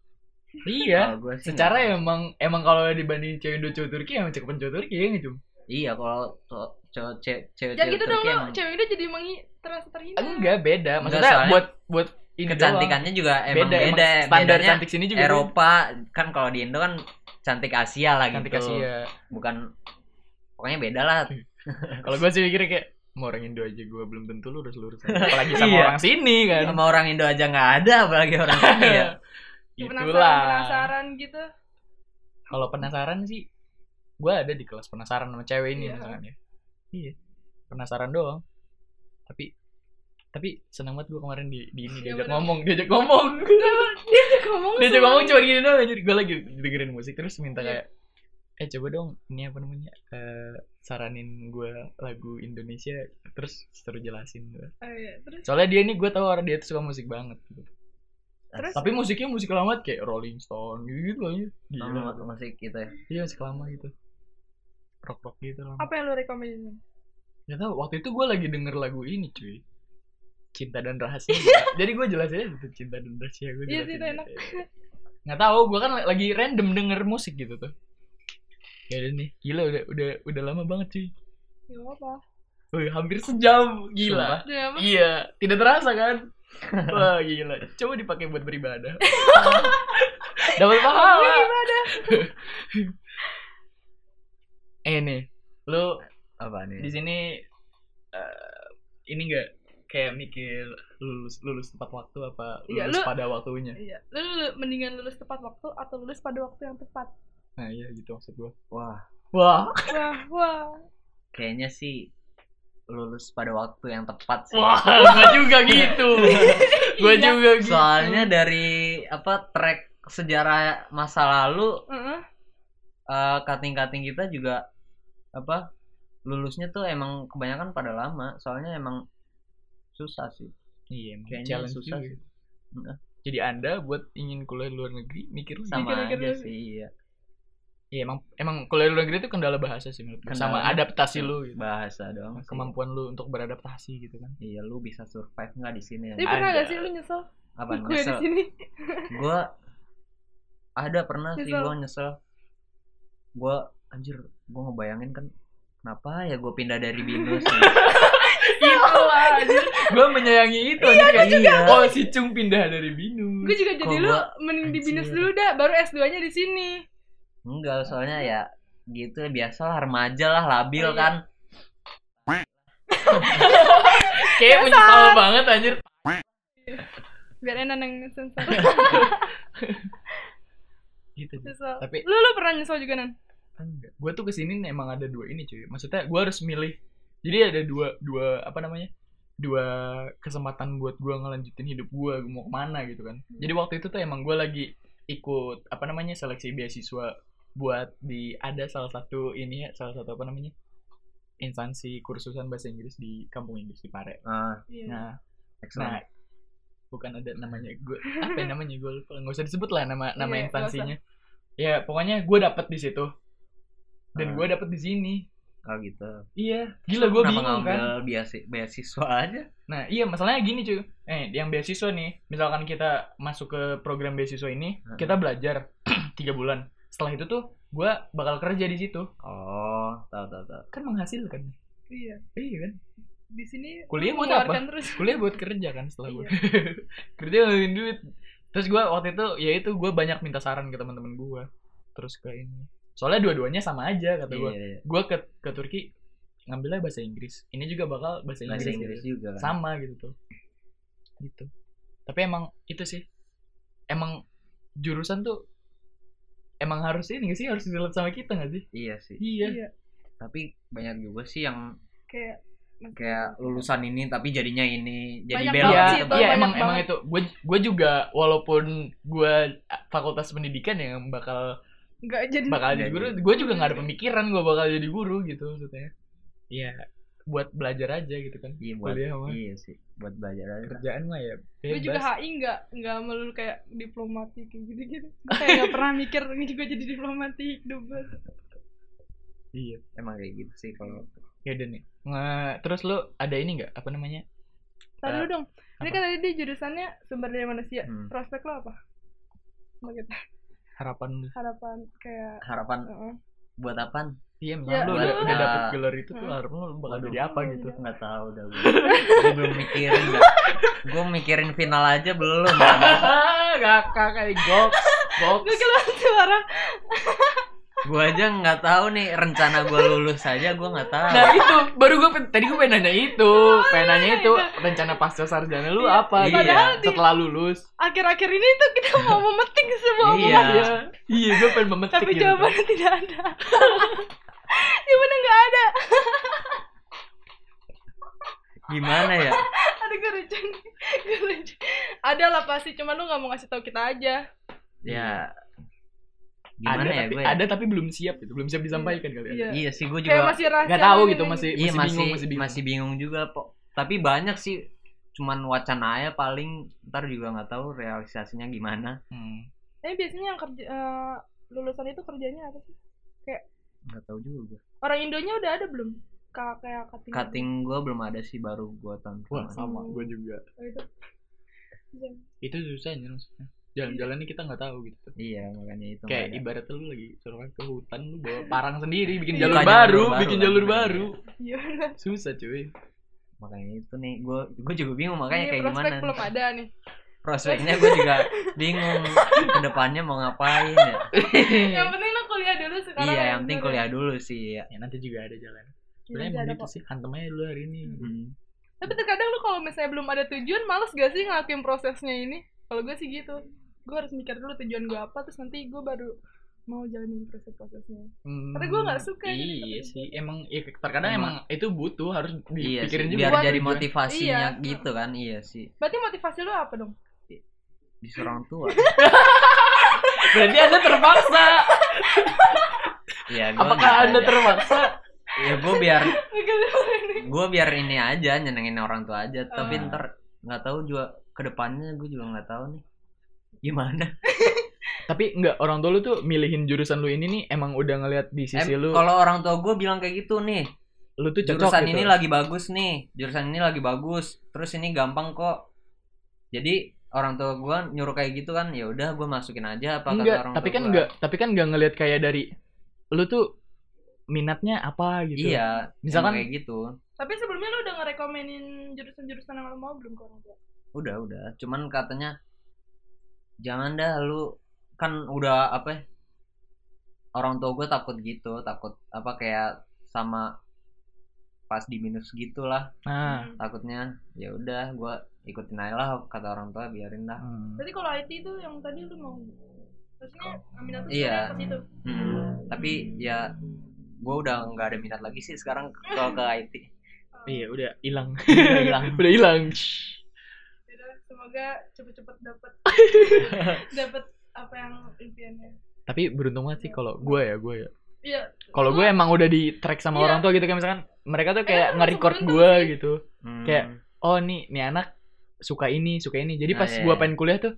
[SPEAKER 2] Ya?
[SPEAKER 3] Kalau gua sih
[SPEAKER 1] Secara ya?
[SPEAKER 3] nggak-
[SPEAKER 1] emang emang kalau dibanding cewek Indo cewek Turki emang cekepan cewek Turki ya nggak, Cum?
[SPEAKER 3] Iya kalau cowok cowok cewek cewek
[SPEAKER 2] Jangan gitu
[SPEAKER 3] Turki
[SPEAKER 2] dong lo,
[SPEAKER 3] emang
[SPEAKER 2] cewek itu jadi mengi terasa terhina.
[SPEAKER 1] Ah, Enggak beda. Maksudnya
[SPEAKER 3] soalnya
[SPEAKER 1] buat buat ini
[SPEAKER 3] kecantikannya juga
[SPEAKER 1] doang.
[SPEAKER 3] emang
[SPEAKER 1] beda,
[SPEAKER 3] beda.
[SPEAKER 1] emang standar
[SPEAKER 3] Bedanya
[SPEAKER 1] cantik sini juga
[SPEAKER 3] Eropa kan kalau di Indo kan cantik Asia lah
[SPEAKER 1] beda. cantik
[SPEAKER 3] gitu.
[SPEAKER 1] Asia. Iya.
[SPEAKER 3] Bukan pokoknya beda lah.
[SPEAKER 1] Kalau gue sih mikirnya kayak mau orang Indo aja gue belum tentu lurus lurus apalagi sama
[SPEAKER 3] Iya.
[SPEAKER 1] orang sini kan.
[SPEAKER 3] Sama orang Indo aja nggak ada apalagi orang sini ya.
[SPEAKER 2] Penasaran,
[SPEAKER 1] Itulah.
[SPEAKER 2] penasaran gitu.
[SPEAKER 1] Kalau penasaran sih gue ada di kelas penasaran sama cewek ini
[SPEAKER 2] Iya.
[SPEAKER 1] misalkan ya iya penasaran doang tapi tapi seneng banget gue kemarin di, di ini
[SPEAKER 2] Iya,
[SPEAKER 1] diajak
[SPEAKER 2] bener.
[SPEAKER 1] ngomong diajak ngomong
[SPEAKER 2] dia juga ngomong Oh,
[SPEAKER 1] diajak
[SPEAKER 2] sama-
[SPEAKER 1] ngomong cuma gini doang anjir gue lagi dengerin musik terus minta
[SPEAKER 2] Iya.
[SPEAKER 1] kayak eh coba dong ini apa namanya eh, saranin gue lagu Indonesia terus suruh jelasin gue
[SPEAKER 2] Oh, iya. terus
[SPEAKER 1] soalnya dia ini gue tahu orang dia tuh suka musik banget gitu.
[SPEAKER 2] terus
[SPEAKER 1] tapi musiknya musik lama banget, kayak Rolling Stone gitu aja gila
[SPEAKER 3] Sama musik gitu ya
[SPEAKER 1] iya musik lama gitu rock rock gitu lama
[SPEAKER 2] apa yang lu rekomendasiin
[SPEAKER 1] Gak tau, waktu itu gue lagi denger lagu ini cuy Cinta dan Rahasia Jadi gue jelasin itu Cinta dan Rahasia gue
[SPEAKER 2] Iya sih, itu enak.
[SPEAKER 1] Gak tau, gue kan lagi random denger musik gitu tuh Ya udah nih, gila udah udah udah lama banget cuy
[SPEAKER 2] ya apa
[SPEAKER 1] Wih, hampir sejam, gila
[SPEAKER 2] Dia apa
[SPEAKER 1] Iya, tidak terasa kan Wah gila, coba dipakai buat beribadah Dapat
[SPEAKER 2] Apa
[SPEAKER 1] pahala
[SPEAKER 2] gimana
[SPEAKER 1] Eh nih, lu
[SPEAKER 3] apa
[SPEAKER 1] di
[SPEAKER 3] nih
[SPEAKER 1] sini eh, ini enggak kayak mikir lulus lulus tepat waktu apa
[SPEAKER 2] Iya,
[SPEAKER 1] lulus
[SPEAKER 2] lu-
[SPEAKER 1] pada waktunya
[SPEAKER 2] iya lu, lu mendingan lulus tepat waktu atau lulus pada waktu yang tepat
[SPEAKER 1] nah iya gitu maksud gua
[SPEAKER 3] wah
[SPEAKER 1] wah
[SPEAKER 2] wah wah
[SPEAKER 3] kayaknya sih lulus pada waktu yang tepat sih
[SPEAKER 1] wah gua juga gitu gua
[SPEAKER 2] Iya.
[SPEAKER 1] juga gitu
[SPEAKER 3] soalnya dari apa track sejarah masa lalu
[SPEAKER 2] Heeh.
[SPEAKER 3] eh, kating-kating kita juga apa lulusnya tuh emang kebanyakan pada lama soalnya emang susah sih
[SPEAKER 1] iya emang
[SPEAKER 3] Kayaknya
[SPEAKER 1] challenge
[SPEAKER 3] susah
[SPEAKER 1] juga.
[SPEAKER 3] sih. Heeh.
[SPEAKER 1] jadi anda buat ingin kuliah di luar negeri mikir lagi
[SPEAKER 3] sama
[SPEAKER 2] Mikir-mikir
[SPEAKER 3] aja
[SPEAKER 2] dulu.
[SPEAKER 3] sih iya
[SPEAKER 1] iya emang emang kuliah di luar negeri itu kendala bahasa sih menurut gua. sama
[SPEAKER 3] Kendalanya-
[SPEAKER 1] adaptasi lu gitu.
[SPEAKER 3] bahasa doang sih.
[SPEAKER 1] kemampuan lu untuk beradaptasi gitu kan
[SPEAKER 3] iya lu bisa survive nggak di sini
[SPEAKER 2] tapi pernah gak
[SPEAKER 1] Ada.
[SPEAKER 2] sih lu nyesel
[SPEAKER 3] apa
[SPEAKER 2] Iya, gue di
[SPEAKER 3] nyesel
[SPEAKER 2] sini
[SPEAKER 3] gue ada pernah sih
[SPEAKER 2] Nyesel.
[SPEAKER 3] gue nyesel gue anjir gue ngebayangin kan kenapa ya gue pindah dari binus ya?
[SPEAKER 1] itu lah anjir. gua menyayangi itu anjir kayak
[SPEAKER 3] iya
[SPEAKER 1] oh si Cung pindah dari Binu
[SPEAKER 2] gue juga jadi
[SPEAKER 3] Kok
[SPEAKER 2] lu
[SPEAKER 3] gua-
[SPEAKER 2] mending di binus
[SPEAKER 1] Anjir.
[SPEAKER 2] dulu dah baru S 2 nya di sini
[SPEAKER 3] enggak soalnya ya gitu biasalah remaja lah labil
[SPEAKER 2] Iya.
[SPEAKER 3] kan
[SPEAKER 1] kayak menyesal banget anjir
[SPEAKER 2] biar enak neng sensor
[SPEAKER 1] gitu Ji.
[SPEAKER 2] nyesel
[SPEAKER 1] tapi
[SPEAKER 2] lu lu pernah nyesel juga nan
[SPEAKER 1] gue tuh kesini nih emang ada dua ini cuy maksudnya gue harus milih jadi ada dua dua apa namanya dua kesempatan buat gue ngelanjutin hidup gue gue mau kemana gitu kan jadi waktu itu tuh emang gue lagi ikut apa namanya seleksi beasiswa buat di ada salah satu ini ya salah satu apa namanya instansi kursusan bahasa Inggris di kampung Inggris di Pare
[SPEAKER 3] ah
[SPEAKER 2] Iya.
[SPEAKER 1] nah
[SPEAKER 3] excellent.
[SPEAKER 1] nah bukan ada namanya gue apa ya namanya gue lupa nggak usah disebut lah nama nama
[SPEAKER 2] Iya, nggak usah.
[SPEAKER 1] instansinya ya pokoknya gue dapet di situ dan
[SPEAKER 2] Hmm.
[SPEAKER 3] Ah.
[SPEAKER 1] gue dapet di sini
[SPEAKER 3] kalau gitu
[SPEAKER 1] Iya, gila gue
[SPEAKER 3] Kenapa
[SPEAKER 1] bingung
[SPEAKER 3] ngambil
[SPEAKER 1] kan.
[SPEAKER 3] biasi- beasiswa aja
[SPEAKER 1] Nah, iya masalahnya gini cuy. Eh, yang beasiswa nih, misalkan kita masuk ke program beasiswa ini,
[SPEAKER 2] Hmm.
[SPEAKER 3] Heeh.
[SPEAKER 1] kita belajar tiga bulan. Setelah itu tuh, gue bakal kerja di situ.
[SPEAKER 3] oh tahu tahu tahu
[SPEAKER 1] Kan menghasilkan.
[SPEAKER 2] iya
[SPEAKER 1] Iya kan.
[SPEAKER 2] di sini
[SPEAKER 1] Kuliah
[SPEAKER 2] lu
[SPEAKER 1] buat apa?
[SPEAKER 2] mengeluarkan terus
[SPEAKER 1] Kuliah buat kerja kan setelah gue. kerja ngalihin duit. Terus gue waktu itu, ya itu gue banyak minta saran ke teman-teman gue. Terus ke ini. Soalnya dua-duanya sama aja kata gue.
[SPEAKER 3] iya, iya.
[SPEAKER 1] Gue ke ke Turki ngambilnya bahasa Inggris. Ini juga bakal bahasa Inggris.
[SPEAKER 3] bahasa
[SPEAKER 1] gitu.
[SPEAKER 3] Inggris juga kan
[SPEAKER 1] sama gitu tuh gitu tapi emang itu sih emang jurusan tuh emang harus ini gak sih harus relate sama kita gak sih
[SPEAKER 3] iya sih
[SPEAKER 1] iya
[SPEAKER 2] iya
[SPEAKER 3] tapi banyak juga sih yang
[SPEAKER 2] kayak
[SPEAKER 3] kayak lulusan ini tapi jadinya ini jadi
[SPEAKER 2] Banyak
[SPEAKER 1] iya
[SPEAKER 3] belok
[SPEAKER 2] banget sih
[SPEAKER 3] gitu
[SPEAKER 2] itu,
[SPEAKER 1] iya,
[SPEAKER 2] banyak
[SPEAKER 1] emang emang
[SPEAKER 2] banget.
[SPEAKER 1] itu gue gue juga walaupun gue fakultas pendidikan yang bakal
[SPEAKER 2] nggak jadi
[SPEAKER 1] bakal
[SPEAKER 3] Iya,
[SPEAKER 1] jadi
[SPEAKER 3] iya.
[SPEAKER 1] guru gue juga nggak ada pemikiran gue bakal jadi guru gitu maksudnya iya buat belajar aja gitu kan
[SPEAKER 3] iya buat
[SPEAKER 1] Kuliah mah.
[SPEAKER 3] iya sih buat belajar aja
[SPEAKER 1] kerjaan mah ya
[SPEAKER 2] gue juga
[SPEAKER 1] bebas
[SPEAKER 2] HI nggak nggak melulu kayak diplomatik kayak gitu gitu Gua kayak nggak pernah mikir ini juga jadi diplomatik dubes
[SPEAKER 1] iya
[SPEAKER 3] emang kayak gitu sih kalau
[SPEAKER 1] yaudah nih Nge- terus lu ada ini nggak apa namanya
[SPEAKER 2] Tadi dulu dong ini
[SPEAKER 1] apa?
[SPEAKER 2] kan tadi dia jurusannya sumber daya
[SPEAKER 1] Iya.
[SPEAKER 2] manusia
[SPEAKER 3] Hmm.
[SPEAKER 2] prospek lo apa Bagi-
[SPEAKER 1] harapan lu
[SPEAKER 2] harapan kayak
[SPEAKER 3] harapan
[SPEAKER 2] heeh.
[SPEAKER 3] buat apaan
[SPEAKER 1] Iya, misalnya
[SPEAKER 2] Ya,
[SPEAKER 1] lu udah,
[SPEAKER 3] lu-
[SPEAKER 1] udah dapet
[SPEAKER 3] Nah.
[SPEAKER 1] gelar itu tuh
[SPEAKER 2] Hmm.
[SPEAKER 1] harapan lu bakal
[SPEAKER 3] Waduh.
[SPEAKER 1] jadi apa gitu.
[SPEAKER 3] nggak tahu dah gue belum mikirin gue mikirin final aja belum kan.
[SPEAKER 1] Hahaha, kakak kayak gok, gok.
[SPEAKER 2] gue keluar suara
[SPEAKER 3] Gua aja nggak tahu nih rencana gua lulus aja gua nggak tahu.
[SPEAKER 1] Nah itu baru gue tadi gue pengen nanya itu, pengen nanya itu rencana pasca sarjana lu
[SPEAKER 2] Iya.
[SPEAKER 1] apa? gitu,
[SPEAKER 3] Padahal
[SPEAKER 2] di-
[SPEAKER 1] setelah lulus.
[SPEAKER 2] Akhir-akhir ini tuh kita mau memetik semua
[SPEAKER 3] Iya.
[SPEAKER 2] omongan,
[SPEAKER 1] Iya, gue pengen memetik
[SPEAKER 2] tapi
[SPEAKER 1] gitu.
[SPEAKER 2] jawabannya tidak ada. Jawabannya nggak ada.
[SPEAKER 3] Gimana ya?
[SPEAKER 2] ada gerucun, gerucun. Ada lah pasti, cuman lu nggak mau ngasih tahu kita aja.
[SPEAKER 3] Ya
[SPEAKER 1] ada
[SPEAKER 3] gimana ya
[SPEAKER 1] tapi
[SPEAKER 3] gue?
[SPEAKER 1] ada tapi belum siap gitu, belum siap disampaikan kali ya.
[SPEAKER 2] Iya.
[SPEAKER 3] Iya sih gue
[SPEAKER 2] Kayak
[SPEAKER 3] juga.
[SPEAKER 2] masih rahasia.
[SPEAKER 1] Gak tahu
[SPEAKER 2] lagi
[SPEAKER 1] gitu
[SPEAKER 2] nih.
[SPEAKER 1] masih
[SPEAKER 3] Iya
[SPEAKER 1] masih,
[SPEAKER 3] masih
[SPEAKER 1] bingung masih bingung.
[SPEAKER 3] masih bingung juga po. Tapi banyak sih cuman wacana aja paling ntar juga nggak tahu realisasinya gimana
[SPEAKER 1] Hmm.
[SPEAKER 2] Tapi biasanya yang kerja eh, lulusan itu kerjanya apa sih?
[SPEAKER 3] nggak tahu juga
[SPEAKER 2] Orang Indonya udah ada belum? Ka- kayak cutting.
[SPEAKER 3] cutting gue belum ada sih baru gue tahun
[SPEAKER 1] Wah,
[SPEAKER 3] kemarin.
[SPEAKER 1] sama
[SPEAKER 2] Hmm.
[SPEAKER 1] gue juga.
[SPEAKER 2] Oh, itu. Iya.
[SPEAKER 1] Itu susahnya maksudnya. Jalan-jalannya kita nggak tahu gitu.
[SPEAKER 3] iya makanya itu
[SPEAKER 1] Kayak
[SPEAKER 3] nggak ada.
[SPEAKER 1] ibaratnya lu lagi suruh ke hutan lu bawa parang sendiri, bikin
[SPEAKER 2] Iya.
[SPEAKER 1] jalur
[SPEAKER 3] Bukan
[SPEAKER 1] baru,
[SPEAKER 3] jalur baru,
[SPEAKER 1] bikin
[SPEAKER 3] kan.
[SPEAKER 1] jalur baru.
[SPEAKER 2] Iya.
[SPEAKER 1] Susah cuy.
[SPEAKER 3] makanya itu nih gue gue juga bingung
[SPEAKER 2] Ini
[SPEAKER 3] makanya kayak
[SPEAKER 2] Iya, prospek
[SPEAKER 3] gimana
[SPEAKER 2] belum ada nih.
[SPEAKER 3] prospeknya gue juga bingung kedepannya mau ngapain ya
[SPEAKER 2] yang penting lu kuliah dulu sekarang. gitu.
[SPEAKER 3] iya yang penting kuliah dulu sih ya
[SPEAKER 1] Ya nanti juga ada jalan.
[SPEAKER 2] Iya,
[SPEAKER 1] Sebenarnya
[SPEAKER 2] ada
[SPEAKER 1] emang gitu
[SPEAKER 2] kok.
[SPEAKER 1] sih, hantem aja dulu hari ini.
[SPEAKER 3] Hmm.
[SPEAKER 2] Tapi terkadang lu kalau misalnya belum ada tujuan, males gak sih ngelakuin prosesnya ini? Kalau gue sih gitu. Gue harus mikir dulu tujuan gue apa, terus nanti gue baru mau jalanin proses-prosesnya. Tapi gue nggak suka
[SPEAKER 1] Iya
[SPEAKER 2] jadi kepikiran.
[SPEAKER 1] sih, emang ya, terkadang emang, itu butuh harus
[SPEAKER 3] iya
[SPEAKER 1] dipikirin
[SPEAKER 3] sih,
[SPEAKER 1] juga.
[SPEAKER 3] biar
[SPEAKER 2] Buat
[SPEAKER 3] jadi
[SPEAKER 1] tujuan.
[SPEAKER 3] motivasinya
[SPEAKER 2] Iya.
[SPEAKER 3] gitu kan iya sih
[SPEAKER 2] Berarti motivasi lu apa dong?
[SPEAKER 3] di orang tua
[SPEAKER 1] Berarti anda terpaksa.
[SPEAKER 3] ya gue
[SPEAKER 1] Apakah anda terpaksa?
[SPEAKER 3] ya gue biar
[SPEAKER 2] Mikir dulu.
[SPEAKER 3] gue biar ini aja nyenengin orang tua aja
[SPEAKER 1] Ah.
[SPEAKER 3] tapi ntar nggak tahu juga kedepannya gue juga nggak tahu nih gimana
[SPEAKER 1] Tapi enggak orang tua lu tuh milihin jurusan lu ini nih emang udah ngelihat di
[SPEAKER 3] Em,
[SPEAKER 1] sisi lu,
[SPEAKER 3] kalau orang tua gue bilang kayak gitu nih
[SPEAKER 1] lu tuh cocok
[SPEAKER 3] jurusan
[SPEAKER 1] gitu.
[SPEAKER 3] ini lagi bagus nih jurusan ini lagi bagus terus ini gampang kok jadi orang tua gue nyuruh kayak gitu kan ya udah gue masukin aja apa kata
[SPEAKER 1] enggak,
[SPEAKER 3] orang
[SPEAKER 1] tapi
[SPEAKER 3] tua
[SPEAKER 1] kan
[SPEAKER 3] gua.
[SPEAKER 1] enggak, tapi kan enggak ngelihat kayak dari lu tuh minatnya apa gitu.
[SPEAKER 3] iya
[SPEAKER 1] Misalkan-
[SPEAKER 3] emang kayak gitu
[SPEAKER 2] Tapi sebelumnya lu udah ngerekomenin jurusan-jurusan yang lu mau belum ke orang tua?
[SPEAKER 3] udah udah cuman katanya jangan dah lu kan udah apa ya, orang tua gue takut gitu takut apa kayak sama pas di minus gitulah
[SPEAKER 1] Nah,
[SPEAKER 2] Hmm.
[SPEAKER 3] takutnya ya udah gue ikutin aja lah kata orang tua biarin lah
[SPEAKER 1] hmm.
[SPEAKER 2] Berarti kalau IT itu yang tadi lu mau Maksudnya minat lu
[SPEAKER 3] Iya.
[SPEAKER 2] sebenarnya ke situ.
[SPEAKER 3] Hmm, tapi ya gue udah nggak ada minat lagi sih sekarang kalau ke IT
[SPEAKER 1] iya udah hilang.
[SPEAKER 3] Udah hilang
[SPEAKER 1] udah hilang.
[SPEAKER 2] Yaudah, semoga cepet-cepet dapet dapet apa yang impiannya.
[SPEAKER 1] Tapi beruntung banget sih kalau gue ya, gue ya.
[SPEAKER 2] Iya.
[SPEAKER 1] Kalau gue emang udah di track sama
[SPEAKER 2] Iya.
[SPEAKER 1] orang tua gitu kan misalkan mereka tuh kayak
[SPEAKER 2] termasuk
[SPEAKER 1] nge-record
[SPEAKER 2] beruntung
[SPEAKER 1] gue
[SPEAKER 2] sih.
[SPEAKER 1] gitu.
[SPEAKER 3] Hmm,
[SPEAKER 1] Kayak, oh nih nih anak suka ini suka ini jadi
[SPEAKER 3] Nah,
[SPEAKER 1] pas
[SPEAKER 3] iya,
[SPEAKER 1] gua
[SPEAKER 3] iya.
[SPEAKER 1] pengen kuliah tuh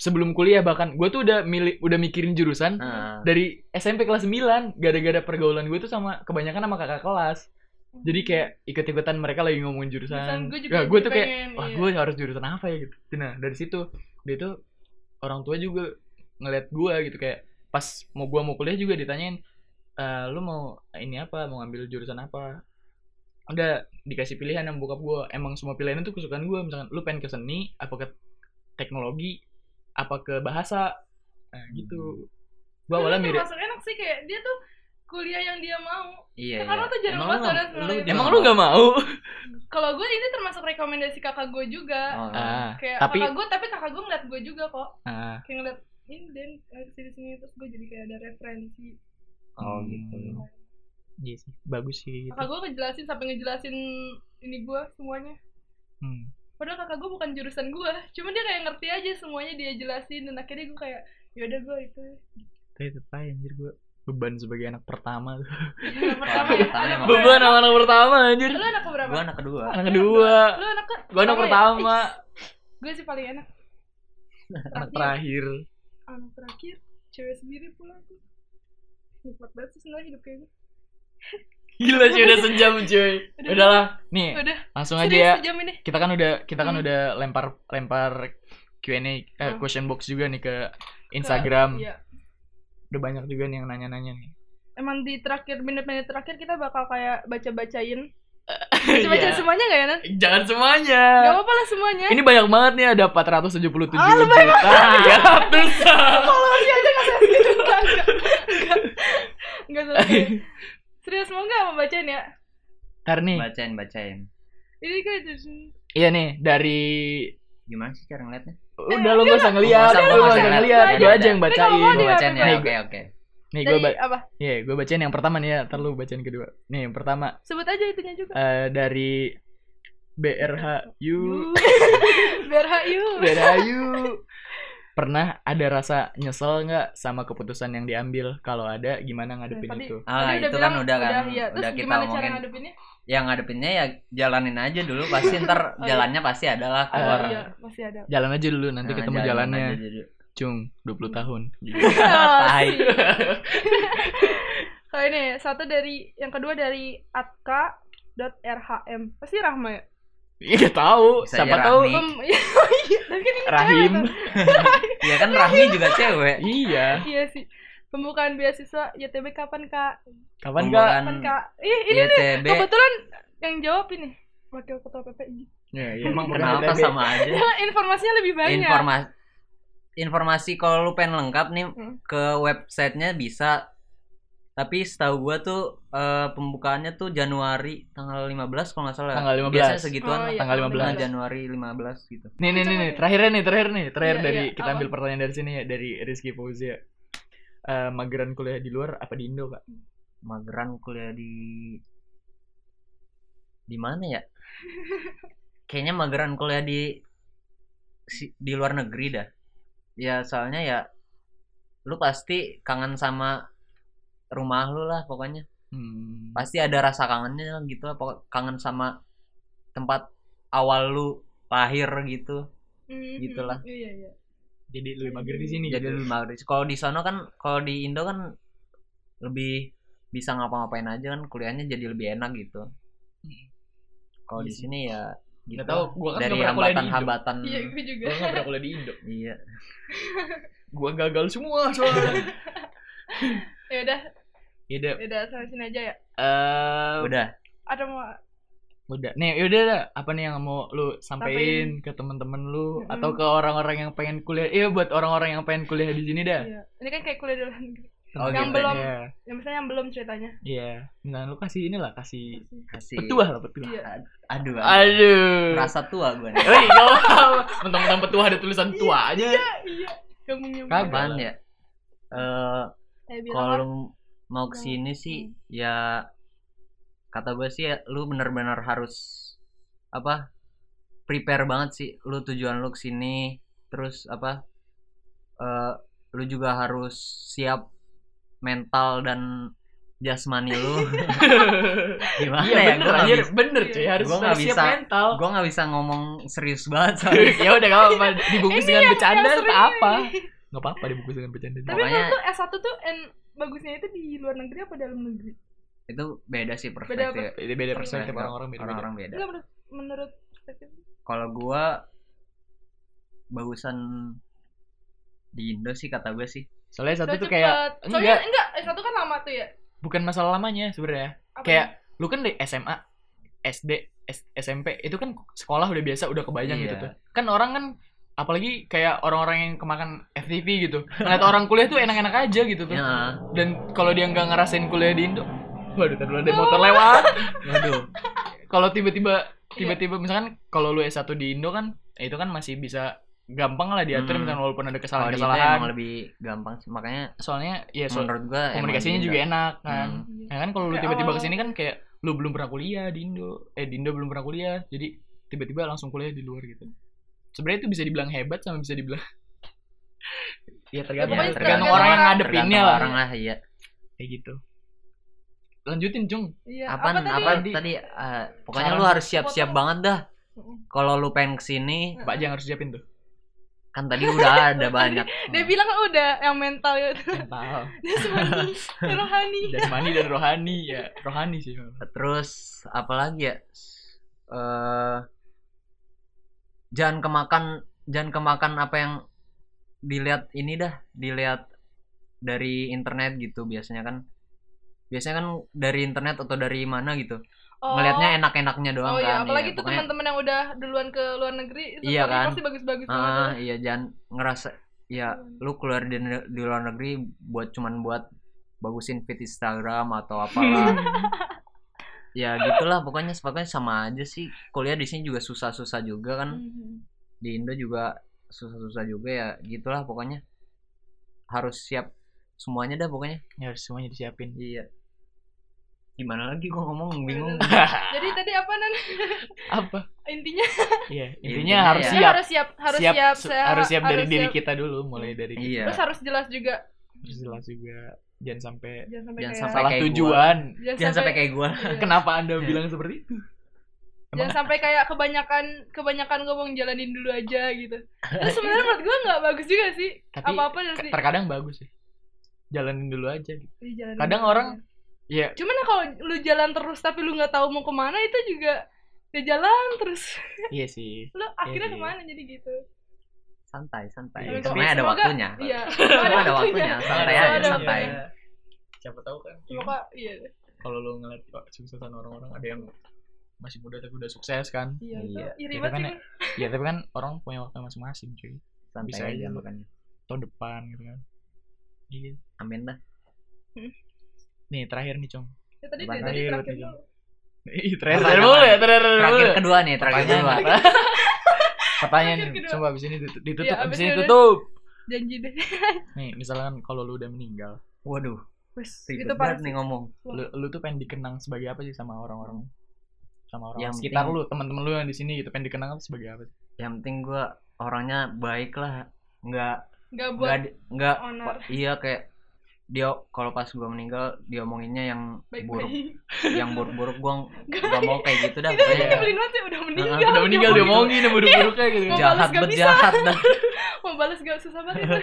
[SPEAKER 1] sebelum kuliah bahkan gua tuh udah milih udah mikirin jurusan
[SPEAKER 3] ah,
[SPEAKER 1] dari SMP kelas 9 gara-gara pergaulan gue tuh sama kebanyakan sama kakak kelas jadi kayak ikut-ikutan mereka lagi ngomongin
[SPEAKER 2] Jurusan
[SPEAKER 1] jurusan
[SPEAKER 2] gua juga
[SPEAKER 1] Nah, gua
[SPEAKER 2] jadi
[SPEAKER 1] tuh kayak
[SPEAKER 2] pengen,
[SPEAKER 1] wah
[SPEAKER 2] iya.
[SPEAKER 1] gue harus jurusan apa ya gitu nah dari situ dia tuh orang tua juga ngeliat gua gitu kayak pas mau gua mau kuliah juga ditanyain "Eh, lu mau ini apa mau ngambil jurusan apa udah dikasih pilihan yang bokap gua emang semua pilihan itu kesukaan gua misalkan lu pengen ke seni apa ke teknologi apa ke bahasa nah, gitu gua awalnya mirip
[SPEAKER 2] Masuk enak sih kayak dia tuh kuliah yang dia mau.
[SPEAKER 3] iya,
[SPEAKER 2] Karena
[SPEAKER 3] iya.
[SPEAKER 2] Kan tuh jarang
[SPEAKER 3] Emang
[SPEAKER 2] banget ada
[SPEAKER 3] lu nggak-
[SPEAKER 2] sebenarnya.
[SPEAKER 3] jarang
[SPEAKER 1] emang lu
[SPEAKER 3] banget?
[SPEAKER 1] gak mau
[SPEAKER 2] Kalau gue ini termasuk rekomendasi kakak gue juga.
[SPEAKER 3] Oh,
[SPEAKER 1] ah,
[SPEAKER 2] Kayak
[SPEAKER 1] tapi
[SPEAKER 2] kakak gue, tapi kakak gue ngeliat gue juga kok.
[SPEAKER 1] ah,
[SPEAKER 2] Kayak ngeliat ini dan sini sini terus gue jadi kayak ada referensi.
[SPEAKER 3] oh gitu
[SPEAKER 1] Hmm. iya sih bagus sih gitu.
[SPEAKER 2] Kakak gue ngejelasin sampai ngejelasin ini gue semuanya.
[SPEAKER 1] Hmm.
[SPEAKER 2] Padahal kakak gue bukan jurusan gue, cuman dia kayak ngerti aja semuanya dia jelasin dan akhirnya gue kayak yaudah gue itu
[SPEAKER 1] tapi tetep aja anjir gue beban sebagai anak pertama tuh.
[SPEAKER 2] anak pertama ya.
[SPEAKER 3] pertama
[SPEAKER 2] Anak
[SPEAKER 3] emang.
[SPEAKER 2] keberapa?
[SPEAKER 1] beban Iya, sama anak pertama anjir
[SPEAKER 2] Lu anak keberapa?
[SPEAKER 3] gue anak kedua
[SPEAKER 1] anak kedua
[SPEAKER 2] Lu anak ke?
[SPEAKER 1] gue anak pertama
[SPEAKER 2] Gue sih paling enak.
[SPEAKER 1] anak terakhir
[SPEAKER 2] Terakhir. anak terakhir cewek sendiri pula aku nikmat banget sih sebenarnya hidup kayaknya
[SPEAKER 1] gila sih udah sejam cuy
[SPEAKER 2] Udah.
[SPEAKER 1] udahlah nih
[SPEAKER 2] udah
[SPEAKER 1] langsung aja ya
[SPEAKER 2] serius sejam ini
[SPEAKER 1] kita kan udah kita kan
[SPEAKER 2] Hmm.
[SPEAKER 1] udah lempar lempar Q&A eh,
[SPEAKER 2] Hmm.
[SPEAKER 1] question box juga nih ke
[SPEAKER 2] Ke-
[SPEAKER 1] Instagram
[SPEAKER 2] iya.
[SPEAKER 1] udah banyak juga nih yang nanya-nanya nih
[SPEAKER 2] emang di terakhir menit-menit terakhir kita bakal kayak baca-bacain baca-baca
[SPEAKER 1] Iya.
[SPEAKER 2] semuanya gak ya Nan?
[SPEAKER 1] jangan semuanya
[SPEAKER 2] gak apa-apa lah semuanya
[SPEAKER 1] ini banyak banget nih ada 477
[SPEAKER 2] Ah, lu
[SPEAKER 1] juta Ya, 300
[SPEAKER 2] kalau dia aja gak saya gitu enggak enggak. Enggak. Enggak selesai. Serius mau nggak mau bacain ya?
[SPEAKER 1] Ntar nih,
[SPEAKER 3] bacain bacain
[SPEAKER 2] Ini kan itu.
[SPEAKER 1] iya nih dari
[SPEAKER 3] gimana sih cara ngeliatnya
[SPEAKER 1] Nah, udah lo gak usah ngeliat,
[SPEAKER 3] Nggak usah,
[SPEAKER 1] lo gak
[SPEAKER 3] nggak usah
[SPEAKER 1] usah
[SPEAKER 3] ngeliat.
[SPEAKER 1] ngeliat, gue aja yang
[SPEAKER 2] Ini kalau mau
[SPEAKER 1] bacain.
[SPEAKER 3] gue bacain ya
[SPEAKER 2] apa?
[SPEAKER 3] oke oke
[SPEAKER 1] Nih gue
[SPEAKER 2] Dari
[SPEAKER 1] ba-
[SPEAKER 2] apa?
[SPEAKER 1] iya gue bacain yang pertama nih ya, ntar lo bacain kedua. Nih yang pertama
[SPEAKER 2] Sebut aja itunya juga.
[SPEAKER 1] eh, dari BRHU.
[SPEAKER 2] Berhayu.
[SPEAKER 1] Berayu. Pernah ada rasa nyesel nggak sama keputusan yang diambil? Kalau ada, gimana ngadepin
[SPEAKER 2] Tadi-
[SPEAKER 1] itu?
[SPEAKER 3] ah
[SPEAKER 2] Tadi
[SPEAKER 3] itu
[SPEAKER 2] bilang,
[SPEAKER 3] kan udah kan udah,
[SPEAKER 2] iya. Terus
[SPEAKER 3] kita
[SPEAKER 2] gimana cara
[SPEAKER 3] omongin
[SPEAKER 2] ngadepinnya?
[SPEAKER 3] yang ngadepinnya ya jalanin aja dulu pasti ntar
[SPEAKER 2] Oh, iya.
[SPEAKER 3] jalannya pasti ada lah
[SPEAKER 1] Ah,
[SPEAKER 3] keluar
[SPEAKER 2] iya, masih ada.
[SPEAKER 1] Jalan aja dulu, nanti
[SPEAKER 3] Nah,
[SPEAKER 1] ketemu
[SPEAKER 3] jalanin
[SPEAKER 1] jalannya.
[SPEAKER 3] aja dulu.
[SPEAKER 1] Cung, 20 tahun.
[SPEAKER 3] Tai.
[SPEAKER 2] sih. Kalau ini satu dari yang kedua dari atka.rhm. Pasti Rahma ya?
[SPEAKER 1] Iya nggak tahu,
[SPEAKER 3] Bisa
[SPEAKER 1] siapa
[SPEAKER 3] aja
[SPEAKER 1] tahu
[SPEAKER 3] Rahmi.
[SPEAKER 2] Mem- iya, iya. Tapi kan ini cewek,
[SPEAKER 1] Rahim.
[SPEAKER 2] tuh.
[SPEAKER 3] Iya kan Rahmi juga cewek
[SPEAKER 1] Iya.
[SPEAKER 2] Iya sih. Pembukaan beasiswa YTB kapan, Kak?
[SPEAKER 1] Kapan enggak?
[SPEAKER 3] Pembukaan
[SPEAKER 2] Kapan, Kan, Kak? Ih, ini
[SPEAKER 1] Iya,
[SPEAKER 3] YTB
[SPEAKER 2] kebetulan yang jawab ini Wakil Ketua PPI.
[SPEAKER 1] Ya, ya.
[SPEAKER 3] emang kenapa
[SPEAKER 1] Bebe.
[SPEAKER 3] sama aja
[SPEAKER 2] Informasinya lebih banyak.
[SPEAKER 3] informasi informasi kalau lu pengen lengkap nih
[SPEAKER 2] Hmm.
[SPEAKER 3] ke websitenya bisa tapi setahu gua tuh eh, pembukaannya tuh Januari tanggal 15 kalau nggak salah
[SPEAKER 1] Tengah 15.
[SPEAKER 3] biasanya segituan
[SPEAKER 2] Oh,
[SPEAKER 3] lah.
[SPEAKER 2] iya,
[SPEAKER 1] tanggal 15.
[SPEAKER 2] tanggal
[SPEAKER 3] Tengah Januari 15 gitu
[SPEAKER 1] Nih, nih, nih, nih, terakhirnya nih, terakhir nih, terakhir
[SPEAKER 2] Iya,
[SPEAKER 1] dari
[SPEAKER 2] iya,
[SPEAKER 1] kita
[SPEAKER 2] apa?
[SPEAKER 1] ambil pertanyaan dari sini ya dari Rizky Fauzia. Eh mageran kuliah di luar apa di Indo, Kak?
[SPEAKER 3] mageran kuliah di di mana ya kayaknya mageran kuliah di si- di luar negeri dah ya soalnya ya lu pasti kangen sama rumah lu lah pokoknya
[SPEAKER 1] Hmm.
[SPEAKER 3] pasti ada rasa kangennya lah gitu lah pokok- kangen sama tempat awal lu lahir gitu
[SPEAKER 2] Mhm,
[SPEAKER 3] Gitulah.
[SPEAKER 2] Iya, iya.
[SPEAKER 1] Jadi lebih mager di sini.
[SPEAKER 3] jadi
[SPEAKER 1] gitu.
[SPEAKER 3] lu mageran kalau di sono kan kalau di Indo kan lebih bisa ngapa-ngapain aja kan kuliahnya jadi lebih enak gitu kalau
[SPEAKER 1] Hmm. Iya
[SPEAKER 3] di
[SPEAKER 1] sih.
[SPEAKER 3] sini ya gitu
[SPEAKER 1] Nggak tahu, gua kan
[SPEAKER 3] dari
[SPEAKER 1] nggak pernah kuliah di Indo.
[SPEAKER 3] hambatan-hambatan
[SPEAKER 2] Iya, gue juga.
[SPEAKER 1] Gue gak pernah kuliah di Indo.
[SPEAKER 3] iya
[SPEAKER 1] Gue gagal semua soalnya.
[SPEAKER 2] Ya udah,
[SPEAKER 1] Yaudah.
[SPEAKER 2] ya udah sampai sini aja ya.
[SPEAKER 1] eh
[SPEAKER 3] udah
[SPEAKER 2] Ada mau
[SPEAKER 1] udah. Nih, yaudah dah. Apa nih yang mau lu sampein ke temen-temen lu
[SPEAKER 2] Mm-mm.
[SPEAKER 1] atau ke orang-orang yang pengen kuliah? Iya, buat orang-orang yang pengen kuliah di sini dah.
[SPEAKER 2] Iya. Ini kan kayak kuliah di luar negeri.
[SPEAKER 3] Oh,
[SPEAKER 2] Yang
[SPEAKER 3] gitu.
[SPEAKER 2] belum,
[SPEAKER 1] Iya.
[SPEAKER 2] yang misalnya yang belum ceritanya.
[SPEAKER 1] Iya. Nah, lu kasih inilah, kasih
[SPEAKER 3] kasih
[SPEAKER 1] petuah lah, petuah.
[SPEAKER 2] Iya.
[SPEAKER 3] aduh aduh
[SPEAKER 1] Aduh.
[SPEAKER 3] rasa tua gue nih
[SPEAKER 1] Hei, gak apa Mentang-mentang petua ada tulisan tua aja.
[SPEAKER 2] Ah, Iya. Kamu nyambung.
[SPEAKER 1] Kagak.
[SPEAKER 3] apaan ya Eh
[SPEAKER 2] Saya bilang
[SPEAKER 3] kalau
[SPEAKER 1] kan,
[SPEAKER 2] lah.
[SPEAKER 3] lu mau
[SPEAKER 1] "Iya,
[SPEAKER 3] kesini sih ya kata gue sih ya, lu bener-bener harus apa prepare banget sih lu tujuan lu kesini terus apa eh lu juga harus siap mental dan jasmani lu gimana
[SPEAKER 1] Iya, bener
[SPEAKER 3] ya gue
[SPEAKER 1] anjir. Bener cuy,
[SPEAKER 2] Iya.
[SPEAKER 1] harus
[SPEAKER 3] Gua nggak
[SPEAKER 1] harus siap
[SPEAKER 3] bisa.
[SPEAKER 1] mental.
[SPEAKER 3] gue nggak bisa ngomong serius banget soalnya
[SPEAKER 1] ya udah gak apa-apa dibungkus
[SPEAKER 2] Ini
[SPEAKER 1] dengan
[SPEAKER 2] yang-
[SPEAKER 1] bercanda
[SPEAKER 2] yang
[SPEAKER 1] atau
[SPEAKER 2] sering
[SPEAKER 1] apa
[SPEAKER 2] ini.
[SPEAKER 1] nggak apa-apa dibungkus dengan bercanda
[SPEAKER 2] Tapi
[SPEAKER 3] Makanya-
[SPEAKER 2] menurut lu S1 tuh N bagusnya itu di luar negeri apa dalam negeri?
[SPEAKER 3] itu beda sih perspektif
[SPEAKER 1] beda beda
[SPEAKER 2] perspektif
[SPEAKER 1] perspektif orang-orang beda
[SPEAKER 3] orang-orang beda
[SPEAKER 2] Enggak menurut menurut perspektif.
[SPEAKER 3] kalau gue bagusan di Indo sih kata gue sih
[SPEAKER 1] soalnya satu
[SPEAKER 2] Soalnya
[SPEAKER 1] tuh kayak
[SPEAKER 2] cepet. Soalnya
[SPEAKER 1] enggak.
[SPEAKER 2] enggak, S1 kan lama tuh ya.
[SPEAKER 1] bukan masalah lamanya sebenarnya
[SPEAKER 2] Apa ya?
[SPEAKER 1] Kayak- lu kan dari SMA SD S- SMP itu kan sekolah udah biasa udah kebayang
[SPEAKER 3] Iya.
[SPEAKER 1] gitu tuh kan orang kan apalagi kayak orang-orang yang kemakan FTV gitu ngeliat orang kuliah tuh enak-enak aja gitu tuh
[SPEAKER 3] ya
[SPEAKER 1] dan kalau dia nggak ngerasain kuliah di Indo waduh tadi ada motor lewat
[SPEAKER 3] waduh
[SPEAKER 1] kalau
[SPEAKER 2] Iya.
[SPEAKER 1] tiba-tiba tiba-tiba misalkan kalau lu S1 di Indo kan ya itu kan masih bisa gampang lah diatur
[SPEAKER 3] Hmm.
[SPEAKER 1] misalkan walaupun ada
[SPEAKER 3] kalau di Indo
[SPEAKER 1] kesalahan-kesalahan
[SPEAKER 3] emang lebih gampang sih makanya
[SPEAKER 1] soalnya ya so,
[SPEAKER 3] menurut iya, gue
[SPEAKER 1] komunikasinya juga enak kan
[SPEAKER 3] Hmm.
[SPEAKER 2] Iya.
[SPEAKER 1] Nah kan kalau lu
[SPEAKER 2] Kayak
[SPEAKER 1] tiba-tiba
[SPEAKER 2] awal-
[SPEAKER 1] kesini kan kayak lu belum pernah kuliah di Indo eh di Indo belum pernah kuliah jadi tiba-tiba langsung kuliah di luar gitu sebenarnya itu bisa dibilang hebat sama bisa dibilang ya tergantung
[SPEAKER 2] pokoknya
[SPEAKER 1] tergantung
[SPEAKER 2] tergantung
[SPEAKER 1] orang yang
[SPEAKER 2] orang.
[SPEAKER 1] ngadepinnya lah
[SPEAKER 3] orang lah iya
[SPEAKER 1] kayak gitu lanjutin cung
[SPEAKER 2] Iya.
[SPEAKER 3] apaan
[SPEAKER 2] tadi?
[SPEAKER 3] apa
[SPEAKER 1] Di-
[SPEAKER 3] tadi, eh, pokoknya
[SPEAKER 1] Saran.
[SPEAKER 3] lu harus siap-siap
[SPEAKER 2] Potong.
[SPEAKER 3] banget dah
[SPEAKER 2] Heeh.
[SPEAKER 3] kalau lu pengen kesini
[SPEAKER 1] pak jangan harus siapin tuh
[SPEAKER 3] kan tadi udah ada banyak
[SPEAKER 2] Dia bilang "Oh, udah yang mental ya
[SPEAKER 1] mental
[SPEAKER 2] sebenarnya rohani.
[SPEAKER 1] jasmani dan rohani ya rohani sih
[SPEAKER 3] terus apalagi ya eh jangan kemakan jangan kemakan apa yang dilihat ini dah dilihat dari internet gitu biasanya kan biasanya kan dari internet atau dari mana gitu
[SPEAKER 2] Oh.
[SPEAKER 3] ngelihatnya enak-enaknya doang
[SPEAKER 2] Oh
[SPEAKER 3] kan
[SPEAKER 2] iya, apalagi tuh
[SPEAKER 3] pokoknya-
[SPEAKER 2] teman-teman yang udah duluan ke luar negeri itu fotonya
[SPEAKER 3] Iya kan?
[SPEAKER 2] pasti bagus-bagus banget.
[SPEAKER 3] ah iya jangan ngerasa ya lu keluar di, di luar negeri buat cuman buat bagusin feed Instagram atau apalah ya gitulah pokoknya sepakatnya sama aja sih kuliah di sini juga susah-susah juga kan
[SPEAKER 2] Hmm.
[SPEAKER 3] di Indo juga susah-susah juga ya gitulah pokoknya harus siap semuanya dah pokoknya
[SPEAKER 1] ya harus semuanya disiapin
[SPEAKER 3] iya gimana lagi gua
[SPEAKER 2] Iya,
[SPEAKER 3] ngomong bingung
[SPEAKER 2] Jadi tadi apa nan?
[SPEAKER 1] apa
[SPEAKER 2] Intinya
[SPEAKER 1] iya intinya
[SPEAKER 3] Intinya
[SPEAKER 1] harus
[SPEAKER 3] ya.
[SPEAKER 1] siap
[SPEAKER 2] harus siap, harus siap,
[SPEAKER 1] siap, se-
[SPEAKER 2] se-
[SPEAKER 1] harus siap dari
[SPEAKER 2] harus
[SPEAKER 1] diri
[SPEAKER 2] siap.
[SPEAKER 1] kita dulu mulai dari kita.
[SPEAKER 3] iya
[SPEAKER 2] Terus harus jelas juga.
[SPEAKER 1] Terus jelas juga jangan sampai
[SPEAKER 2] Jangan sampai
[SPEAKER 3] Jangan
[SPEAKER 2] kayak
[SPEAKER 3] sampai
[SPEAKER 1] salah
[SPEAKER 3] kayak gua.
[SPEAKER 1] tujuan
[SPEAKER 3] jangan sampai kayak gua
[SPEAKER 2] iya.
[SPEAKER 1] kenapa anda
[SPEAKER 3] Iya.
[SPEAKER 1] bilang seperti itu
[SPEAKER 2] Jangan sampai kayak kebanyakan kebanyakan ngomong jalanin dulu aja gitu. Terus sebenarnya menurut gue nggak bagus juga sih.
[SPEAKER 1] Tapi
[SPEAKER 2] Apa-apa dari
[SPEAKER 1] Ke- terkadang bagus sih jalanin dulu aja gitu
[SPEAKER 2] jalanin
[SPEAKER 1] kadang
[SPEAKER 2] dulu
[SPEAKER 1] orang-
[SPEAKER 2] aja.
[SPEAKER 1] ya
[SPEAKER 2] Cuman ya kalau lu jalan terus tapi lu nggak tahu mau kemana itu juga ya jalan terus.
[SPEAKER 1] iya sih
[SPEAKER 2] Lu akhirnya
[SPEAKER 1] iya.
[SPEAKER 2] kemana jadi gitu.
[SPEAKER 3] santai santai
[SPEAKER 1] Iya.
[SPEAKER 3] semuanya ada
[SPEAKER 2] Semoga-
[SPEAKER 3] waktunya
[SPEAKER 2] Iya.
[SPEAKER 3] Semua ada waktunya santai
[SPEAKER 2] Iya,
[SPEAKER 3] aja
[SPEAKER 2] ada
[SPEAKER 3] santai
[SPEAKER 2] waktunya.
[SPEAKER 1] siapa tahu kan
[SPEAKER 2] Semoga iya.
[SPEAKER 1] kalau lo ngeliat kesuksesan orang-orang ada yang masih muda tapi udah sukses kan
[SPEAKER 2] Iya, itu
[SPEAKER 3] Iya.
[SPEAKER 2] iri
[SPEAKER 1] Itu
[SPEAKER 2] banget
[SPEAKER 1] kan
[SPEAKER 2] sih.
[SPEAKER 1] ya- ya tapi kan orang punya waktu masing-masing cuy
[SPEAKER 3] santai
[SPEAKER 1] Bisa aja.
[SPEAKER 3] aja makanya
[SPEAKER 1] tahun depan gitu kan iya
[SPEAKER 3] amin dah
[SPEAKER 1] nih terakhir nih cong
[SPEAKER 2] Ya, tadi
[SPEAKER 3] Bang,
[SPEAKER 1] tadi
[SPEAKER 2] dari tadi terakhir
[SPEAKER 1] lu-
[SPEAKER 2] dulu.
[SPEAKER 1] Ih, terakhir
[SPEAKER 3] Terakhir
[SPEAKER 1] terakhir mulu ya
[SPEAKER 3] apa?
[SPEAKER 1] terakhir terakhir
[SPEAKER 3] terakhir kan
[SPEAKER 1] mulu.
[SPEAKER 3] kedua nih terakhir kedua
[SPEAKER 1] Pertanyaan. pertanyaan
[SPEAKER 2] Terakhir kedua.
[SPEAKER 1] coba abis ini ditut- ditutup
[SPEAKER 2] Iya,
[SPEAKER 1] abis
[SPEAKER 2] abis
[SPEAKER 1] ini
[SPEAKER 2] ini udah.
[SPEAKER 1] tutup
[SPEAKER 2] Janji deh.
[SPEAKER 1] nih misalkan kalau lu udah meninggal
[SPEAKER 3] waduh
[SPEAKER 2] Wes,
[SPEAKER 3] ribet
[SPEAKER 2] itu
[SPEAKER 3] banget
[SPEAKER 2] parah
[SPEAKER 3] nih
[SPEAKER 2] sih.
[SPEAKER 3] ngomong
[SPEAKER 1] lu, lu tuh pengen dikenang sebagai apa sih sama orang-orang sama orang
[SPEAKER 3] Yang
[SPEAKER 1] sekitar
[SPEAKER 3] penting-
[SPEAKER 1] lu teman-teman lu yang di sini gitu pengen dikenang apa sebagai apa sih?
[SPEAKER 3] yang penting gua orangnya baik lah nggak
[SPEAKER 2] Nggak buat
[SPEAKER 3] nggak di- nggak
[SPEAKER 2] honor.
[SPEAKER 3] iya kayak dia kalau pas gua meninggal dia omonginnya yang buruk
[SPEAKER 2] baik-baik.
[SPEAKER 3] yang buruk-buruk gua
[SPEAKER 2] Nggak.
[SPEAKER 3] nggak mau kayak gitu dah
[SPEAKER 2] Itu
[SPEAKER 3] pokoknya.
[SPEAKER 2] yang nyebelin banget sih udah meninggal.
[SPEAKER 1] udah meninggal
[SPEAKER 3] dia
[SPEAKER 1] dia omongin yang buruk-buruknya gitu
[SPEAKER 2] Mau balas
[SPEAKER 3] jahat
[SPEAKER 2] nggak
[SPEAKER 3] bet
[SPEAKER 2] bisa.
[SPEAKER 3] jahat dah
[SPEAKER 2] Mau balas gak susah banget itu.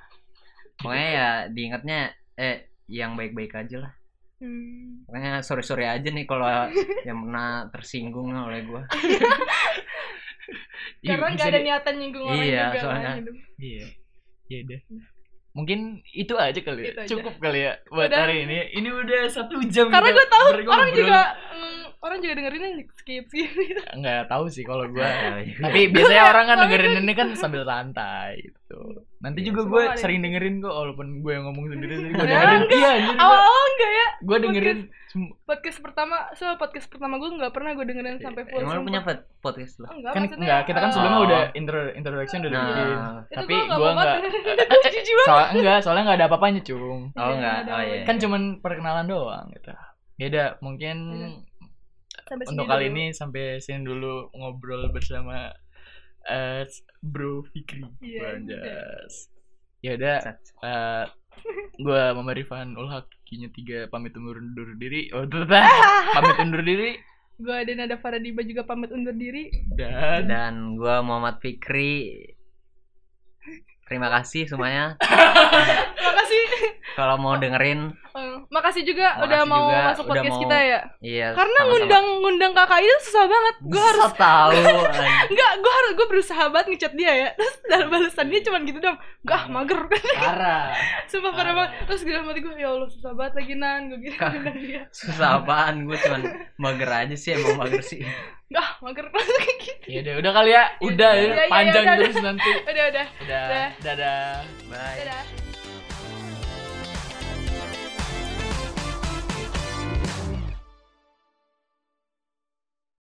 [SPEAKER 3] pokoknya ya diingatnya eh yang baik-baik aja lah
[SPEAKER 2] Hmm.
[SPEAKER 3] pokoknya sore-sore aja nih kalau yang pernah tersinggung oleh gua
[SPEAKER 1] Iya, bisa
[SPEAKER 2] Karena nggak ada
[SPEAKER 1] di-
[SPEAKER 2] niatan nyinggung orang
[SPEAKER 3] Iya,
[SPEAKER 2] juga kan,
[SPEAKER 3] soalnya.
[SPEAKER 2] hidup.
[SPEAKER 1] iya iya deh mungkin itu aja kali ya.
[SPEAKER 2] Ya Itu aja.
[SPEAKER 1] cukup kali ya buat
[SPEAKER 2] Udah.
[SPEAKER 1] hari ini ini udah satu jam
[SPEAKER 2] Karena
[SPEAKER 1] kita
[SPEAKER 2] gue tahu
[SPEAKER 1] bergobrol.
[SPEAKER 2] orang juga mm, orang juga dengerinnya skip skip. gitu.
[SPEAKER 1] nggak tahu sih kalau gue
[SPEAKER 3] tapi
[SPEAKER 1] tapi biasanya
[SPEAKER 2] Gua-
[SPEAKER 1] orang kan
[SPEAKER 2] gua-
[SPEAKER 1] dengerin ini kan sambil santai gitu nanti
[SPEAKER 3] Iya,
[SPEAKER 1] juga
[SPEAKER 2] semua
[SPEAKER 1] gue
[SPEAKER 2] ada.
[SPEAKER 1] sering dengerin kok walaupun gue yang ngomong sendiri tadi gue
[SPEAKER 2] Ya,
[SPEAKER 1] dengerin iya jadi
[SPEAKER 2] Awal-awal enggak ya?
[SPEAKER 1] gue dengerin sem-
[SPEAKER 2] Podcast pertama, so podcast pertama gue nggak pernah gue dengerin sampai full.
[SPEAKER 3] emang lu
[SPEAKER 2] Iya, sumpah.
[SPEAKER 3] punya pod- podcast lah
[SPEAKER 2] Enggak,
[SPEAKER 1] kan
[SPEAKER 2] maksudnya,
[SPEAKER 1] enggak kita kan
[SPEAKER 2] eh,
[SPEAKER 1] sebelumnya
[SPEAKER 3] Oh.
[SPEAKER 1] udah intro introduction
[SPEAKER 2] Iya.
[SPEAKER 1] udah dengerin
[SPEAKER 3] nah
[SPEAKER 2] itu
[SPEAKER 1] tapi
[SPEAKER 2] gua nggak
[SPEAKER 1] gue
[SPEAKER 2] mau
[SPEAKER 1] enggak
[SPEAKER 2] banget. Jijik
[SPEAKER 1] soal enggak soalnya enggak ada apa-apanya cung
[SPEAKER 3] oh enggak
[SPEAKER 2] ada
[SPEAKER 3] oh
[SPEAKER 2] awalnya.
[SPEAKER 3] iya
[SPEAKER 1] kan cuman perkenalan doang gitu ya udah mungkin
[SPEAKER 2] Iya. Sampai sini
[SPEAKER 1] untuk kali
[SPEAKER 2] dulu.
[SPEAKER 1] ini sampai sini dulu ngobrol bersama eh, Bro Fikri
[SPEAKER 2] Iya,
[SPEAKER 1] Wanjas. ya udah
[SPEAKER 3] Sat.
[SPEAKER 1] eh, gue Mama Rifan Ulhak kinya tiga pamit undur diri oh tuh pamit undur diri
[SPEAKER 2] Gue ada Nada Faradiba juga pamit undur diri.
[SPEAKER 1] dan
[SPEAKER 3] dan gua Muhammad Fikri terima kasih semuanya
[SPEAKER 2] Makasih.
[SPEAKER 3] kalau mau dengerin
[SPEAKER 2] Eh, makasih juga
[SPEAKER 3] Makasih
[SPEAKER 2] udah mau
[SPEAKER 3] juga,
[SPEAKER 2] masuk
[SPEAKER 3] udah
[SPEAKER 2] podcast
[SPEAKER 3] mau-
[SPEAKER 2] kita ya.
[SPEAKER 3] iya
[SPEAKER 2] Karena ngundang ngundang kakak itu susah banget. Gue harus
[SPEAKER 3] harus tahu
[SPEAKER 2] Enggak, gue harus gue berusaha banget ngechat dia ya. Terus dalam balasannya cuman gitu dong. Gak mager.
[SPEAKER 1] Ara
[SPEAKER 2] Sumpah parah banget. Terus gila mati gue, ya Allah susah banget lagi nan. Gue gitu bilang dia.
[SPEAKER 3] susah apaan gue cuman mager aja sih emang mager sih
[SPEAKER 2] Gak mager langsung kayak gitu.
[SPEAKER 1] ya udah udah kali ya udah
[SPEAKER 2] Iya,
[SPEAKER 1] ya
[SPEAKER 2] iya, iya,
[SPEAKER 1] panjang
[SPEAKER 2] udah,
[SPEAKER 1] terus nanti
[SPEAKER 2] Udah udah.
[SPEAKER 1] udah
[SPEAKER 2] Udah.
[SPEAKER 1] dadah
[SPEAKER 3] bye
[SPEAKER 2] Dadah.